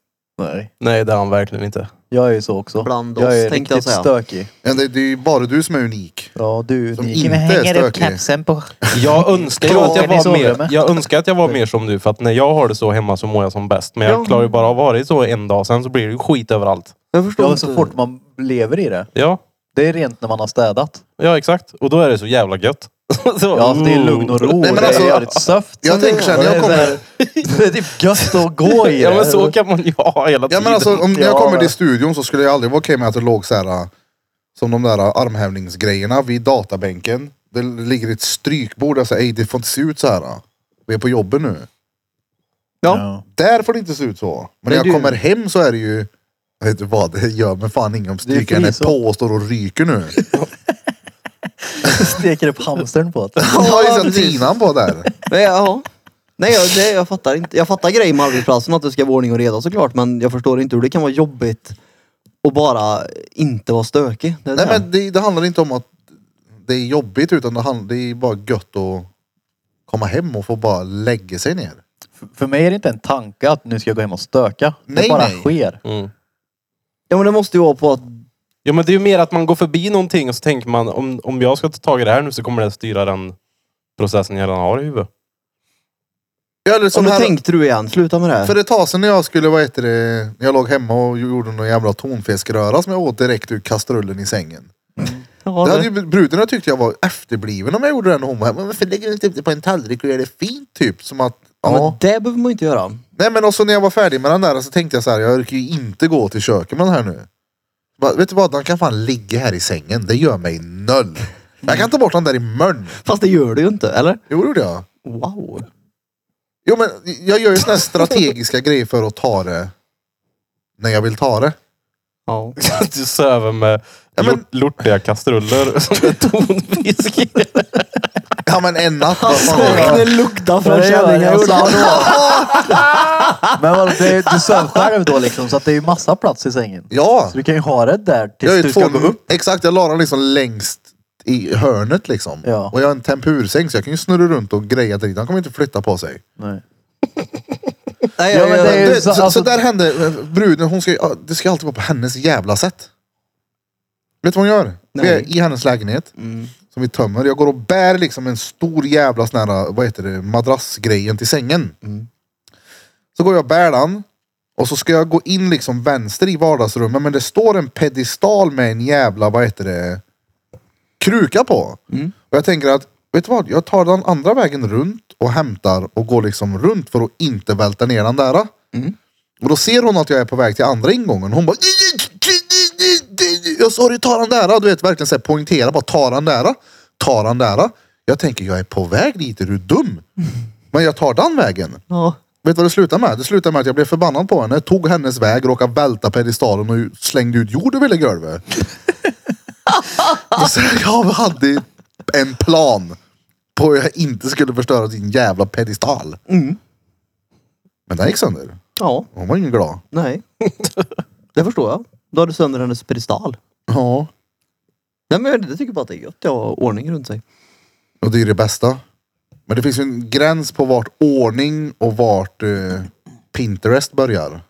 Nej, Nej, det har han verkligen inte. jag är ju så också. Bland oss, jag är tänkte jag riktigt säga. stökig. Men det, det är ju bara du som är unik. Ja, du är Som unik. inte är stökig. på... Jag önskar ju att jag Klockan i var sovrummet. mer, jag önskar att jag var mer som du. För att när jag har det så hemma så mår jag som bäst. Men jag klarar ju bara av att ha det så en dag. Sen så blir det ju skit överallt. Jag förstår Ja, inte. så fort man lever i det. Ja, Det är rent när man har städat. ja exakt. Och då är det så jävla gött. så, Ja, alltså, det är lugn och ro. men det alltså, är jävligt söft. jag tänker så här, när jag Det är kommer- Det är typ gött att gå i det. Ja men så kan man ju ha hela Ja tiden. men alltså om när jag Ja, kommer men- till studion så skulle jag aldrig vara okej med att det låg så här äh, som de där äh, armhävningsgrejerna vid databänken. Det ligger ett strykbord. Jag säger, ej det får inte se ut så här. äh. Vi är på jobbet nu. Ja. Där får det inte se ut så. Men, när jag du- kommer hem så är det ju... Jag vet inte vad, det gör mig fan inget om strykjärn är frysen. på och står och ryker nu. Steker upp hamstern på det. Jag har ju sett precis. tinan på där. Nej, ja. Nej jag, det, jag fattar inte. Jag fattar grejen med arbetsplatsen att det ska vara ordning och reda såklart. Men jag förstår inte hur det kan vara jobbigt att bara inte vara stökig. Det är Nej det. men det, det handlar inte om att det är jobbigt utan det, handlar, det är bara gött att komma hem och få bara lägga sig ner. För- För mig är det inte en tanke att nu ska jag gå hem och stöka. Nej, det bara nej. sker. Mm. Ja men det måste ju vara på att... Ja men det är ju mer att man går förbi någonting och så tänker man om, om jag ska ta tag i det här nu så kommer det styra den processen jag redan har i huvudet. Ja, eller som Som nu här, tänkte du igen, sluta med det. för här. ett tag sedan när jag skulle, vad heter det, när jag låg hemma och gjorde någon jävla tonfiskröra som jag åt direkt ur kastrullen i sängen. Ja, Det det- hade ju bruden jag tyckte jag var efterbliven om jag gjorde den och hon bara, "Men varför lägger du inte upp det på en tallrik och gör det fint typ? Som att, ja. ja, men det behöver man ju inte göra. Nej men också när jag var färdig med den där så tänkte jag så här, jag orkar ju inte gå till köket med den här nu. Bara, vet du vad, den kan fan ligga här i sängen. Det gör mig noll. Jag kan ta bort den där i mörn. Fast det gör du ju inte, eller? Jo, det gjorde jag. Wow. Jo men jag gör ju såna här strategiska grejer för att ta det när jag vill ta det. Ja. Du söver med Ja, men- lort, lortiga kastruller som är tonfisk i. Ja men en natt. vad fan gör jag? Det luktar Ja, från det gör det. kärringar. Alltså, hallå. Men vadå, det, du söv själv då liksom så att det är ju massa plats i sängen. Ja, Så du kan ju ha det där jag tills är du ju ska två, gå upp. exakt jag la den liksom längst i hörnet liksom. Ja. Och jag har en tempursäng så jag kan ju snurra runt och greja dit. Han kommer inte flytta på sig. Nej. Ja, Nej, jag, men det är Du ju vet, så, alltså- så där hände eh, bruden, hon ska, ju- ja, det ska alltid vara på hennes jävla sätt. Vet du vad hon gör? Vi är Nej. i hennes lägenhet Mm. som vi tömmer. Jag går och bär liksom en stor jävla sån här, eh, vad heter det, madrassgrejen till sängen. Mm. Så går jag och bär den och så ska jag gå in liksom vänster i vardagsrummet men det står en pedestal med en jävla, vad heter det, kruka på. Och jag tänker att, vet du vad? Jag tar den andra vägen runt och hämtar och går liksom runt för att inte välta ner den där. Och då ser hon att jag är på väg till andra ingången. Hon bara... Jag sa du ta den där. Du vet verkligen så här, poängtera bara ta den där. Ta den där. Jag tänker jag är på väg dit, är du dum? Men jag tar den vägen. ja. Vet du vad det slutade med? Det slutade med att jag blev förbannad på henne, tog hennes väg, råkade välta pedestalen och slängde ut jord över hela golvet. Och sen jag hade en plan på hur jag inte skulle förstöra din jävla pedestal. Men den gick sönder. ja, Hon var ingen glad. nej. Det förstår jag. Då har du sönder hennes pedestal. Ja. typ Nej men jag tycker bara att det är gött att ha ordning runt sig. Och Och det är det bästa. Men det finns ju en gräns på vart ordning och vart eh, Pinterest börjar.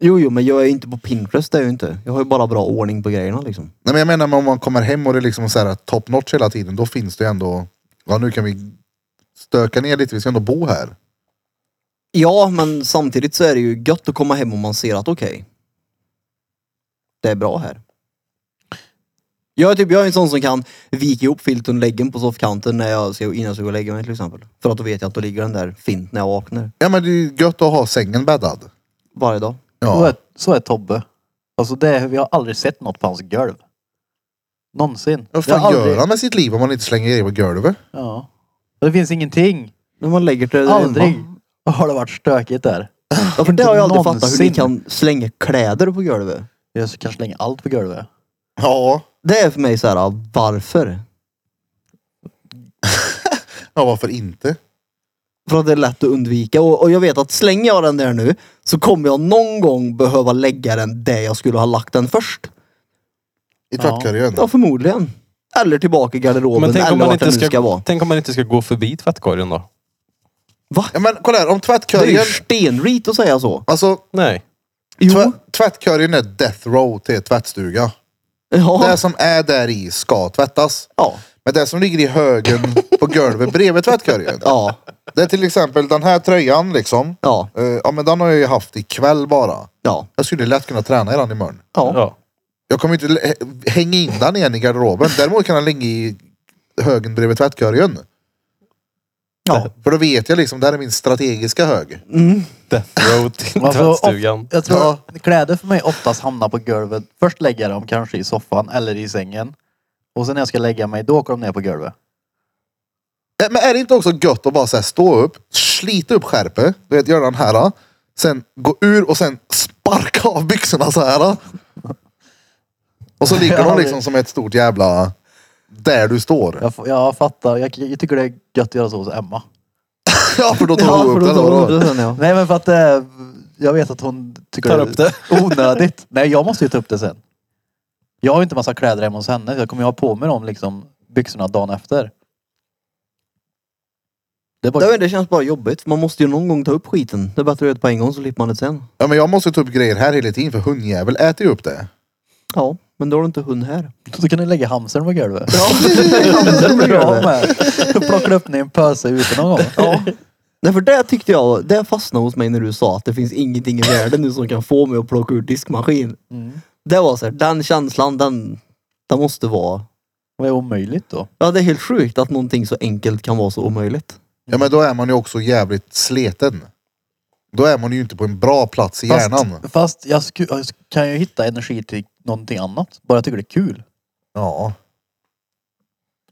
Jo, jo, men jag är ju inte på Pinterest, det är jag ju inte. Jag har ju bara bra ordning på grejerna liksom. Nej men jag menar men om man kommer hem och det är liksom så här top notch hela tiden, då finns det ju ändå, ja nu kan vi stöka ner lite, vi ska ändå bo här. Ja, men samtidigt så är det ju gött att komma hem och man ser att okej. det är bra här. Jag är, typ, jag är en sån som kan vika ihop filten och läggen på soffkanten när jag ska, innan jag ska gå och lägga mig till exempel. För att då vet jag att då ligger den där fint när jag vaknar. Ja men det är ju gött att ha sängen bäddad. Varje dag. Så, Ja. är, så är Tobbe. Alltså det, vi har aldrig sett något på hans golv. Någonsin. Vad Vi har fan gör aldrig- han med sitt liv om man inte slänger grejer på golvet? Ja. Det finns ingenting. När man lägger till det där Aldrig hemma. Mm. har det varit stökigt där. Ja, för det har jag aldrig fattat hur Någonsin. ni kan slänga kläder på golvet. Jag kan slänga allt på golvet. Ja. Det är för mig så här, varför? Ja varför inte? För att det är lätt att undvika. Och, och jag vet att slänger jag den där nu så kommer jag någon gång behöva lägga den där jag skulle ha lagt den först. I Ja. tvättkorgen. Ja, förmodligen. Eller tillbaka i garderoben Men tänk om, eller man vart den inte nu ska, ska, vara. tänk om man inte ska gå förbi tvättkorgen då? Ja men kolla här, om Det är ju tvättkorgen, stenrit att säga så. alltså Nej. Jo. tvä- tvättkorgen är death row till tvättstuga. Ja. Det som är där i ska tvättas. Ja. Men det som ligger i högen på golvet bredvid tvättkorgen. Ja. Det är till exempel den här tröjan liksom. Ja. Eh, ja men den har jag ju haft ikväll bara. Ja. Jag skulle lätt kunna träna i den imorgon. Ja. Ja. Jag kommer inte lä- hä- hänga in den igen i garderoben. Däremot kan den ligga i högen bredvid tvättkorgen. Ja. För då vet jag liksom, det här är min strategiska hög. Eh, Death row till tvättstugan. of- Alltså, jag tror Ja. att kläder för mig oftast hamnar på golvet. Först lägger jag dem kanske i soffan eller i sängen. Och sen när jag ska lägga mig, då åker de ner på golvet. Eh, Men är det inte också gött att bara så här stå upp, slita upp skärpet, du vet, göra den här. ah. Sen gå ur och sen sparka av byxorna så här. ah. Och så ligger Ja, de det- liksom som ett stort jävla... Där du står. Jag, f- jag fattar. Jag, jag tycker det är gött att göra så hos Emma. Ja, för då tar Ja, du för upp då den. tar då, du den, ja. Nej men för att eh, jag vet att hon tycker Tar upp det. är onödigt. Nej jag måste ju ta upp det sen. Jag har ju inte massa kläder hemma hos henne. så Jag kommer ju ha på mig dem liksom byxorna dagen efter. Det är bara... Jag vet, Det känns bara jobbigt. för Man måste ju någon gång ta upp skiten. Det är bättre att göra det på en gång så slipper man det sen. Ja, men jag måste ta upp grejer här hela tiden för hundjävel äter ju upp det. Ja. Men då har du inte hund här. Så kan du lägga hamstern på golvet. Ja. Hamstern blir av med. Plockar upp den i en pöse ute någon gång. Ja. Nej, för det tyckte jag, det fastnade hos mig när du sa att det finns ingenting i världen nu som kan få mig att plocka ur diskmaskin. Mm. Det var så här, den känslan, den, den måste vara... Det är omöjligt då. Ja, det är helt sjukt att någonting så enkelt kan vara så omöjligt. Ja, men då är man ju också jävligt sleten. Då är man ju inte på en bra plats i hjärnan. Fast, fast jag, sku, jag sk- kan ju hitta energi till någonting annat. Bara jag tycker det är kul. Ja.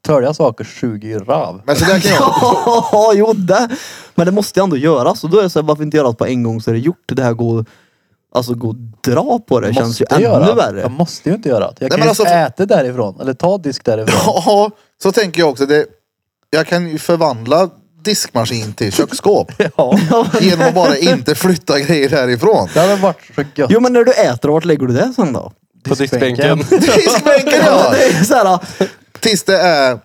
Törliga saker suger ju rav. Men så där kan jag... Ja, jo det. Men det måste ju ändå göras och då är det så här, varför inte göra det på en gång så är det gjort. Det här går... Alltså gå och dra på det känns ju Måste jag göra ännu det? Jag värre. måste ju inte göra det. Jag kan men ju alltså- äta därifrån. Eller ta disk därifrån. Ja, så tänker jag också. Det, jag kan ju förvandla diskmaskin till köksskåp. ja. Genom att bara inte flytta grejer härifrån. Det hade varit så gött. Jo men när du äter, vart lägger du det sen då? På diskbänken. Diskbänken ja! Det är så här, Tills det är...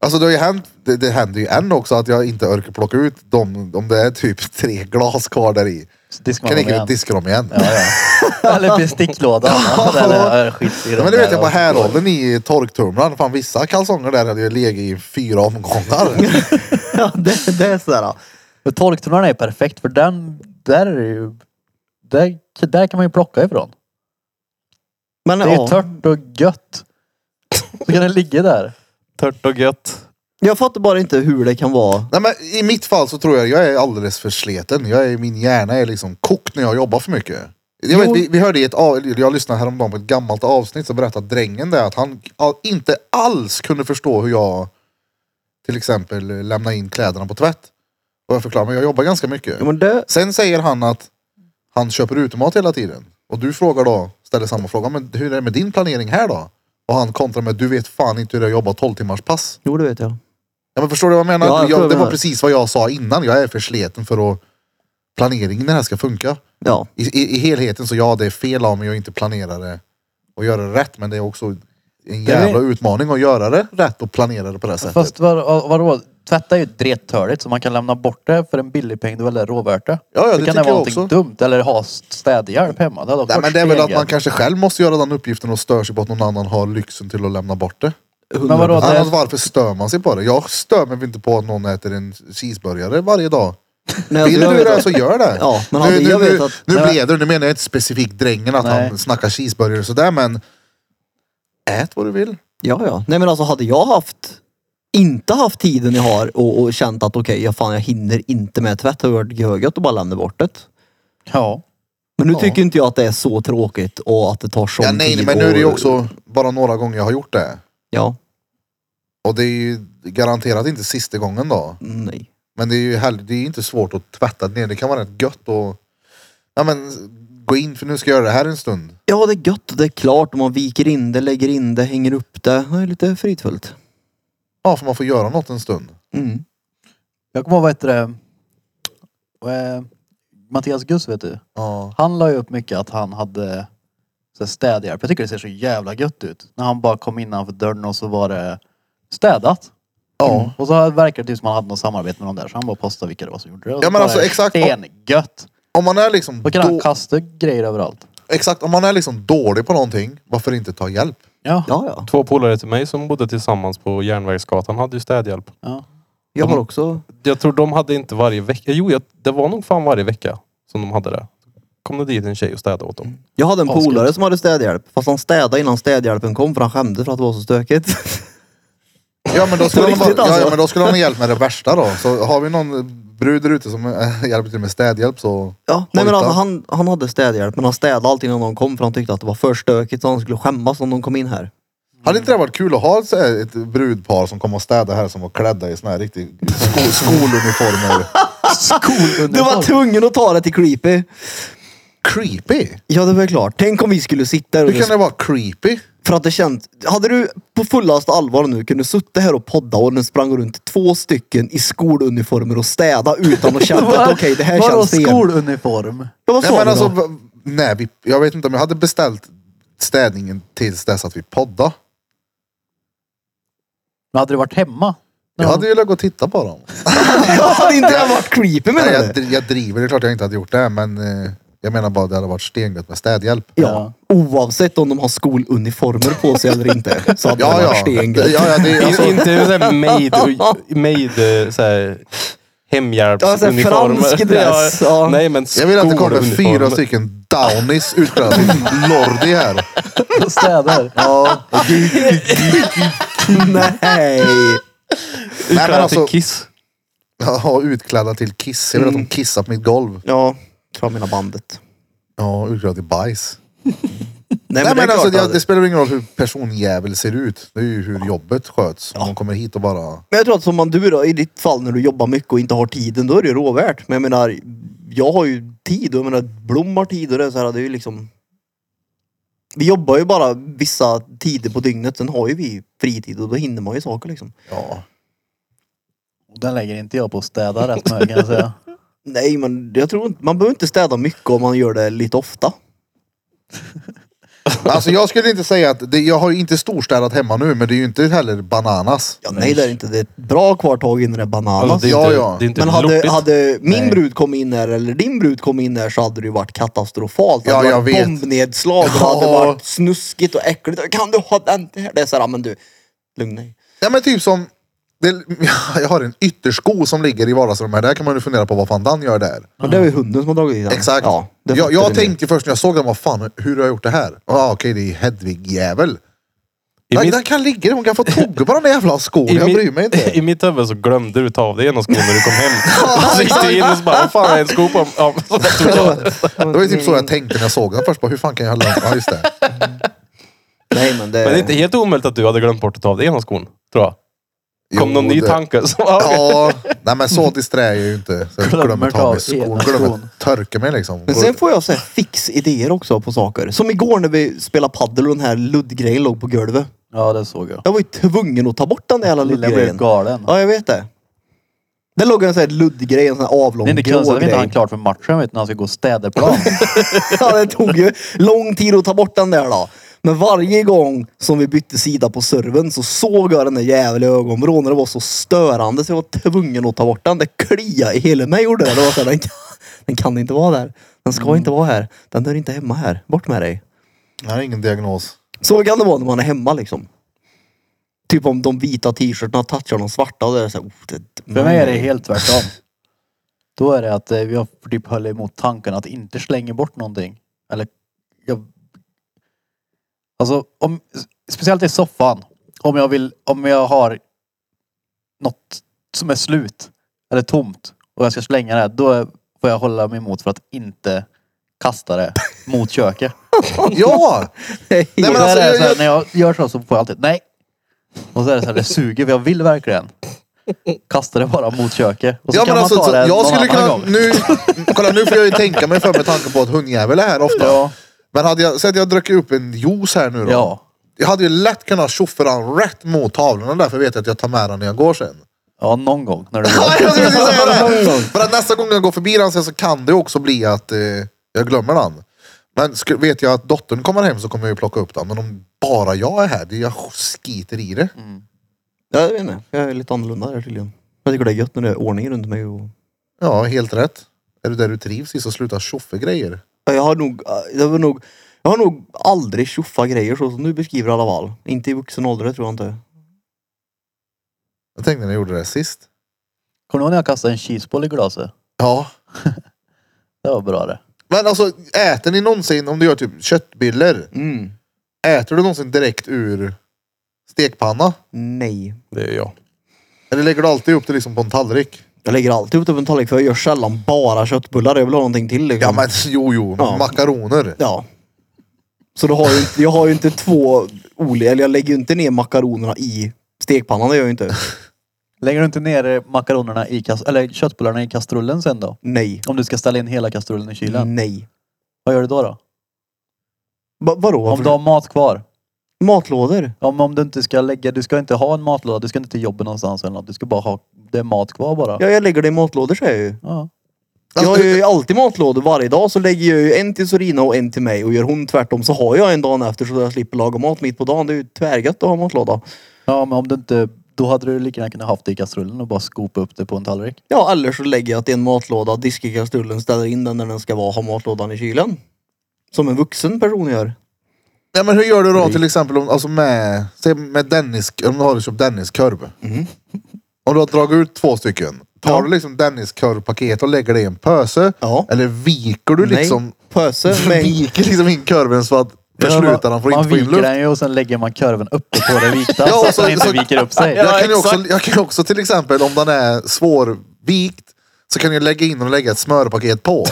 Alltså det har ju hänt, det, det händer ju än också att jag inte orkar plocka ut dem om det är typ tre glas kvar där i. Så diskar Kan jag man lika igen. gärna diska dem igen. Ja, ja. Eller besticklådan. Eller skit i Ja, den men det vet där jag på och- häråldern i torktumlaren. Fan vissa kalsonger där hade ju legat i fyra omgångar. ja, det, det är så här. Men Torktumlaren är perfekt för den, där är det ju... Där, där kan man ju plocka ifrån. Men, Det är ja. ju tört och gött. Så kan den ligga där. Tört och gött. Jag fattar bara inte hur det kan vara. Nej, men I mitt fall så tror jag jag är alldeles för sleten. Jag är, min hjärna är liksom kokt när jag jobbar för mycket. Jag, vet, vi, vi hörde i ett av, eller jag lyssnade häromdagen på ett gammalt avsnitt så berättade drängen där att han all, inte alls kunde förstå hur jag till exempel lämnar in kläderna på tvätt. Och jag förklarar, men jag jobbar ganska mycket. Ja, men det, Sen säger han att han köper utemat hela tiden. Och du frågar då, ställer samma fråga, men hur är det med din planering här då? Och han kontrar med, du vet fan inte hur jag jobbar 12 timmars pass. jo det vet jag. Ja, men förstår du vad jag menar? Ja, jag jag, förstår vad det du var menar. precis vad jag sa innan. Jag är för sleten för att planeringen i det här ska funka. Ja. I, i, I helheten så ja, det är fel av mig att inte planera det och göra det rätt. Men det är också en Det är jävla utmaning att göra det rätt och planera det på det sättet. Fast vad, vadå? Tvätta är ju drettörligt så man kan lämna bort det för en billig peng. Det är väl en råvärta? Ja, ja, det så tycker kan det jag vara någonting också. dumt. Eller ha städhjälp hemma. Det, hade Nej, också men varit det är väl att stengrepp. man kanske själv måste göra den uppgiften och stör sig på att någon annan har lyxen till att lämna bort det. Men vadå? Det, Annars varför stör man sig på det? Jag stör mig inte på att någon äter en cheeseburgare varje dag. Nej, alltså, Vill jag du vet det att- så gör det. Ja, men nu, hade nu, jag nu, vetat- nu Nej. blev det, nu menar jag inte specifikt drängen att Nej. han snackar cheeseburgare och sådär men ät vad du vill. Ja, ja. Nej men alltså hade jag haft, inte haft tiden jag har och, och känt att okej, ja, fan jag hinner inte med tvätt. Det hade varit görgött att bara lämna bort det. ja. Men nu Ja. tycker inte jag att det är så tråkigt och att det tar sån Ja, nej, tid. men nu är det ju och- också bara några gånger jag har gjort det. Ja, Och det är ju garanterat inte sista gången då. nej. Men det är ju hell- det är ju inte svårt att tvätta ner. Det kan vara rätt gött och ja, men, gå in för nu ska jag göra det här en stund. Ja, det är gött och det är klart. Man viker in det, lägger in det, hänger upp det. Det är lite fridfullt. Ja, för man får göra något en stund. Mm. Jag kommer ihåg vad heter det? Eh, Mattias Guss vet du. Ja. Han la ju upp mycket att han hade så här städhjälp. Jag tycker det ser så jävla gött ut. När han bara kom innanför dörren och så var det städat. Ja. Och så verkar det typ som att han hade något samarbete med någon där. Så han bara postade vilka det var som gjorde det. Och Ja, så men bara alltså, är det exakt. Stengött. Om man är liksom Då kan han då- kasta grejer överallt. Exakt, om man är liksom dålig på någonting, varför inte ta hjälp? Ja. Ja, ja. Två polare till mig som bodde tillsammans på Järnvägsgatan hade ju städhjälp. ja. Jag har De- också... Jag tror de hade inte varje vecka. Jo, jag, det var nog fan varje vecka som de hade det. Kom det dit en tjej och städade åt dem. Jag hade en Asgött. polare som hade städhjälp. Fast han städade innan städhjälpen kom för han skämde för att det var så stökigt. Ja men, då skulle På han bara, riktigt, ja, alltså? ja men då skulle han ha hjälp med det värsta då. Så har vi någon brud där ute som eh, hjälper till med städhjälp så... Ja, nej men Hojta. alltså han, han hade städhjälp men han städade alltid innan de kom för han tyckte att det var för stökigt så han skulle skämmas om de kom in här. Hade inte det varit kul att ha ett, så här- ett brudpar som kom och städade här som var klädda i såna här riktigt sko, skoluniformer? Du var tvungen att ta det till creepy. creepy! Ja det var klart. Tänk om vi skulle sitta här och Hur kan det vara creepy? För att det känns... Hade du på fullaste allvar nu kunnat sitta här och podda och den sprang runt två stycken i skoluniformer och städa utan att känna att okej det här Vadå känns fel. skoluniform? Ja, vad Nej, sa men du alltså, då? va- nej, vi, jag vet inte om jag hade beställt städningen tills dess att vi poddade. Men hade du varit hemma? Jag hade ju legat och tittat på dem. Ja, hade inte jag varit creepy med Nej, jag, det? dri- jag driver, det är klart jag inte hade gjort det men eh, jag menar bara att det hade varit stengött med städhjälp. Ja. Oavsett om de har skoluniformer på sig eller inte. Så att Ja, det var ja. stengött. ja, ja det, är- alltså, In, inte såhär made, made såhär, Ja, såhär hemhjälpsuniformer. fransk dress, ja. Nej men jag vill att det kommer fyra skoluniform. stycken Downies utklädda till Lordi här. Städar? Ja. Nej. Nej, men Utklädda till alltså- Kiss. Ja, utklädda till kiss. Jag vill Mm. att de kissar på mitt golv. Ja, ta mina bandet. Ja, utklädda till bajs. Nej, Nej, men men, det är alltså, klart. det, att- det spelar ingen roll hur personjävel ser ut. Det är ju hur jobbet sköts. Om de kommer hit och bara... Men jag tror att som man du då, i ditt fall när du jobbar mycket och inte har tiden, då är det ju råvärt. Men jag menar, jag har ju tid och jag menar, Blom har tid och det är så här, det är ju liksom... Vi jobbar ju bara vissa tider på dygnet, sen har ju vi fritid och då hinner man ju saker liksom. Ja. Den lägger inte jag på att städa rätt mycket kan jag säga. Nej, men jag tror inte, man behöver inte städa mycket om man gör det lite ofta. Alltså jag skulle inte säga att... Det, jag har ju inte storstädat hemma nu men det är ju inte heller bananas. Ja, nej, det är inte. Det är ett bra kvartag innan det är bananas. Alltså, det är Ja, inte, ja. Det är inte Men hade, lortigt. hade min Nej. brud kommit in här eller din brud kom in här så hade det ju varit katastrofalt. Det Ja, hade jag varit vet. bombnedslag och det Ja. hade varit snuskigt och äckligt. Kan du ha den här? Det är såhär, men du, lugna dig. Ja men typ som... Det, jag har en yttersko som ligger i vardagsrummet. Där kan man ju fundera på vad fan Dan gör där. Men det är ju hunden som har dragit i den. Ah. Exakt. Ja, det jag fattar jag vi tänkte ju först när jag såg den, vad fan, hur har jag gjort det här? Ja ah, okej, det är Hedvig-jävel. I Den, mitt- den kan ligga där, hon kan få tugga på den där jävla skon. Jag mi- bryr mig inte. I mitt huvud så glömde du ta av dig en av skorna när du kom hem. så gick du in och så bara, "Vad fan har jag en sko på ja, så där tog jag. Det var ju typ så jag tänkte när jag såg den först. Bara, hur fan kan jag ha glömt? Ja just det. Nej, men det... Men det är inte helt omöjligt att du hade glömt bort att ta av dig en av skon. Tror jag. Kom Jo, någon ny det- tanke? Så, ja, okej. Ja, nej men så disträ är jag ju inte. Så jag Glömmer glömmer ta ta av mig skon. ena Glömmer skon. att törka mig liksom. Men sen får jag så här fix idéer också på saker. Som igår när vi spelade paddel och den här luddgrejen låg på golvet. Ja det såg jag. Jag var ju tvungen att ta bort den där jävla Lilla blev luddgrejen. galen. Ja, jag vet det. Där låg en sån här luddgrej, en sån här avlång Det är inte grå konstigt att vi inte grej. hann klart för matchen vet, du, när han ska gå och städa plan. Ja, det tog ju lång tid att ta bort den där då. Men varje gång som vi bytte sida på servern så såg jag den där jävla ögonvrån och det var så störande så jag var tvungen att ta bort den. Det kliade i hela mig gjorde det. det var så här, den, kan, den kan inte vara där. Den ska Mm. inte vara här. Den hör inte hemma här. Bort med dig. Det här är ingen diagnos. Så kan det vara när man är hemma liksom. Typ om de vita t-shirtarna touchar de svarta. Och det är så här, oh, det, Mm. För mig är det helt tvärtom. Då är det att eh, jag typ höll emot tanken att inte slänga bort någonting. Eller jag... Alltså, om, speciellt i soffan. Om jag vill, om jag har något som är slut eller tomt och jag ska slänga det, då är- får jag hålla mig emot för att inte kasta det mot köket. Ja! Nej, Nej, men Och så alltså, är det jag- så här, jag- När jag gör så, så får jag alltid nej. Och så är det så här, det suger för jag vill verkligen. Kasta det bara mot köket. Och så ja, kan men man alltså, ta så- det någon jag skulle annan kunna, gång. nu, kolla nu får jag ju tänka mig för med tanke på att hundjävel är här ofta. Ja. Men hade jag, säg att jag drack upp en juice här nu då. Ja. Jag hade ju lätt kunnat tjoffa den rätt mot tavlorna därför vet jag att jag tar med den när jag går sen. Ja, någon gång när du Ja, jag skulle precis säga det. För att nästa gång jag går förbi den sen så kan det också bli att eh, jag glömmer den. Men sku- vet jag att dottern kommer hem så kommer jag ju plocka upp den. Men om bara jag är här, det jag skiter i det. Jag vet inte. Jag är lite annorlunda där tydligen. Jag tycker det är gött när det är ordning runt mig och Ja, helt rätt. Är du där du trivs i så sluta tjoffa grejer. Ja, Jag har nog, jag har nog, jag har nog aldrig tjoffat grejer så som du beskriver i alla fall. Inte i vuxen ålder tror jag inte. Jag tänkte när jag gjorde det sist. Kommer du ihåg när jag kastade en cheeseboll i glaset? Ja. Det var bra det. Men alltså äter ni någonsin, om du gör typ köttbullar, Mm. äter du någonsin direkt ur stekpanna? Nej. Det är jag. Eller lägger du alltid upp det liksom på en tallrik? Jag lägger alltid upp det på en tallrik för jag gör sällan bara köttbullar. Jag vill ha någonting till liksom. Ja men jo jo, Ja. makaroner. Ja. Så då har jag, inte- jag har ju inte två olika, eller jag lägger ju inte ner makaronerna i stekpannan. Det gör jag ju inte. Lägger du inte ner makaronerna i kast- eller köttbullarna i kastrullen sen då? Nej. Om du ska ställa in hela kastrullen i kylen. Mm. Nej. Vad gör du då? då? Va- vadå? Om Varför? du har mat kvar? Matlådor? Om, om du inte ska lägga, du ska inte ha en matlåda, du ska inte till jobbet någonstans eller något. Du ska bara ha, det är mat kvar bara. Ja, jag lägger det i matlådor säger jag ju. Ja. Jag har Alltså, ju alltid matlådor varje dag så lägger jag ju en till Sorina och en till mig och gör hon tvärtom så har jag en dagen efter så jag slipper laga mat mitt på dagen. Det är ju tvärgött att ha matlåda. ja, men om du inte, då hade du lika gärna kunnat haft det i kastrullen och bara skopa upp det på en tallrik. Ja, eller så lägger jag till en matlåda, diskar kastrullen, ställer in den när den ska vara, har matlådan i kylen. Som en vuxen person gör. Nej, men hur gör du då till exempel om, alltså med, säg med Dennis, om du har köpt Denniskorv. Om du har dragit ut två stycken. Tar Mm-hmm. Ja. du liksom Denniskorvpaket och lägger det i en pöse? Ja. Eller viker du liksom, Nej, pöse med viker liksom in korven så att förslutar den får man inte få in viker luft? den ju och sen lägger man kurven uppe på det Ja, vikta så och att så- den inte så- viker upp sig. jag, kan ju också, jag kan ju också till exempel om den är svårvikt så kan jag lägga in och lägga ett smörpaket på.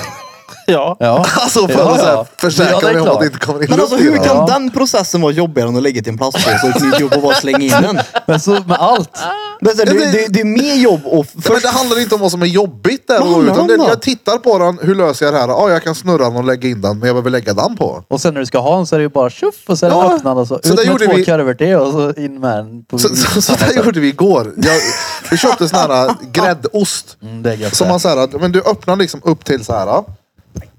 Ja. Ja. Alltså för Ja, att så ja. här, försäkra Ja, det är mig om att klart. det inte kommer in Men luft alltså i hur den. kan den processen vara jobbigare än att lägga till en plastpåse och knyta ihop och bara slänga in den? Men så med allt. Men så här, det, det, det är mer jobb och Ja, Men först... det handlar inte om vad som är jobbigt där Vad och då, handlar utan det, det om då? jag tittar på den, hur löser jag det här? Ja, jag kan snurra den och lägga in den, men jag behöver lägga den på. Och sen när du ska ha en så är det ju bara tjoff och så är den Ja. öppnad och så, Så ut där med gjorde två vi- kurvor till och så in med den. På Så, så, så det Mm. gjorde vi igår. Jag, vi köpte sån här äh, gräddost. Mm, det är gött Som det. man så här, men du öppnar liksom upp till så här.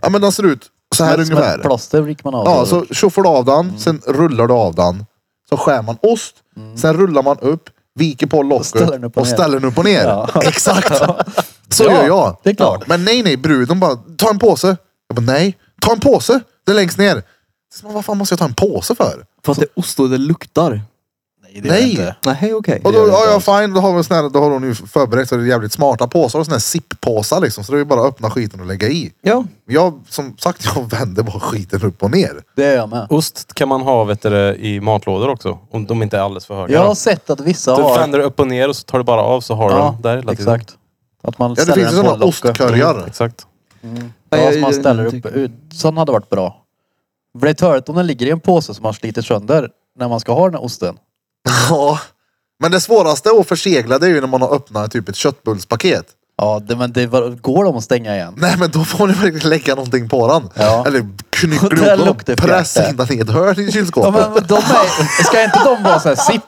Ja men den ser ut så här Men som ungefär. ett Plåster vricker man av. Ja, så tjoffar du av Mm. den, sen rullar du av den. Så skär man ost, sen rullar man upp, viker på locket och ställer den ställer upp Mm. och ner. den upp och ner. Ja. Exakt! Så Ja, gör jag. det är klart. Men nej, nej, bruden bara, ta en påse. Jag bara, nej, ta en påse. Det är längst ner. Så, Men vad fan måste jag ta en påse för? För att det är ost och det luktar. Nej, det är Nej. inte. Nej, okej. Och gör då, det ja, inte ja alls. fine, då har, vi sån här, då har hon ju förberett så det är jävligt smarta påsar och såna här zipppåsar liksom. Så det är ju bara att öppna skiten och lägga i. Ja. Jag, som sagt, jag vänder bara skiten upp och ner. Det är jag med. Ost kan man ha vet du, det, i matlådor också. Om de inte är alldeles för höga. Jag då. har sett att vissa Du har... vänder upp och ner och så tar du bara av så har du ja, den där hela tiden. exakt. Att man Ja, det ställer finns ju den på såna locket. Mm. ostkörjar. Exakt. Ja, som man ställer upp. Ut. Sån hade varit bra. För det är törligt om den ligger i en påse som man sliter sönder när man ska ha den här osten. Ja. Men det svåraste att försegla det är ju när man har öppnat typ ett köttbullspaket. Ja, det, men det var, går de att stänga igen? Nej men då får ni verkligen lägga någonting på den. Ja. Eller Och där knyckla ihop luktar den. Pressa fjärte. in den i ett hörn i Ja, kylskåpet. men de är, ska inte de vara så här sipp?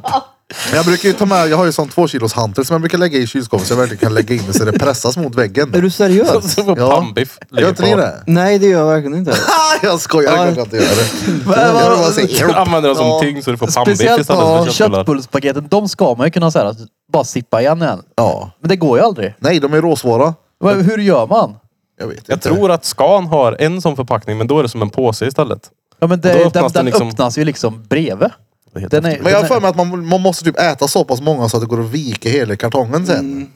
Men Jag brukar ju ta med, jag har ju sån två kilos hantel som jag brukar lägga i kylskåpet så jag verkligen kan lägga in det så det pressas mot väggen. Är du seriös? Så får Ja. pannbiff ligga Gör inte ni på. det? Nej, det gör jag verkligen inte. Ah, jag skojar, Ja. jag kan inte göra det. Jag bara säger, Du använder den som Ja. tyngd så du får pannbiff istället Speciellt för på köttbullar. köttbullspaketen. De ska man ju kunna säga att bara sippa igen igen. ja. Men det går ju aldrig. Nej, de är råsvåra. Men hur gör man? Jag vet inte. Jag tror att Scan har en sån förpackning, men då är det som en påse istället. Ja, men Då det, öppnas den, den den liksom- öppnas ju liksom bredvid. Det heter Den är, Men jag har den för är, mig att man, man måste typ äta så pass många så att det går att vika hela kartongen sen. Mm.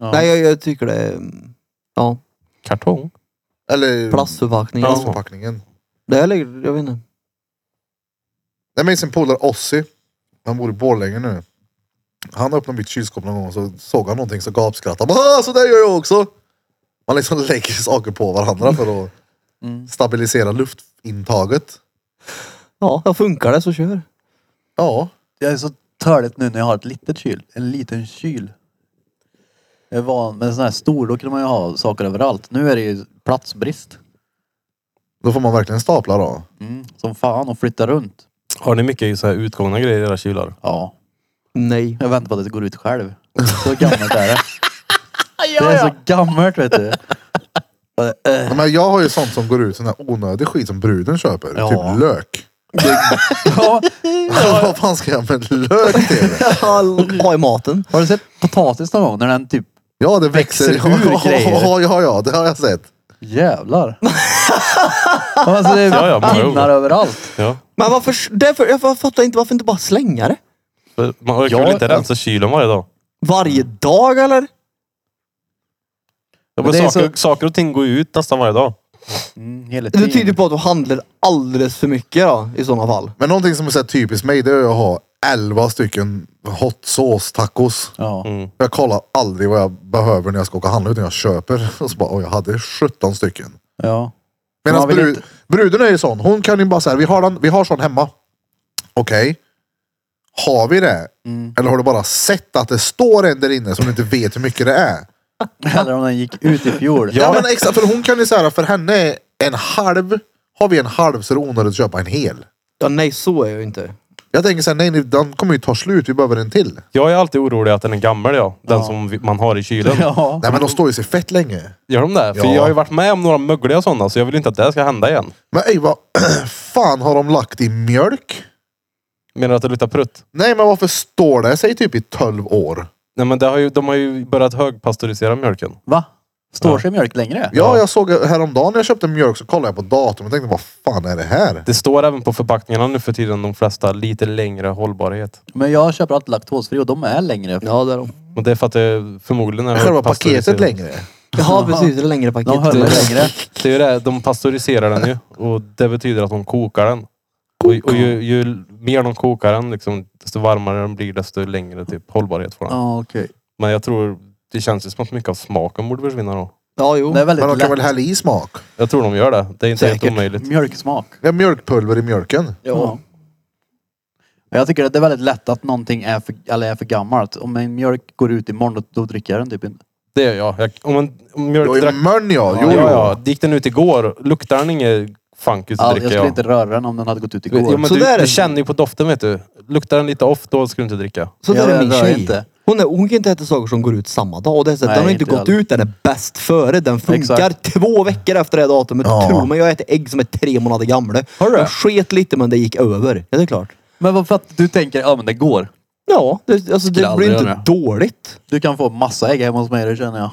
ja. Nej, jag, jag tycker det är... Ja, Kartong. Eller plastförpackningar. Ja. plastförpackningen. Det här lägger... Jag vet inte. Jag minns en polare, Ossi. Han bor i Borlänge nu. Han öppnade mitt kylskåp någon gång och så såg han någonting så gapskrattade han. Ah, så där gör jag också! Man liksom lägger saker på varandra för att Mm. stabilisera luftintaget. Ja, jag funkar det så kör. Ja, Jag är så törligt nu när jag har ett litet kyl. En liten kyl. Jag är van med en sån här stor. Då kunde man ju ha saker överallt. Nu är det ju platsbrist. då får man verkligen stapla då. Mm. Som fan och flytta runt. Har ni mycket så här utgångna grejer i era kylar? Ja. Nej. Jag väntar på att det går ut själv. Så gammalt är det. Det är så gammalt vet du. Eh. Nej, Men jag har ju sånt som går ut, sån här onödig skit som bruden köper. Ja. Typ lök. Ja, Vad fan ska jag med lök till? ha i maten. har du sett potatis någon gång när den typ Ja, det växer. Växer ur grejer. Ja, ja, ja, det har jag sett. Jävlar. alltså det Ja, ja, många pinnar gånger. överallt. Ja. Men varför... Därför, jag fattar inte varför inte bara slänga det. För Man orkar Ja, väl inte ja. rensa kylen varje dag? Varje dag eller? Ja, Men men det är saker, så- saker och ting går ju ut nästan varje dag. Mm, hela Det tiden. tyder på att du handlar alldeles för mycket då, i sådana fall. Men någonting som är så här typiskt mig, det är att ha 11 stycken hot sauce tacos. Ja. Jag kollar aldrig vad jag behöver när jag ska åka och handla utan jag köper. Och så bara, oj, jag hade 17 stycken. ja. Medan Man vill brud, inte- bruden är ju sån. Hon kan ju bara säga, vi har, den, vi har sån hemma. Okej. Har vi det? Eller har du bara sett att det står en där inne som du inte vet hur mycket det är? Eller om den gick ut i fjol. Ja, men exakt. För hon kan ju säga, för henne är en halv. Har vi en halv så är det onödigt att köpa en hel. Ja, nej så är jag ju inte. Jag tänker så här, nej, nej, den kommer ju ta slut. Vi behöver en till. Jag är alltid orolig att den är gammal ja. Den som vi- man har i kylen. Ja. Nej, men de står ju sig fett länge. Gör de det? För Ja. jag har ju varit med om några mögliga sådana så jag vill inte att det här ska hända igen. Men ey, vad fan har de lagt i mjölk? Menar du att det luktar prutt? Nej, men varför står det sig typ i 12 år? Nej men det har ju, de har ju börjat högpastörisera mjölken. Va? Står Ja. sig mjölk längre? Ja, jag såg häromdagen när jag köpte mjölk så kollade jag på datorn och tänkte vad fan är det här? Det står även på förpackningarna nu för tiden de flesta lite längre hållbarhet. Men jag köper alltid laktosfri och de är längre. Ja, det är de. Och det är för att det förmodligen är Själva högpastöriserat. paketet längre. Ja, precis. Det är längre paket. De höll längre. Det är ju det, de pasteuriserar den ju. Och det betyder att de kokar den. Och, och ju, ju mer de kokar den, liksom, desto varmare den blir, desto längre typ, hållbarhet får den. Ja, okej. Men jag tror, det känns ju som att mycket av smaken borde försvinna då. Ja, jo. Det är Men de väldigt kan väl lätt hälla i smak? Jag tror de gör det. Det är inte Säkert. helt omöjligt. mjölksmak. Ja, mjölkpulver i mjölken. ja. Jag tycker att det är väldigt lätt att någonting är för, eller är för gammalt. Om en mjölk går ut imorgon, då, då dricker jag den typ inte. Det gör jag. jag om en om Jo, mjölk i drack... mörn ja. Jo, ja, jo. ja. Gick den ut igår, luktar den inget funky så Ja, jag dricker skulle jag. inte röra den om den hade gått ut igår. Jo, men Så du, där är du det. känner ju på doften vet du. Luktar den lite off, då ska du inte dricka. Så Ja, där är min det rör jag tjej. inte. Hon, är, hon kan inte äta saker som går ut samma dag. Och det är så att Nej, den har inte inte gått jag. ut. Den är bäst före. Den funkar Exakt. två veckor efter det här datumet. Ja. Tro mig, jag äter ägg som är tre månader gamla. Har du det? Jag sket lite men det gick över. Ja, det är klart. Men varför att du tänker, ja men det går. Ja, det, alltså, Skulle det blir aldrig inte göra. dåligt. Du kan få massa ägg hemma hos mig, det känner jag.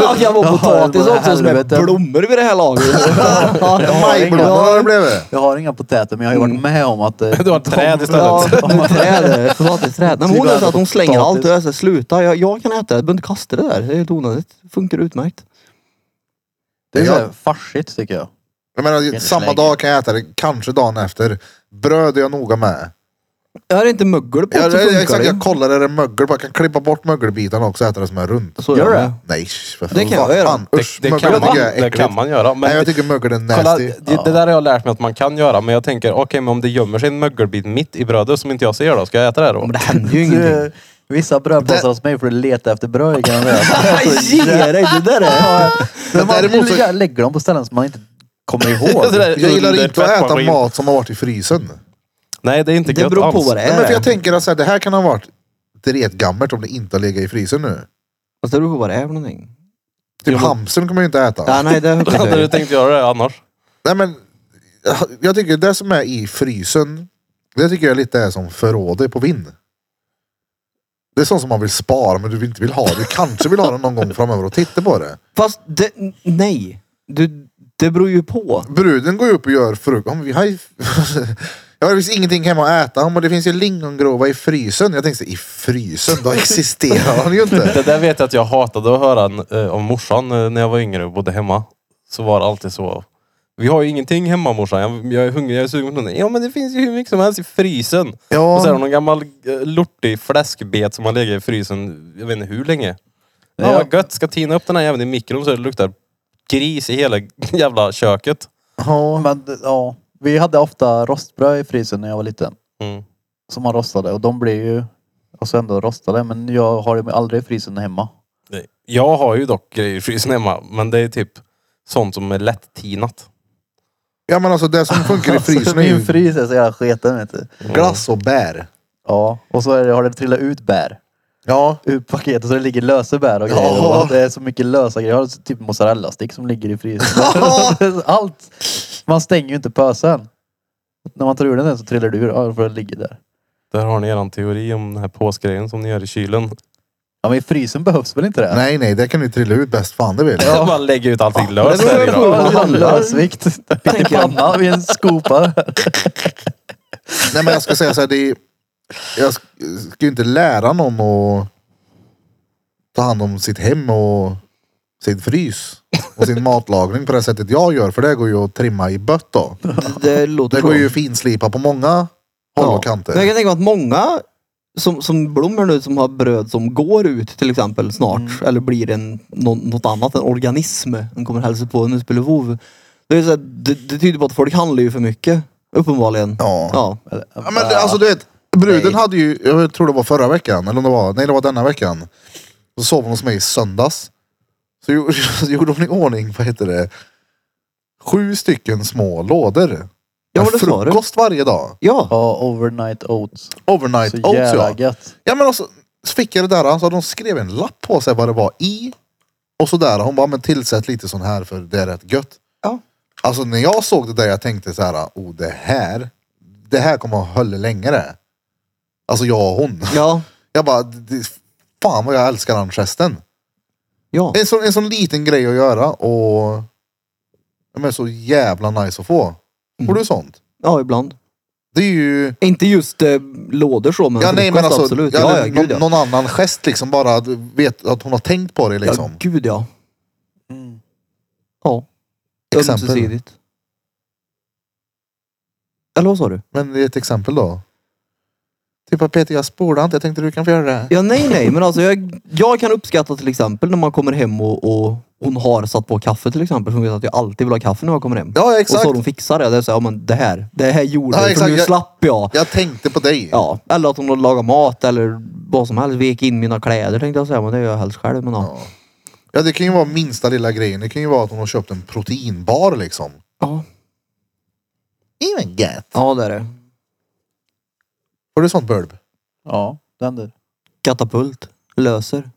Jag kan vara Ja, potatis det- också som är helvete. blommor vid det här laget. Ja, Jag har inga- Majblommor har det blivit. Jag har inga potäter men jag har ju varit med om att... eh, Du har ett träd istället. Ja, nu träd. Potatisträd. Nej, men hon är så att hon slänger Potatis. allt. Och jag säger sluta. Jag, jag kan äta det. Du behöver inte kasta det där. Det är helt onödigt. Det funkar utmärkt. Det är Ja. så här farsigt tycker jag. Jag menar, inte samma lägga. dag kan jag äta det, kanske dagen efter. Bröd är jag noga med. Jag har inte mögel på Jag, det så jag, funkar exakt, det. jag kollar, är det mögel? på? Jag kan klippa bort mögelbitarna också och äta det som är runt. Så Gör jag det? med. Nej, för Det kan jag fan. göra. Usch, det, det, mögel kan tycker man, jag är det äckligt. kan man göra. Men Nej, jag tycker mögel är nasty. Kolla, det, det där har jag lärt mig att man kan göra, men jag tänker, okej, men om det gömmer sig en mögelbit mitt i brödet som inte jag ser då, ska jag äta det Ja, då? Men det händer ju ingenting. Du, vissa bröd passar hos mig för att leta efter bröd kan jag säga. Ge dig! Det där är... Alltså, Men man däremot så- lägger- lägger dem på ställen som man inte kommer ihåg. Det där Jag gillar under inte att äta tvättmaskin. mat som har varit i frysen. Nej, det är inte Det gött beror på alls. vad det Nej, men är. för jag tänker att så här, det här kan ha varit gammalt om det inte har legat i frysen nu. Fast det beror på vad det är för någonting. Typ Jo, men- hamstern kan man ju inte äta. Ja, nej, det har jag inte Hade du hört. tänkt göra det annars? Nej men, jag tycker det som är i frysen, det tycker jag lite är som förrådet på vin. Det är sånt som man vill spara men du inte vill ha. Du kanske vill ha det någon gång framöver och titta på det. Fast det, nej. Du, det beror ju på. Bruden går ju upp och gör frukost. Ja, men vi har ju... Jag har visst ingenting hemma att äta. Ja, men det finns ju lingongrova i frysen. Jag tänkte så, i frysen? Då existerar han ju inte. Det där vet jag att jag hatade att höra eh, av morsan eh, när jag var yngre och bodde hemma. Så var det alltid så. Vi har ju ingenting hemma morsan. Jag, jag är hungrig, jag är sugen på någonting. Ja men det finns ju hur mycket som helst i frysen. Ja. Och så är det någon gammal eh, lortig fläskbet som har legat i frysen, jag vet inte hur länge. Ja, Ja. vad gött, ska tina upp den här jäveln i mikron så det luktar gris i hela jävla köket. Ja. Men ja, vi hade ofta rostbröd i frysen när jag var liten. Mm. Som man rostade och de blev ju alltså ändå rostade. Men jag har dem aldrig i frysen hemma. Nej. Jag har ju dock grejer i frysen hemma, men det är typ sånt som är lätt-tinat. ja men alltså det som funkar i frysen är Min ju frys är så jävla sketen vet du. glass och bär. Ja, och så är det, har det trillat ut bär Ja. ur paketet så det ligger lösa bär och grejer. Ja. Och att det är så mycket lösa grejer. Jag har typ mozzarella-stick som ligger i frysen. Allt! Man stänger ju inte pösen. När man tar ur den här så trillar det ur. Ja, då får det ligga där. Där har ni eran teori om den här påsgrejen som ni gör i kylen. Ja men i frysen behövs väl inte det? Nej nej, det kan du trilla ut bäst fan det vill. Ja. Man lägger ut allting löst det beror där i på. Ja, då. det är en handlar. Lösvikt. I Tänker jag. panna vid en skopa. Nej men jag ska säga så här, det är, Jag sk- ska ju inte lära någon att ta hand om sitt hem och sin frys och sin matlagning på det sättet jag gör. För det går ju att trimma i bött då. Det, det låter Det går bra. ju finslipa på många håll Ja. och kanter. Men jag kan tänka mig att många som, som blommar nu som har bröd som går ut till exempel snart Mm. eller blir en, nå- något annat, en organism. De kommer hälsa på nu spelar vov. Det, är så här, det, det tyder på att folk handlar ju för mycket. Uppenbarligen. Ja. ja. Ja, men det- alltså du vet, bruden Nej. hade ju, jag tror det var förra veckan, eller om det var, nej det var denna veckan. Så sov hon hos mig i söndags. Så gjorde, så gjorde hon i ordning, vad heter det, sju stycken små lådor. Ja, Med det sa du. frukost varje dag. ja. Ja, overnight oats. Overnight Så oats jävla ja. gött. Ja men alltså, så fick jag det där, alltså, de skrev en lapp på sig vad det var i. Och sådär, hon bara, men tillsätt lite sån här för det är rätt gött. Ja. Alltså när jag såg det där jag tänkte så här, oh det här, det här kommer att hålla längre. Alltså jag och hon. Ja. Jag bara, det, fan vad jag älskar den gesten. Ja. En sån, en sån liten grej att göra och ja, men så jävla nice att få. Mm. Får du sånt? ja, ibland. Det är ju, Inte just eh, lådor så men ja nej men frukost, alltså, absolut. ja, Ja, ja, eller gud ja. någon, någon annan gest liksom bara att vet att hon har tänkt på det liksom. Ja, gud ja. Mm. Ja. Exempel. Ömsesidigt. Eller vad sa du? Men det är ett exempel då. Typ att Peter jag spolade inte, jag tänkte du kan få göra det. Ja, nej, nej. Men alltså jag, jag kan uppskatta till exempel när man kommer hem och, och hon har satt på kaffe till exempel. För hon vet att jag alltid vill ha kaffe när jag kommer hem. Ja och så exakt. har hon fixat det. Det är så här, ja, men det här. Det här gjorde Ja, jag. För exakt. nu Jag- slapp jag. Jag tänkte på dig. Ja, eller att hon har lagat mat eller vad som helst. Vek in mina kläder tänkte jag säga. Men det gör jag helst själv. Men ja. Ja. Ja det kan ju vara minsta lilla grejen. Det kan ju vara att hon har köpt en proteinbar liksom. Ja. Even gött. ja, det är det. Var det sånt burb? Ja, den du. Katapult. Löser.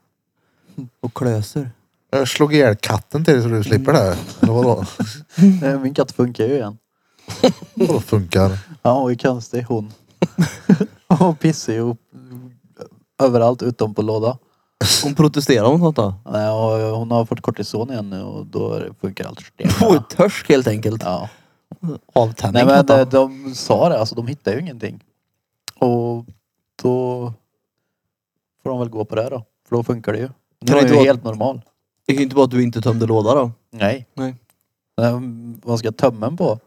Och klöser. Jag slog ihjäl katten till dig så du slipper det. här. Eller vadå? Eh, Min katt funkar ju igen. Mm. Vadå funkar? Ja, hon är konstig hon. Hon pissar ju upp överallt utom på låda. Hon protesterar mot något då. Nej, och Hon har fått kortison igen nu och då är det- funkar allt stenbra. Påtörsk helt enkelt. Ja. Avtändning. Nej men fattar. de, de sa det, alltså de hittar ju ingenting. Och då får de väl gå på det då. För då funkar det ju. Nu det är inte ju vara- helt normal. Det kan ju inte vara att du inte tömde låda då. Nej. Nej. Men Vad ska jag tömma den på?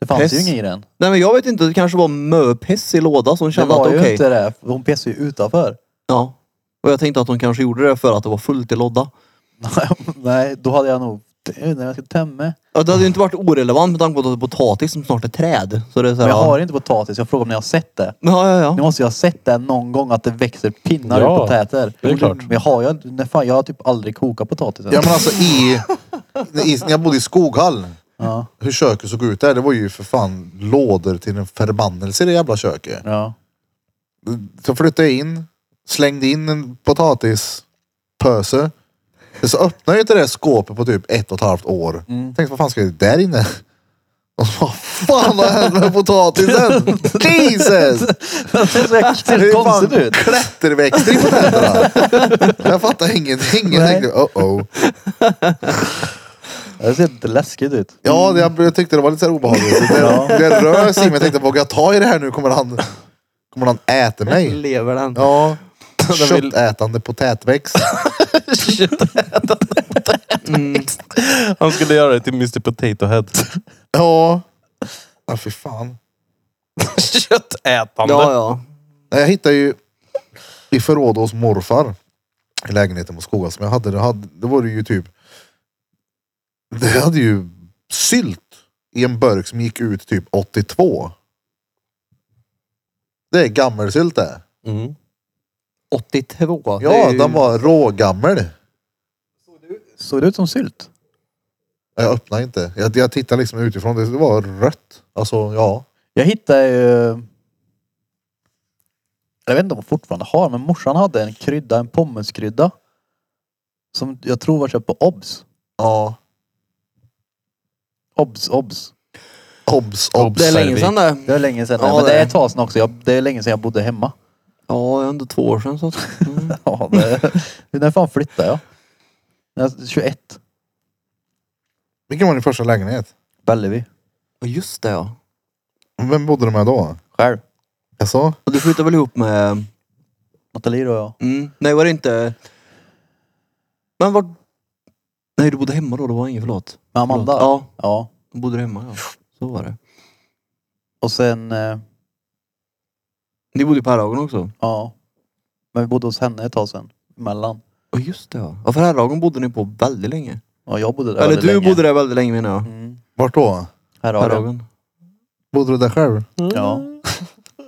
Det fanns Pess. ju ingen i den. Nej men jag vet inte, det kanske var möpiss i låda som Det kände att var okej. ju inte det. Hon pissade ju utanför. Ja. Och jag tänkte att de kanske gjorde det för att det var fullt i låda. Nej, då hade jag nog... När jag ska tömma. Ja, det hade ju inte varit orelevant med tanke på att det är potatis som snart är träd. Så det är så här, Men jag ja. har inte potatis. Jag frågar om ni har sett det. Ja, ja, ja. Ni måste ju ha sett det någon gång att det växer pinnar Ja, ur potäter. det är klart. Men jag har ju inte- nej, fan, jag har typ aldrig kokat potatis. än. Ja men alltså i, i... När jag bodde i Skoghall. Ja. hur köket såg ut där. Det var ju för fan lådor till en förbannelse i det jävla köket. Ja. Så flyttade jag in, slängde in en potatispöse. Så öppnade jag inte det där skåpet på typ ett och ett halvt år. Mm. Tänkte vad fan ska det där inne? Och så bara, fan vad hände med potatisen? Jesus! Det ser Det är helt fan konstigt ut. Klätterväxter i potäterna. Jag fattar ingenting. Jag Nej. tänkte, oh oh. Det ser lite läskigt ut. Ja, det- jag, jag tyckte det var lite så här obehagligt. Det, det rör sig, men jag tänkte vågar jag ta i det här nu kommer han, kommer han äta mig? Lever den? Ja. Den vill- Köttätande potätväxt. Han skulle göra det till Mr Potato Head. Ja. Ja, fy fan. Köttätande. Ja, ja. Nej, Jag hittade ju i förråd hos morfar i lägenheten på Skoga som jag hade. Det, hade, det var det ju typ. Det hade ju sylt i en burk som gick ut typ 82. Det är gammelsylt det. Mm. 82. det Ja, är ju- den var rågammel. Såg det ut som sylt? Jag öppnade inte. Jag, jag tittade liksom utifrån. Det var rött. Alltså ja. Jag hittade ju... Jag vet inte om hon fortfarande har, men morsan hade en krydda, en pommeskrydda. Som jag tror var köpt på Obs. Ja. Obs, Obs. Obs, obs. Det är länge sedan det. Det är länge sedan. Ja, men det det är är. ett tag sedan också. Jag, det är länge sedan jag bodde hemma. Ja, ändå två år sedan. Så. att- Mm. Ja, det, när fan flyttade jag? När jag? 21. Vilken var din första lägenhet? Bellevi. Ja, Just det ja. Vem bodde du med då? Själv. Jaså? Och du flyttade väl ihop med... Nathalie och jag. Mm. Nej, var det inte... Men vart... Nej, du bodde hemma då. Det var ingen, förlåt. Med Amanda. Ja, ja. då bodde du hemma ja. Så var det. Och sen... eh, Ni bodde ju på Herrhagen också. Ja. Men vi bodde hos henne ett tag sen. Emellan. Ja, just det ja. Ja, för Herrhagen bodde ni på väldigt länge. Ja, jag bodde där Eller väldigt du länge. bodde där väldigt länge menar jag. Mm. Vart då? Här har du. Herrhagen. Bodde du där själv? Ja.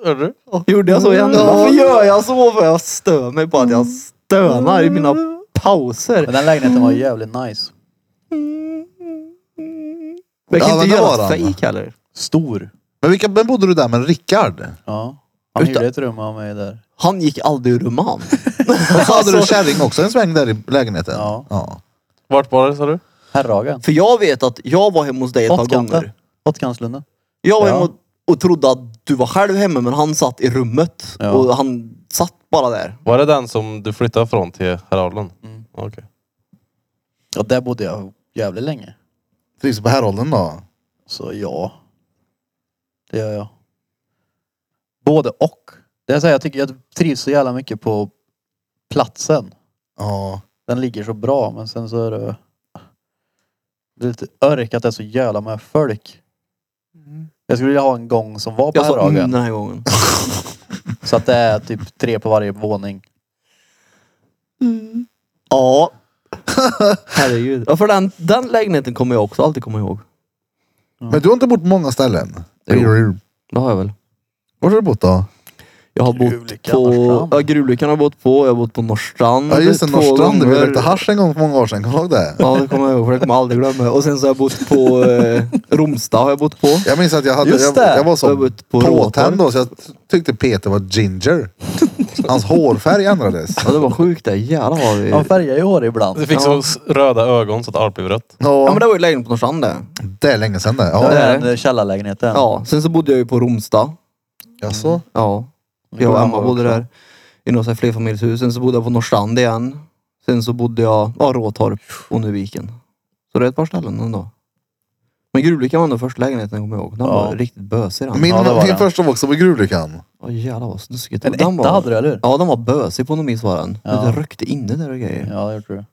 Hörru. Gjorde jag så igen? Varför gör jag så? För jag stör mig på att jag stönar i mina Men pauser. den lägenheten var ju jävligt nice. Jag kan Ja, men det inte göra var den. fejk heller. Stor. Men vilka, vem bodde du där med? Rickard? Ja. Han Utan- hyrde ett rum av mig där. Han gick aldrig ur rumman. Och så hade du Alltså- kärring också en sväng där i lägenheten? Ja. Vart var det sa du? Herrhagen. För jag vet att jag var hemma hos dig ett par Hottkanten. gånger. Hottkantslunden. Jag var Ja. hemma och trodde att du var själv hemma men han satt i rummet. Ja. Och han satt bara där. Var det den som du flyttade från till Herrarlen? Mm. Okej. Ja, där bodde jag jävligt länge. Trivs du på Härholden då? Så ja. Det gör jag. Både och. Det är så här, jag tycker jag trivs så jävla mycket på platsen. Ja. Den ligger så bra men sen så är det... Det är lite örk att det är så jävla med folk. Jag skulle vilja ha en gång som var på Jag sa mm Herrhagen. den här gången. Så att det är typ tre på varje våning. Ja. Herregud. Ja, för den, den lägenheten kommer jag också alltid komma ihåg. Men du har inte bott på många ställen? Jo. Det har jag väl. Var har du bott då? Jag har bott Gruvlyckan, på... Norrstrand. Ja, Gruvlyckan har jag bott på. Jag har bott på Norrstrand. Ja just det, två Norrstrand. där Vi gånger. rökte hasch en gång för många år sedan. Kommer du ihåg det? Ja, det kommer jag ihåg. För det kommer jag aldrig glömma. Och sen så har jag bott på eh, Romsta. Har jag bott på. Jag minns att jag, hade, Just jag, det. jag var Jag har så bott på påtänd Råtorp. då så jag tyckte Peter var ginger. Hans hårfärg ändrades. Ja, det var sjukt det. Jävlar vad vi... Man färgar ju hår ibland. Du fick så s- röda ögon så att allt blev rött. Ja, men Ja, det var ju lägenhet på Norrstrand det. det är länge sedan det. Ja, Ja. det är det. den källarlägenheten. Ja, sen så bodde jag ju på Romsta. Jaså? Ja. Jag och Ja, Emma bodde också. där. I något så här flerfamiljshus. Sen så bodde jag på Norrstrand igen. Sen så bodde jag ja, Råtorp och nu Viken. Så det är ett par ställen ändå. Men Gruvlyckan var ändå första lägenheten jag kommer ihåg. Den Ja. var riktigt bösig den. Min, Ja, det var min det. första var också på Gruvlyckan. Åh jävlar vad snuskigt. En Den etta hade du, eller hur? Ja, den var bösig på något vis var den. Ja. Det rökte inne där och grejer. Ja. Ja, det gjorde du.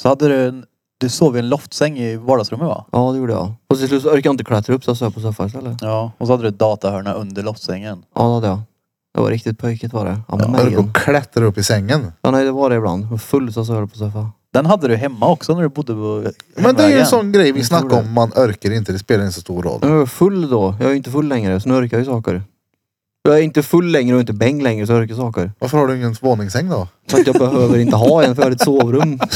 Så hade du en... Du sov i en loftsäng i vardagsrummet va? det gjorde jag. Och till slut så orkade jag inte klättra upp så jag söp på soffan istället. Ja. Och så hade du ett datahörna under loftsängen. Ja, det hade jag. Det var riktigt pöjkigt var det. Jag Ja, höll på men att klättra upp i sängen. ja, nej, det var det ibland. Jag var full så jag sövde på soffan. Den hade du hemma också när du bodde på Men det är ju en hemvägen. sån grej vi Jag tror snackar om. Man örker inte, det spelar inte så stor roll. Men Jag var full då. Jag är ju inte full längre så nu orkar jag ju saker. Jag är inte full längre och inte bäng längre så jag orkar saker. Varför har du ingen våningssäng då? För att jag behöver inte ha en för jag har ett sovrum.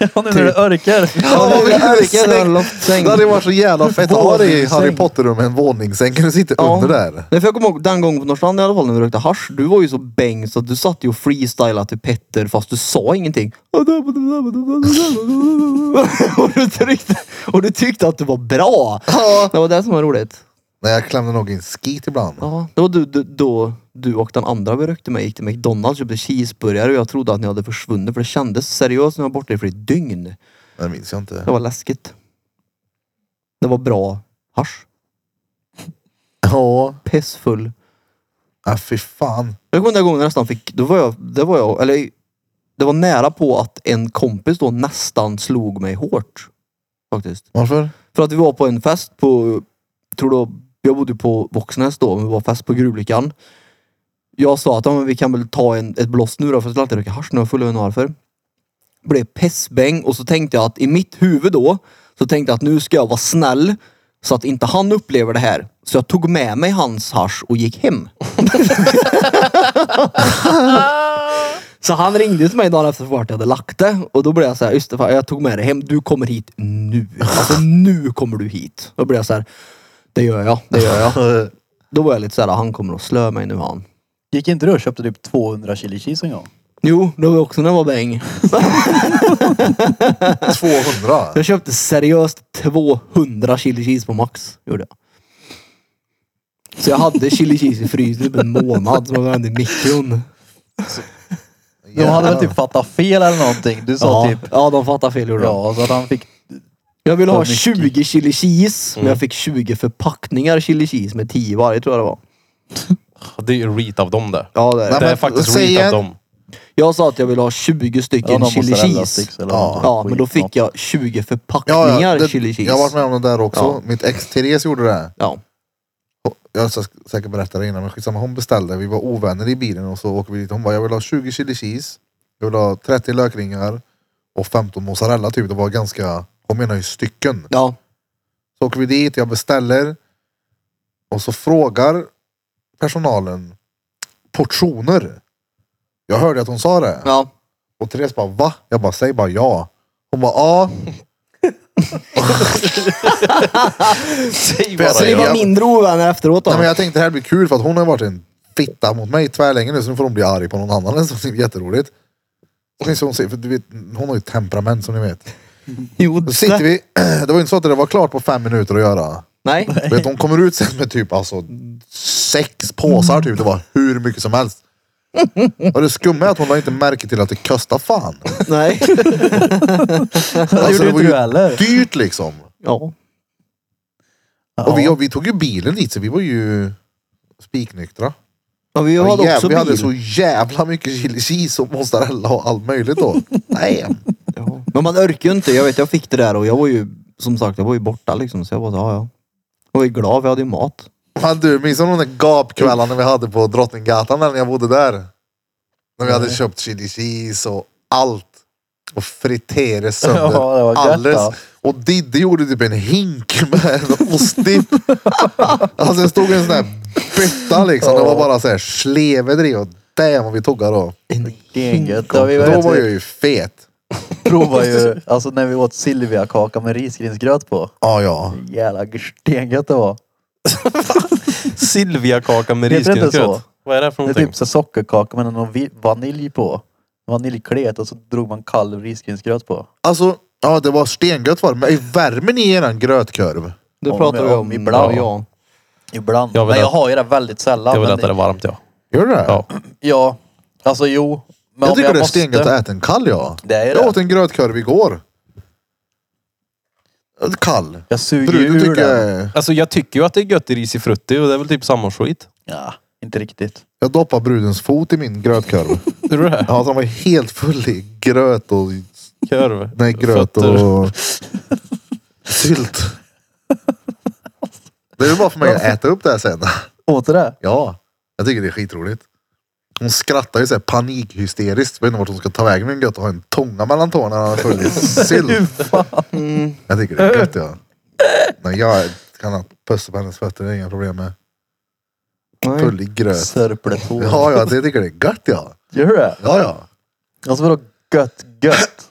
Ja, nu när det örkar. Ja, vad det jävligt örkar, snyggt. en loftsäng. Det hade varit så jävla fett. Ha det i Harry Våningssäng. Potter-rummet, en våningssäng. Kan du sitta Ja. under där? Nej, för jag kommer ihåg den gången på Norrstrand i alla fall när vi rökte hasch. Du var ju så bäng så att du satt ju och freestylade till Petter fast du sa ingenting. Och du, tryckte, och du tyckte att du var bra. Det var det som var roligt. Nej, jag klämde nog in skit ibland. Ja, det var du, du, då du och den andra vi rökte med gick till McDonalds och köpte cheeseburgare och jag trodde att ni hade försvunnit för det kändes seriöst när jag var borta i flera dygn. Det minns jag inte. Det var läskigt. Det var bra hasch. Ja, Pissfull. ja äh, fy fan. Jag kommer ihåg den gången jag nästan fick, då var jag, det var jag, eller det var nära på att en kompis då nästan slog mig hårt. Faktiskt. Varför? För att vi var på en fest på, tror då, jag bodde på Våxnäs då, men vi var fest på Gruvlyckan. Jag sa att ja, men vi kan väl ta en, ett blås nu då, för jag skulle alltid röka hasch när jag var full, jag vet inte varför. Blev pissbäng och så tänkte jag att i mitt huvud då, så tänkte jag att nu ska jag vara snäll så att inte han upplever det här. Så jag tog med mig hans hasch och gick hem. Så han ringde ju till mig dagen efter vart jag hade lagt det. Och då blev jag så här, just det, fan, jag tog med det hem. Du kommer hit nu. Alltså nu kommer du hit. Då blev jag så här, det gör jag, det gör jag. Då var jag lite så här, han kommer att slö mig nu han. Gick inte du och köpte typ 200 chili cheese en gång? Jo, det var också när jag var bäng. 200? Jag köpte seriöst 200 chili cheese på max. Gjorde jag. Så jag hade chili cheese i frysen i typ en månad som jag värmde i mikron. De hade väl typ fattat fel eller någonting. Du sa Ja, typ... ja, de fattar fel gjorde de. Ja, så att han fick... Jag ville För ha mycket. 20 chili cheese, men Mm. jag fick 20 förpackningar chili cheese med 10 varje tror jag det var. Det är ju en reat av dem där. Ja, det är. Nej, det. Det är men faktiskt säg reat av en- dem. Jag sa att jag ville ha 20 Ja, stycken någon chili mozzarella cheese. sticks eller Ja. någonting. Ja, men då Skit, fick jag 20 Ja, förpackningar ja, det, chili cheese. jag har varit med om det där också. Ja. Mitt ex Therese gjorde det. Ja. Jag ska säkert berätta det innan men skitsamma. Hon beställde, vi var ovänner i bilen och så åker vi dit. Hon bara, jag vill ha 20 chili cheese. Jag vill ha 30 lökringar och 15 mozzarella typ. Det var ganska, hon menar ju stycken. ja. Så åker vi dit, jag beställer. Och så frågar personalen portioner. Jag hörde att hon sa det. ja. Och Therese bara va? Jag bara säg bara ja. Hon bara ja. Säg Så ni jag- var mindre ovänner efteråt då? Nej, men jag tänkte det här blir kul för att hon har varit en fitta mot mig tvärlänge nu så nu får hon bli arg på någon annan. Så det är jätteroligt. Och sen så hon, säger- för du vet, hon har ju temperament som ni vet. Jo, Då sitter vi, det var ju inte så att det var klart på fem minuter att göra. Nej. Vet, hon kommer ut sen med typ alltså sex påsar typ. Det var hur mycket som helst. Och det skumma är att hon la inte märke till att det kostar fan. Nej. Det Alltså, det gjorde var inte du ju heller. dyrt liksom. Ja. Och vi, Ja. och vi tog ju bilen dit så vi var ju spiknyktra. ja vi Ja, hade jäv- också vi bil. hade så jävla mycket chili cheese och mozzarella och allt möjligt då. Nej. Ja. Men man orkar ju inte. Jag vet, jag fick det där och jag var ju, som sagt, jag var ju borta liksom. Så jag var så, ja, ja. Jag var ju glad, vi hade ju mat. Fan du, minns du de där gapkvällarna vi hade på Drottninggatan när jag bodde där? När vi hade köpt chili cheese och allt. Och friterade sönder Ja, det var gött, alles. ja. Och Didde gjorde typ en hink med en ostdipp. alltså det stod en sån där bytta liksom. Det var bara så här slevedri och damn vad vi tog då. Det är inget. Ja, vi var, Då var jag ju fet. provade ju, alltså när vi åt Silvia-kaka med risgrynsgröt på. Ja, ja. Jävla stengött det var. Silviakaka med Heter det inte så? risgrynsgröt. Vad är det för Det är någonting? typ så sockerkaka med någon vi- vanilj på. Vaniljklet och så drog man kall risgrynsgröt på. Alltså, ja det var stengött var det. Men värmer ni eran grötkorv? Det Om- pratade vi om om ibland. Ja. Ibland. Jag vill men jag att- har ju det väldigt sällan. Jag vill men äta det varmt ja. Gör du det? Ja. Ja. Alltså jo. Men Jag om tycker jag det är måste- stengött att äta en kall ja. Det är Jag det. åt en grötkorv igår. En Kall. Jag suger Bruden ju ur tycker det. jag, Alltså jag tycker ju att det är gött i risifrutti och det är väl typ samma skit. Ja, inte riktigt. jag doppar brudens fot i min grötkorv. Tror du det? Ja, så den var helt full i gröt och, Korv. nej, gröt Fötter. och sylt. Det är ju bara för mig att äta upp det här sen. Åt du det? Ja, jag tycker det är skitroligt. Hon skrattar ju såhär panikhysteriskt. Vet inte vart hon ska ta vägen med en gött och ha en tånga mellan tårna när han är full i sylt. Jag tycker det är gött ja. Men jag kan ha puss på hennes fötter, det är inga problem med. Nej. Full i gröt. Sörpletår. Ja, ja, det tycker det är gött ja. Gör du det? Ja, ja. Alltså vadå gött gött?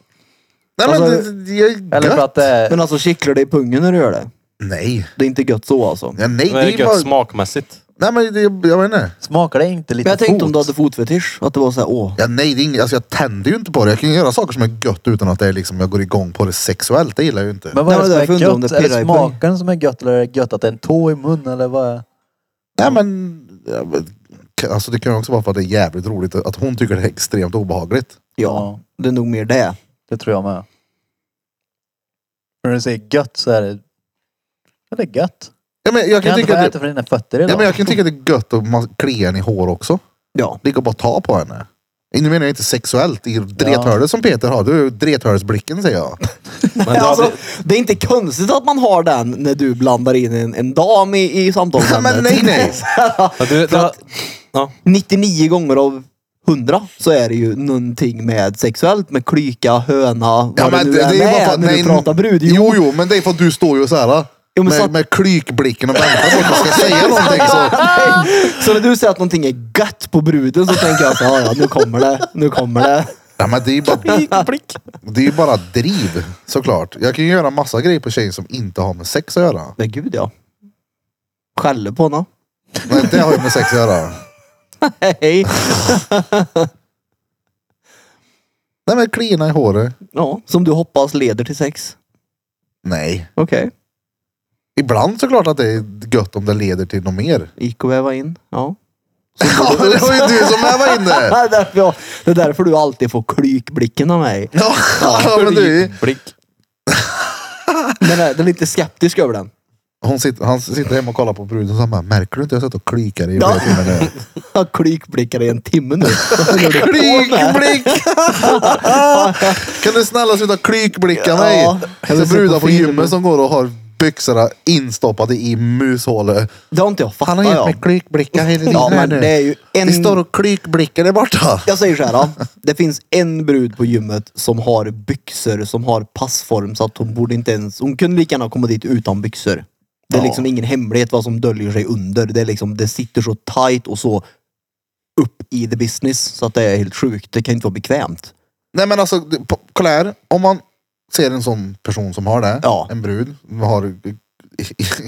Nej men Alltså, det, det är gött. Eller för att det är... Men alltså kittlar det i pungen när du gör det? Nej. Det är inte gött så alltså. Ja, nej, Det är det är gött bara... smakmässigt. Nej men det, jag vet inte. Smakar det inte lite Men jag tänkte om fot? du hade fotfetisch. Att det var såhär, åh. Ja, nej, det är inget, alltså jag tänder ju inte på det. Jag kan ju göra saker som är gött utan att det är liksom, jag går igång på det sexuellt. Det gillar jag ju inte. Men vad är Nej, det men därför som är undrar jag om gött? det Är pirrar det i smaken som är gött eller är det gött att det är en tå i munnen eller vad är Nej men, ja, men ka- alltså det kan ju också vara för att det är jävligt roligt att hon tycker det är extremt obehagligt. Ja, det är nog mer det. Det tror jag med. När du säger gött så är det... Ja, det är gött. Ja, men jag, Kan kan jag inte tycka få att det, äta för dina fötter idag? ja, men jag kan tycka att det är gött att man kliar henne i hår också. Ja. Ligga och bara ta på henne. Nu menar jag inte sexuellt i drethörlet som Peter har. Du är drethörlesblicken säger jag. Men du Alltså, hade, det är inte konstigt att man har den när du blandar in en, en dam i, i samtalsämnet. Men nej, nej. Ja, du, det, ja. 99 gånger av 100 så är det ju någonting med sexuellt, med klyka, höna, vad det nu än bara är alltså, att- när nej, du pratar brud. Jo, Jo, jo, men det är för att du står ju så här. Jo, men med, så att- med klykblicken och väntar på att du ska säga någonting. Så. Nej. Så när du säger att någonting är gött på bruden så tänker jag så här, "Ja, ja, nu kommer det, nu kommer det. Ja, men det är ju bara, det är ju bara driv såklart. Jag kan ju göra massa grejer på tjejer som inte har med sex att göra. Men gud ja. Skäller på henne. Men det har ju med sex att göra. Hej. Nej men klina i håret. Ja, som du hoppas leder till sex. Nej. Okej. Ibland såklart att det är gött om det leder till något mer. Gick och väva in. Ja. Ja, men det var ju du som här var Det inne. är därför, jag, det är därför du alltid får klykblicken av mig. Ja, ja, men du, Blick. Den är, eh, den är lite skeptisk över den. hon sitter, han sitter hemma och kollar på bruden och så bara, märker du inte jag satt och klikade i Ja. flera timmar nu? Jag har klykblickar i en timme nu. Vad håller du på med? Klykblick! kan du snälla sluta klykblicka mig? Ja, jag så vill se brudar på på film. gymmet som går och har byxorna instoppade i mushålet. Det har inte jag Han fattat. har gett mig jag. klykblickar hela tiden Ja, här men nu. det är ju en... Vi står och klykblickar där borta. Jag säger så här. ja. Det finns en brud på gymmet som har byxor som har passform så att hon borde inte ens... Hon kunde lika gärna komma dit utan byxor. Det är liksom ingen hemlighet vad som döljer sig under. Det är liksom, det sitter så tight och så upp i the business så att det är helt sjukt. Det kan inte vara bekvämt. Nej men alltså, det- på- kolla här. Om man ser en sån person som har det, Ja. en brud, som har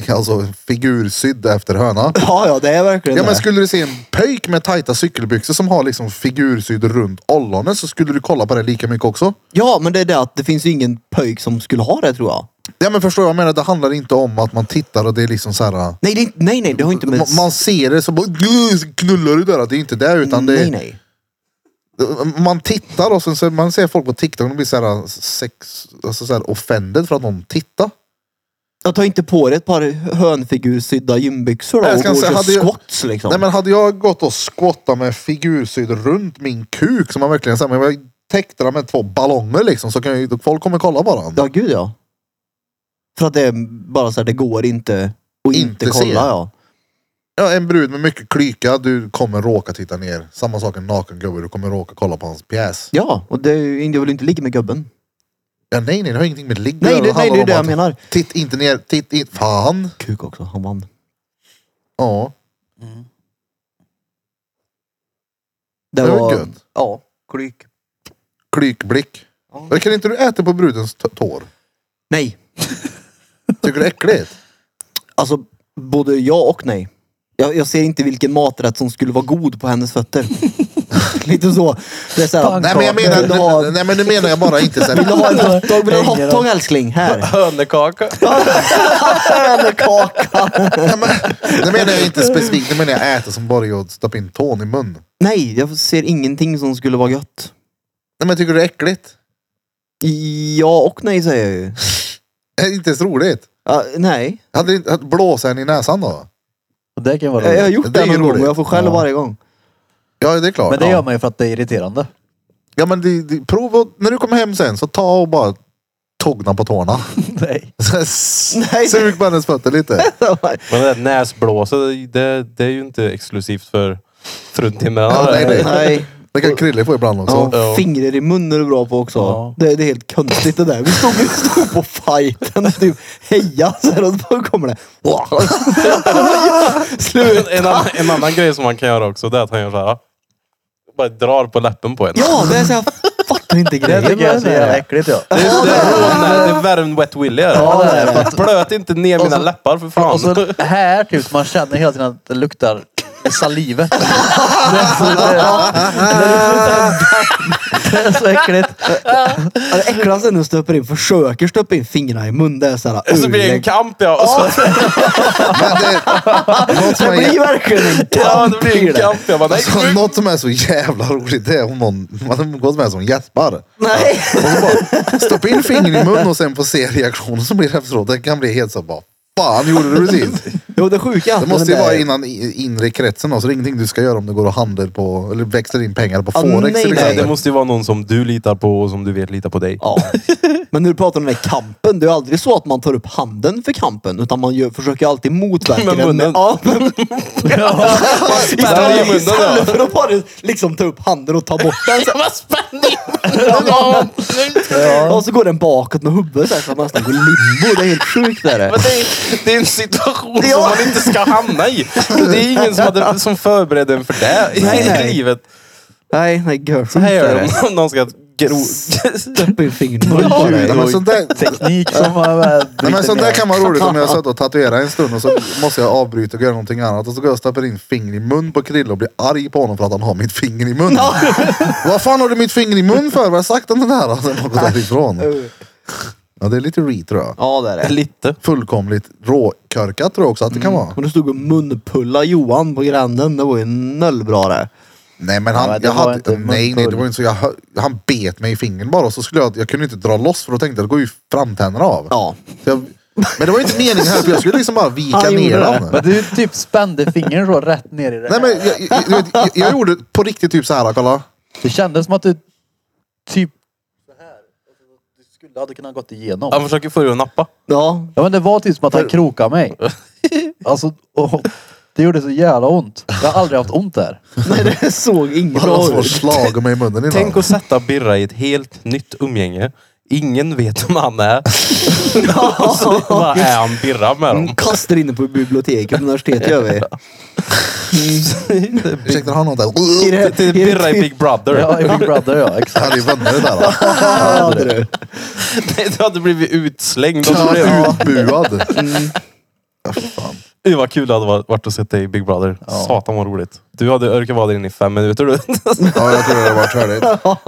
alltså figursydd efter höna. Ja, ja, det är verkligen Ja men det. skulle du se en pöjk med tajta cykelbyxor som har liksom figursydd runt ollonet så skulle du kolla på det lika mycket också. Ja, men det är det att det finns ju ingen pöjk som skulle ha det tror jag. Ja men förstår jag, jag menar det handlar inte om att man tittar och det är liksom så här. Nej, det, är inte- nej, nej, det har inte med... Man, man ser det så bara "Gud, så knullar du där. Det är inte det utan det Nej, nej. Man tittar och sen så, man ser folk på TikTok och blir så här äh, sex, alltså så här offended för att någon tittar. Jag tar inte på dig ett par hönfigursydda gymbyxor då Nej, jag och ska går säga, till hade jag- squats liksom. Nej men hade jag gått och squattat med figursydd runt min kuk som man verkligen säger, men jag täckte den med två ballonger liksom så kan jag ju, folk kommer kolla bara. Ja, gud ja. För att det är bara så här, det går inte och Inte inte, se. kolla ja. Ja, en brud med mycket klyka, du kommer råka titta ner. Samma sak en naken gubbe, du kommer råka kolla på hans pjäs. Ja, och det är ju det vill inte ligga med gubben. Ja, nej, nej, det har ingenting med ligg Nej, det, nej, handlar det är om det jag att- menar. Titt inte ner, titt in. Fan! Kuk också, han vann. Ja. Det Det var var... gött. Ja, klyk. Klykblick. Ja. Men Kan inte du äta på brudens t- tår? Nej, Tycker du det är äckligt? alltså både ja och nej. Jag, jag ser inte vilken maträtt som skulle vara god på hennes fötter. Lite så. Det är så här, Nej men jag menar, vill du ha, nej, men nu menar jag bara inte så vill du här. ha en hotdog? Vill du ha en Hänger hotdog älskling? Här. Hönekaka. Nej, men, nu menar jag inte specifikt, nu menar jag äta som bara är att stoppa in tån i mun. Nej, jag ser ingenting som skulle vara gött. Nej men tycker du det är äckligt? Ja och nej säger jag ju. Det är inte ens roligt. Ja, nej, Hade du inte, hade- blåsa henne i näsan då? Och det kan ju vara jag, jag har roligt. gjort Det är det någon ju gång roligt. och jag får skäll Ja. varje gång. Ja det är klart. Men det ja. gör man ju för att det är irriterande. Ja men det, det, prova, när du kommer hem sen så ta och bara togna på tårna. Nej. Så här, s- Nej. Sug på hennes fötter lite. Men det där näsblåset, det, det är ju inte exklusivt för fruntimmerarna. Ja, nej, nej. nej. Det kan Krille få ibland också. Ja, Ja. Fingrar i munnen är bra på också. Ja. Det, det är helt konstigt det där. Vi stod, vi stod på fighten typ heja så här och då kommer det. Slut. En, annan, en annan grej som man kan göra också, det är att han gör såhär. Bara drar på läppen på en. Ja, det är så här. Fuck fattar inte Det grejen tycker jag är så jävla äckligt ja. Det är, det är, det är värre än wet willy är det. Ja, det är det. Blöt inte ner Och mina så- läppar för fan. Och så här typ, man känner hela tiden att det luktar salivet. Det är så, det, är- det är så äckligt. Ja, Det äckligaste Alltså, är när du stöper in, försöker stöpa in fingrarna i munnen. Det är såhär Och så blir det en kamp ja. Och så, Men det, något, som Det blir är, verkligen en ja det kamp i blir en kamp ja. Bara, nej, alltså, något som är så jävla roligt det är om någon man umgås med som gäspar. Nej! Och så bara stoppa in fingret i munnen och sen få se reaktionen som blir efteråt. Det kan bli helt så bara. Fan gjorde du precis? Jo det sjuka. Det måste ju vara innan i- inre kretsen då, så det är ingenting du ska göra om du går och handlar på, eller växlar in pengar på Ah, Forex nej, till nej, nej, exempel. det måste ju vara någon som du litar på och som du vet litar på dig. Ja. Men när du pratar om den här kampen, det är ju aldrig så att man tar upp handen för kampen. Utan man gör, försöker ju alltid motverka Med den. munnen. ja, men, Spänner i istället, munnen, ja. istället för att bara liksom ta upp handen och ta bort den. Så, Vad spännande! ja. Och så går den bakåt med huvudet så, här, så att man nästan går limbo. Det är helt sjukt. Är det. Men det, är, det är en situation som man inte ska hamna i. Det är ingen som, hade, som förberedde en för det i Nej, nej. livet. Nej, nej, görsjukt Här är gör det. de om någon ska gro... Stöpa in fingrarna på Nej, dig. men sånt där, Teknik som man nej, men sånt där kan vara roligt om jag har suttit och tatuerat en stund och så måste jag avbryta och göra någonting annat och så går jag och stoppar in finger i mun på Krille och blir arg på honom för att han har mitt finger i mun. Vad fan har du mitt finger i mun för? Vad har jag sagt om den här? Och sen har jag gått därifrån. Ja, det är lite re tror jag. Ja, det är det. Lite. Fullkomligt råkörkat tror jag också att det kan vara. Och du stod och munpulla Johan på gränden. Det var ju nollbra det. Nej men Ja, han, men det jag var hade, inte nej, nej munpull. det var inte så, jag, hö- han bet mig i fingern bara och så skulle jag, jag kunde inte dra loss för då tänkte jag, då går ju framtänderna av. Ja. Så jag, men det var inte meningen här för jag skulle liksom bara vika Han gjorde ner det. den. Men du typ spände fingern så rätt ner i det. Nej men jag, jag, du vet, jag, jag gjorde på riktigt typ så här, kolla. Det kändes som att du typ du skulle hade kunnat gått igenom. Han försöker få dig att nappa. Ja. Ja men det var typ som att han krokade mig. Alltså, åh, det gjorde så jävla ont. Jag har aldrig haft ont där. Nej, det såg inget Alla bra som har ut. slagit mig i munnen innan. Tänk att sätta Birra i ett helt nytt umgänge. Ingen vet vem han är. Och så bara är han Birra med dem. Kastar inne på biblioteket på universitetet gör vi. Ursäkta han något där. I det- Till i det Birra i Big Brother. Ja, i Big Brother ja, exakt. Han är ju vänner det där. då. hade du. Nej, Du hade blivit utslängd. Och så Han blev är utbuad. Ja, för fan. Uy, vad kul det hade varit- varit att se dig i Big Brother. Satan vad roligt. Du hade orkat vara där inne i fem minuter du. Ja jag tror det hade varit härligt.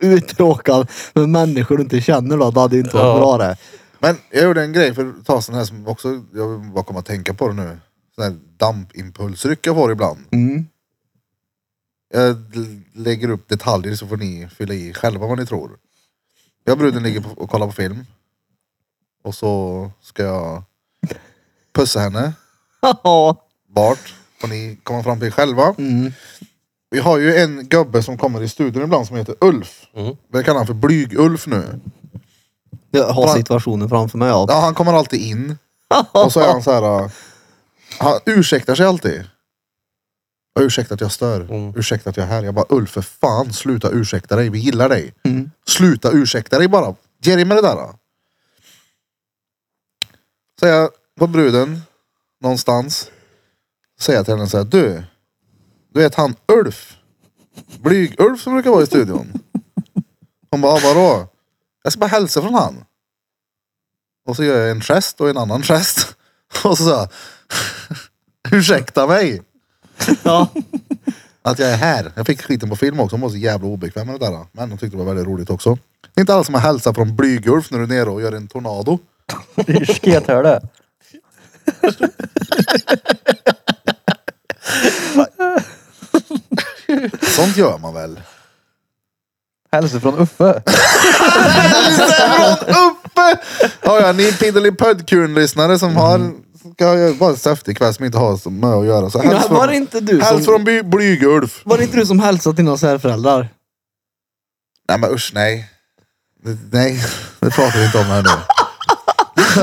Uttråkad med människor du inte känner då. Det hade ju inte varit Ja. bra det. Men jag gjorde en grej för ett tag sedan här som också, jag bara kommer att tänka på det nu. Sån här dampimpulsryck jag får ibland. Jag l- lägger upp detaljer så får ni fylla i själva vad ni tror. Jag och bruden ligger på, och kollar på film. Och så ska jag pussa henne. Ja. Vart får ni komma fram till själva. Mm. Vi har ju en gubbe som kommer i studion ibland som heter Ulf. Mm. Det kallar han för Blyg-Ulf nu. Jag har situationen framför mig. Ja. Ja, han kommer alltid in. Och så är han så här. uh, han ursäktar sig alltid. "Ja, Ursäkta att jag stör. Mm. Ursäkta att jag är här. Jag bara Ulf för fan sluta ursäkta dig. Vi gillar dig. Mm. Sluta ursäkta dig bara. Ge dig med det där. då." Så jag på bruden någonstans. Säger jag till henne så här. Du. Du vet han Ulf. Blyg-Ulf som brukar vara i studion. Hon bara "Ja, vadå? Jag ska bara hälsa från han. Och så gör jag en gest och en annan gest. Och så sa jag, ursäkta mig Ja. att jag är här. Jag fick skiten på film också, hon var så jävla obekväm med det där. Men hon tyckte det var väldigt roligt också. Det är inte alls som att hälsa från Blygulf när du är nere och gör en tornado. Det är ju skethörde. Sånt gör man väl? Hälsa från Uffe. Uppe! Ja, ja, ni Piddelipöddkurn-lyssnare som har Mm. ska jag bara en saftig kväll som inte har så med att göra. Så häls Var det från, inte du häls som, från Bly- Blygulf. var det inte du som hälsade till dina särföräldrar? Nej men usch nej. Det- Nej, det pratar vi inte om här nu.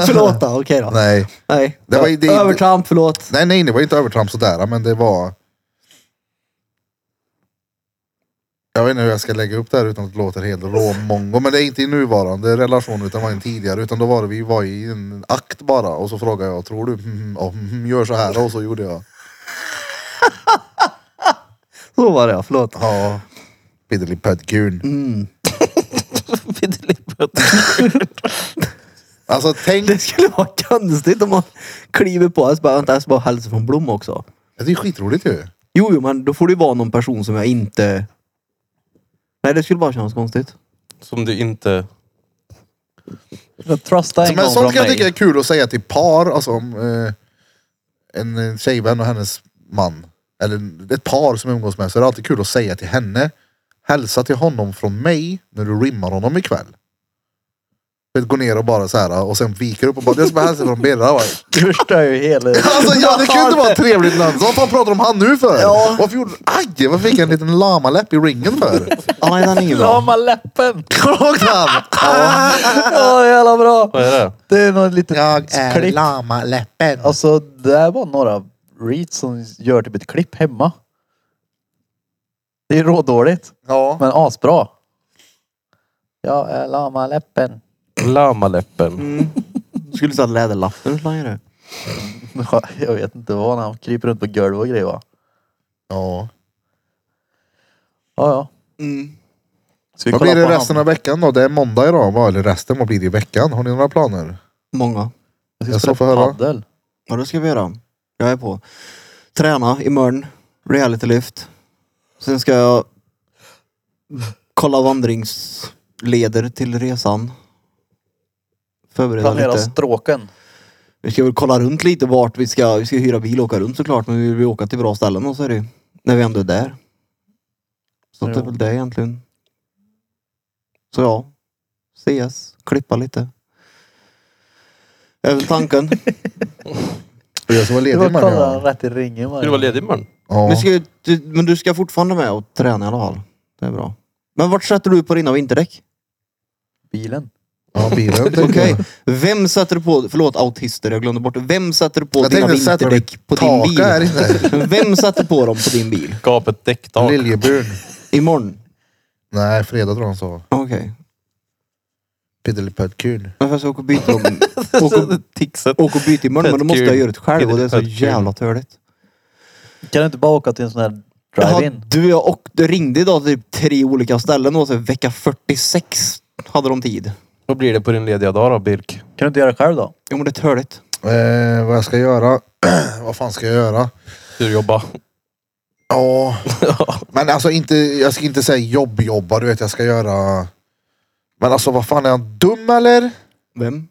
Förlåt då, okej då. Nej. Nej. Det var ju- det- Övertramp, förlåt. Nej, nej, det var inte övertramp sådär, men det var... Jag vet inte hur jag ska lägga upp det här utan att det låter helt råmongo, men det är inte i nuvarande relation utan det var en tidigare, utan då var det, vi var i en akt bara och så frågade jag, tror du, mm, ja, mm, gör så här och så gjorde jag. Så var det ja, förlåt. Ja. Piddelipödkun. Fiddeliputt. Alltså tänk, det skulle vara konstigt om man kliver på och så bara, vänta jag ska bara hälsa från Blom också. det är skitroligt ju. Jo, jo, men då får det ju vara någon person som jag inte... Nej, det skulle bara kännas konstigt. Som du inte... Jag Trusta en Men gång sånt från kan jag tycka är mig. kul att säga till par, alltså om eh, en eh, tjejvän och hennes man. Eller ett par som umgås med så är det alltid kul att säga till henne. Hälsa till honom från mig när du rimmar honom ikväll. Du vet, Gå ner och bara så här och sen viker upp och bara, jag ska bara hälsa från Birra. va?" Du förstör ju hela... Alltså ja, det kan ju inte vara ett trevligt namn. Så vad fan pratar de han nu för? Ja. Varför gjorde Aj, varför fick jag en liten lamaläpp i ringen för? Ah, nej, den är ingen bra. Lama läppen! Såg han? Ja, jävla bra! Vad är det? Det är något litet klipp. lamaläppen. Alltså, det där var några reads som gör typ ett klipp hemma. Det är rådåligt, Ja. men asbra. Jag är lamaläppen. Lamaläppen. Skulle säga läderlappen längre. Ja, Jag vet inte vad han kryper runt på golv och grejer va? ja. Ja, ja. Mm. Ska vi Vad kolla blir det på resten han? av veckan då? Det är måndag idag va? Eller resten, vad blir det i veckan? Har ni några planer? Många. Jag ska Jag ska spela få höra. paddel. Ja, det ska vi göra. Jag är på. Träna imorgon. Realitylyft. Sen ska jag kolla vandringsleder till resan. Förbereda Planera lite. stråken. Vi ska väl kolla runt lite vart vi ska. Vi ska hyra bil och åka runt såklart. Men vi vill ju åka till bra ställen och så är det ju- När vi ändå är där. Så det är Jo. väl det egentligen. Så ja. Ses. Klippa lite. Även tanken. Och Jag ska vara Du ledig var imorgon. kolla ja. rätt i ringen Ska du vara ledig imorgon? Men, Ja. ska, ju- du, men du ska fortfarande med och träna i alla fall. Det är bra. Men vart sätter du på dina vinterdäck? Bilen. ja, bilen tänkte Okej. jag. Vem sätter du på, förlåt autister, jag glömde bort det. Vem sätter du på Jag dina tänkte sätta dem i vinterdäck på din taket här bil? inne. Vem sätter på dem på din bil? Gapet däcktak. Liljeburn. Imorgon? Nej, fredag tror jag han sa. Okej. Piddelipödkun. Men jag ska åka och byta dem. åka, och- Tixet. åka och byta imorgon, men då måste jag göra det själv och det är så Fett kul. jävla törligt. Kan du inte bara åka till en sån här Jaha, drive-in? du, jag och, du ringde idag till typ tre olika ställen och så vecka 46 hade de tid. Vad blir det på din lediga dag då, Birk? Kan du inte göra det själv då? Jo men det är törligt. Eh, vad jag ska göra? vad fan ska jag göra? Du jobbar. Ja. Men alltså inte, jag ska inte säga jobb-jobba. Du vet, jag ska göra... Men alltså vad fan, är han dum eller? Vem?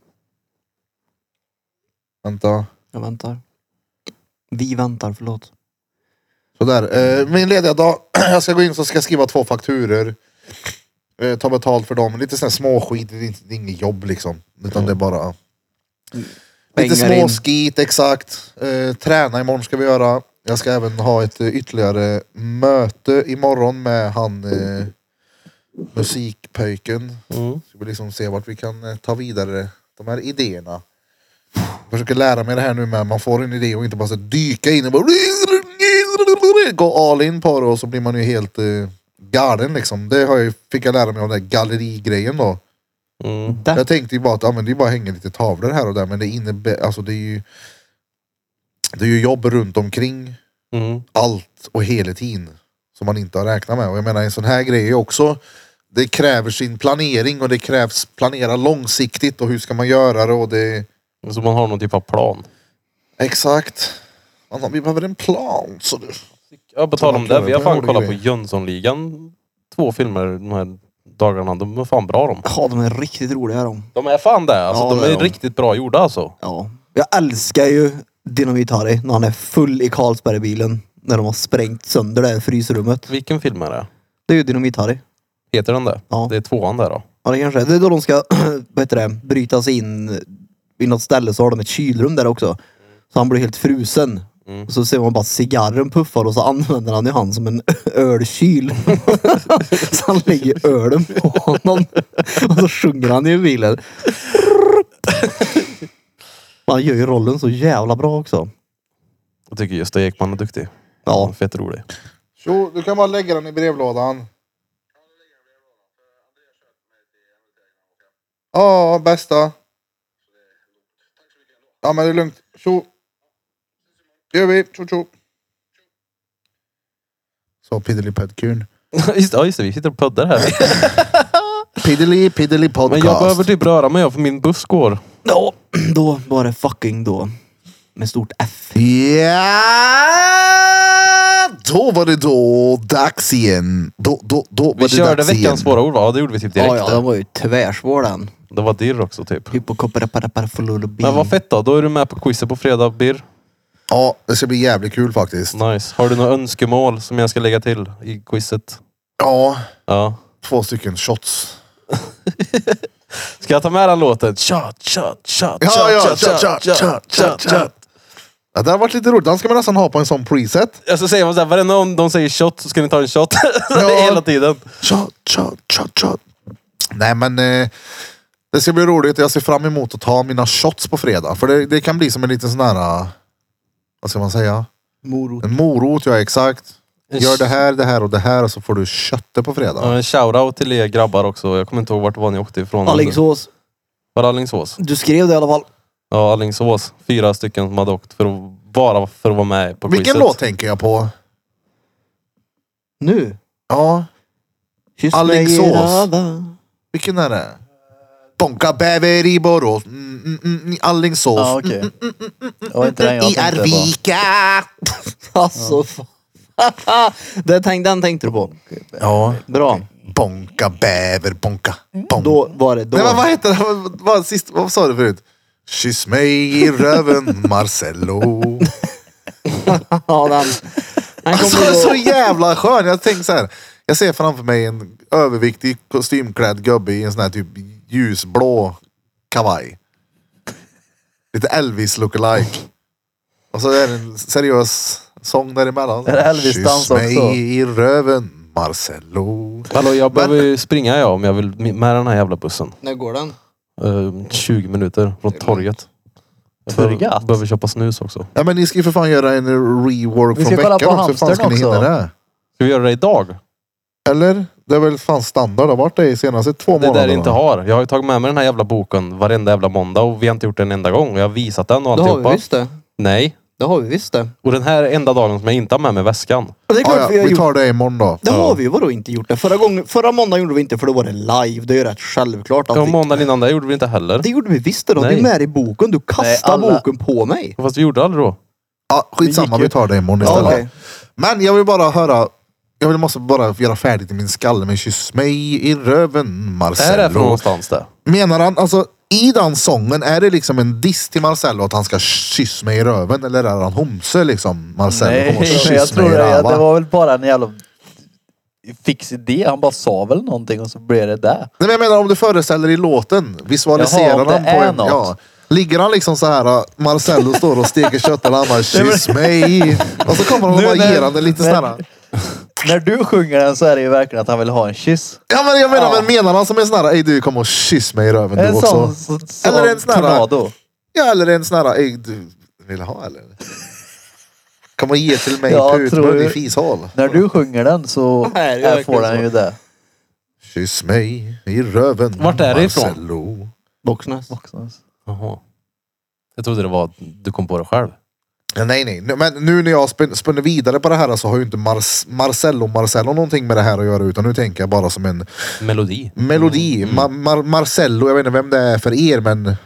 Vänta. Jag väntar. Vi väntar, förlåt. Sådär. Eh, min lediga dag. jag ska gå in och ska jag skriva två fakturer. Eh, ta betalt för dem. Lite sån här småskit. Det är, inte, det är inget jobb liksom. Utan det är bara... Lite Pengar in. småskit, exakt. Eh, träna imorgon ska vi göra. Jag ska även ha ett eh, ytterligare möte imorgon med han eh, musikpöjken. Mm. Ska vi liksom se vart vi kan eh, ta vidare de här idéerna. Jag försöker lära mig det här nu med att man får en idé och inte bara så dyka in och bara gå all in på det och så blir man ju helt eh, galen liksom. Det har jag, ju- fick jag lära mig av den där gallerigrejen då. Mm. Där. Jag tänkte ju bara att ja, men det är bara hänger lite tavlor här och där men det innebär, alltså det är ju det är ju jobb runt omkring Mm. allt och hela tiden som man inte har räknat med. Och jag menar en sån här grej är ju också det kräver sin planering och det krävs planera långsiktigt och hur ska man göra det och det Så man har någon typ av plan. exakt. Alltså, vi behöver en plan. Så du. Ja, på tal om man det. klarar Vi har på fan en rolig kollat på grej. Jönssonligan. Två filmer de här dagarna. De är fan bra de. Ja, de är riktigt roliga de. De är fan det. Alltså, Ja, de det är är de. riktigt bra gjorda alltså. Ja. Jag älskar ju Dynamit-Harry när han är full i Carlsbergbilen. När de har sprängt sönder det här frysrummet. Vilken film är det? Det är ju Dynamit-Harry. Heter den det? Ja. Det är tvåan där då. Ja, det kanske är. Det är då de ska, vad heter det, bryta sig in i något ställe så har de ett kylrum där också. Så han blir helt frusen. Och så ser man bara att cigarren puffar och så använder han ju han som en ölkyl. så han lägger ölen på honom. Och så sjunger han i bilen. Han gör ju rollen så jävla bra också. Jag tycker Gösta Ekman är duktig. Han är Ja, Fett rolig. Jo, du kan bara lägga den i brevlådan. Ja, bästa. Ja, men det är lugnt. Tjo. Det gör vi. Tjo, tjo. Sa Piddelipödkun. just, ja, just det, vi sitter och poddar här. Piddly piddly podcast. Men jag behöver typ röra mig för min buss går. Ja, då var det fucking då. Med stort F. Ja, då var det då dags igen. Då, då, då var Vi det körde dags igen. veckans svåra ord va? Ja, det gjorde vi typ direkt. Ja, ja, den var ju tvärsvår den. Det var dirr också typ. Hypokopparaparafololobin. Men vad fett då, då är du med på quizet på fredag Bir. Ja, det ska bli jävligt kul faktiskt. Nice. Har du några önskemål som jag ska lägga till i quizet? Ja, Ja. två stycken shots. Ska jag ta med den låten? Shot, shot, shot, shot, Ja, ja, shot, shot, shot, shot, shot. Ja, det har varit lite roligt. Den ska man nästan ha på en sån preset. Alltså säger man såhär, varenda gång de säger shot så ska ni ta en shot. Ja. Hela tiden. Shot, shot, shot, shot. Nej, men eh, det ska bli roligt. Jag ser fram emot att ta mina shots på fredag. För det, det kan bli som en liten sån här... eh, Vad ska man säga? Morot. En morot, ja exakt. Gör det här, det här och det här och så får du köttet på fredag. Ja, en shoutout till er grabbar också. Jag kommer inte ihåg vart det var ni åkte ifrån. Alingsås. Var det Alingsås? Du skrev det i alla fall. Ja, Alingsås. Fyra stycken som hade åkt för att, bara för att vara med på Vilken quizet. låt tänker jag på? Nu. Ja, Kyss Alingsås. mig i röven. vilken är det? Bonka bäver i Borås, mm, mm, mm, i Alingsås, Ja, Ah, okej. Det var inte den jag i tänkte på. Arvika. Alltså fan. Den, tänk, den tänkte du på. Ja. Bra. Bonka bäver, bonka, bonka. Då var det då. Nej, men vad heter det? Vad, vad, sist, vad sa du förut? Kyss mig i röven Marcello. ja, den. Den Alltså kommer den är så alltså, jävla skön. Jag tänker så här. Jag ser framför mig en överviktig kostymklädd gubbe i en sån här typ ljusblå kavaj. Lite Elvis lookalike. Och så är det en seriös sång däremellan. Är det Elvis Kyss dans mig också? i röven Marcello. Hallå, jag behöver ju springa jag om jag vill med den här jävla bussen. När går den? Eh, 20 minuter från torget. Jag Torget? Behöver, behöver köpa snus också. Ja men ni ska ju för fan göra en rework Vi från ska kolla veckan på också. Hur fan ska ni hamstern hinna också. det? Ska vi göra det idag? Eller? Det är väl fan standard. Det har varit det i senaste två Det är månaderna. där jag inte har. Jag har ju tagit med mig den här jävla boken varenda jävla måndag och vi har inte gjort det en enda gång. Och Jag har visat den och Det har vi alltihopa. visst det. Nej. Det har vi visst det. Och den här enda dagen som jag inte har med mig väskan. Och det är klart ja, vi ja, har vi gjort. tar det imorgon då. Det har vi ju vadå inte gjort det. Förra, gången, förra måndagen gjorde vi inte för då var det live. Det är ju rätt självklart. Att Och vi, måndagen innan det gjorde vi inte heller. det gjorde vi visst det. Du Nej. är med i boken. Du kastar Nej, alla- boken på mig. Fast vi gjorde aldrig då. Ja, skitsamma, Det gick ju. vi tar det imorgon Ja, istället. okej. Men jag vill bara höra. Jag vill måste bara göra färdigt i min skalle med kyss mig i röven Det här är från Marcello. någonstans det. Menar han, alltså i den sången, är det liksom en diss till Marcello att han ska kyss mig i röven? Eller är han homse liksom? Marcello Nej, kommer och men jag kyss mig i tror det, röva. det var väl bara en jävla fix idé. Han bara sa väl någonting och så blev det det. Nej, men jag menar om du föreställer i låten. Visualiserar Jaha, om det han på är en... något. Ja. Ligger han liksom så här, ah, Marcello står och steker kött och han bara kyss mig. Och så kommer han och Nu bara när- ger han det lite när- snälla. När du sjunger den så är det ju verkligen att han vill ha en kyss. Ja men jag menar, men menar han som en sån här, ey du kommer och kyss mig i röven du En också. sån, sån, sån Eller en sån här- tornado. Ja eller en sån här, ey du vill ha eller? Kom och ge till mig Ja, tror putmun du- i fishål. När du sjunger den så Nej, det är är får verkligen den ju det. Kyss mig i röven. Vart är det ifrån? Marcello. Boxnäs. Också. Jaha. Jag trodde det var att du kom på det själv. Ja, nej nej, Nu- men nu när jag spin- spinner vidare på det här så har ju inte Mars- Marcello Marcello någonting med det här att göra utan nu tänker jag bara som en Melodi. Mm. melodi. Ma- Mar- Marcello, jag vet inte vem det är för er men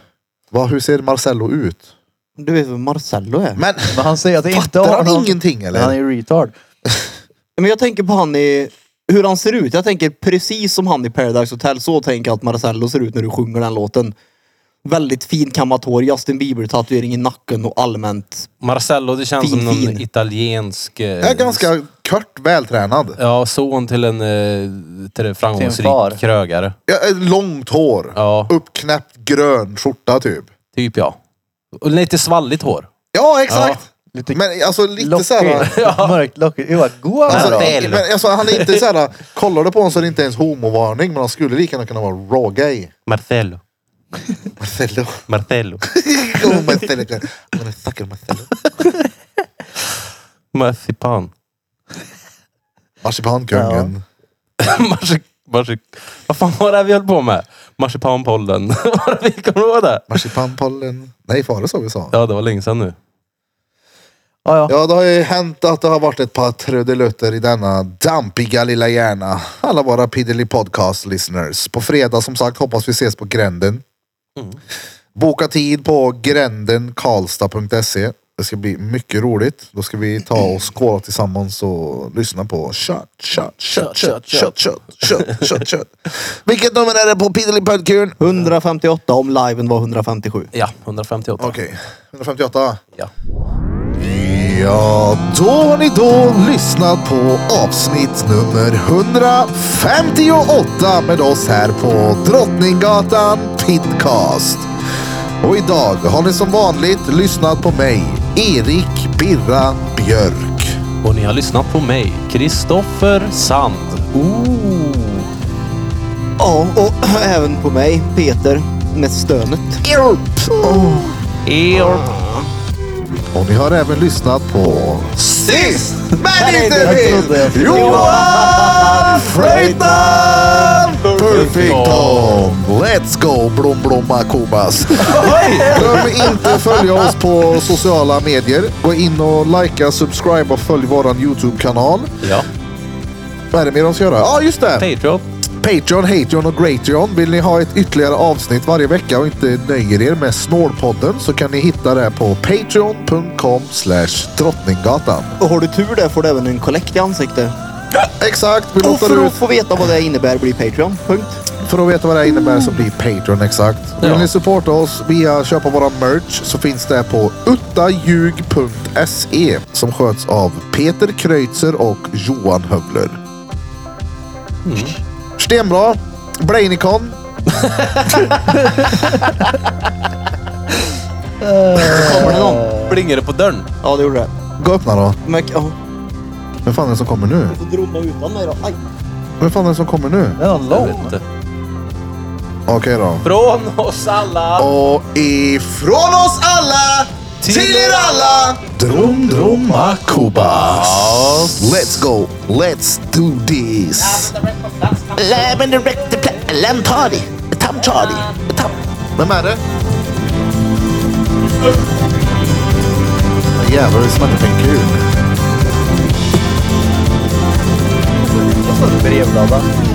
vad, hur ser Marcello ut? Du vet vem Marcello är? Men Men han säger att det inte fattar har han någon... ingenting eller? Han är ju retard. Men jag tänker på han i... Hur han ser ut. Jag tänker precis som han i Paradise Hotel. Så tänker jag att Marcello ser ut när du sjunger den låten. Väldigt fin kammat hår, Justin Bieber tatuering i nacken och allmänt. Marcello, det känns Fin, som någon fin. italiensk... eh, Jag är ganska kort vältränad. Ja, son till en, eh, till en Till en far. framgångsrik krögare. Ja, eh, långt hår. Ja. Uppknäppt grön skjorta typ. Typ ja. Och lite svalligt hår. Ja exakt! Lite Men alltså lite lockig. såhär. Mörkt lockigt. Jo, god Alltså, alltså, Marcel. men alltså, han är inte såhär, kollar du på honom så är det inte ens homovarning men han skulle lika gärna kunna vara raw gay. Marcello. Marcello. Marcello. oh, Marcello. I'm gonna suck your Marcello. Marsipan. Marsipankungen. Marsik... Marsik... Vad fan var det här vi höll på med? Marsipanpollen. Var det vi kom ihåg det? Marsipanpollen. Nej, Fares har vi sa. Ja, det var länge sedan nu. Ja, ja. Ja, det har ju hänt att det har varit ett par trudelutter i denna dampiga lilla hjärna. Alla våra Piddly Podcast listeners. På fredag som sagt hoppas vi ses på gränden. Mm. Boka tid på grändenkarlstad.se. Det ska bli mycket roligt. Då ska vi ta och skåla tillsammans och lyssna på kött, kött, kött, kött, kött, kött, kött, kött, kött. Vilket nummer är det på Piddly Pödkuren? 158 om liven var 157. Ja, 158. Okej, 158. Ja. Ja, då har ni då lyssnat på avsnitt nummer 158 med oss här på Drottninggatan Pidcast. Och idag har ni som vanligt lyssnat på mig, Erik Birra Björk. Och ni har lyssnat på mig, Kristoffer Sand. Ooh. Ja, och även på mig, Peter, med stönet. Och ni har även lyssnat på Sist men inte minst Johan Freitan Perfect Tom Let's go Blom Blomma Kobas Glöm inte följa oss på sociala medier Gå in och likea, subscribe och följ våran YouTube-kanal Ja. Vad är det mer de ska göra? Ja just det! Patreon. Patreon, Hatreon och Greatreon. Vill ni ha ett ytterligare avsnitt varje vecka och inte nöjer er med Snålpodden så kan ni hitta det på patreon.com slash drottninggatan. Och har du tur där får du även en kollekt i ansiktet. Exakt, vi Och låter för ut. att få veta vad det innebär blir Patreon. Punkt. För att veta vad det här innebär så blir Patreon exakt. Vill Ja. ni supporta oss via att köpa våra merch så finns det på uttaljug.se E, som sköts av Peter Kreutzer och Johan Hövler. Stenbra! Blainikon. Kommer det någon? Plingar det på dörren? Ja, det gjorde det. Gå och öppna då. Men, ja. Vem fan är det som kommer nu? får drömma utan mig då. Aj. Vem fan är det som kommer nu? Den är Jag vet lång. inte. Okej då. Från oss alla. Och ifrån oss alla till er alla! Drum drum akubas. Let's go, let's do this. Lämmen direkt till plats. Läm tadi. Tam tadi. Tam. Vem är det? Jävlar, det smäller en kul. Brevlåda.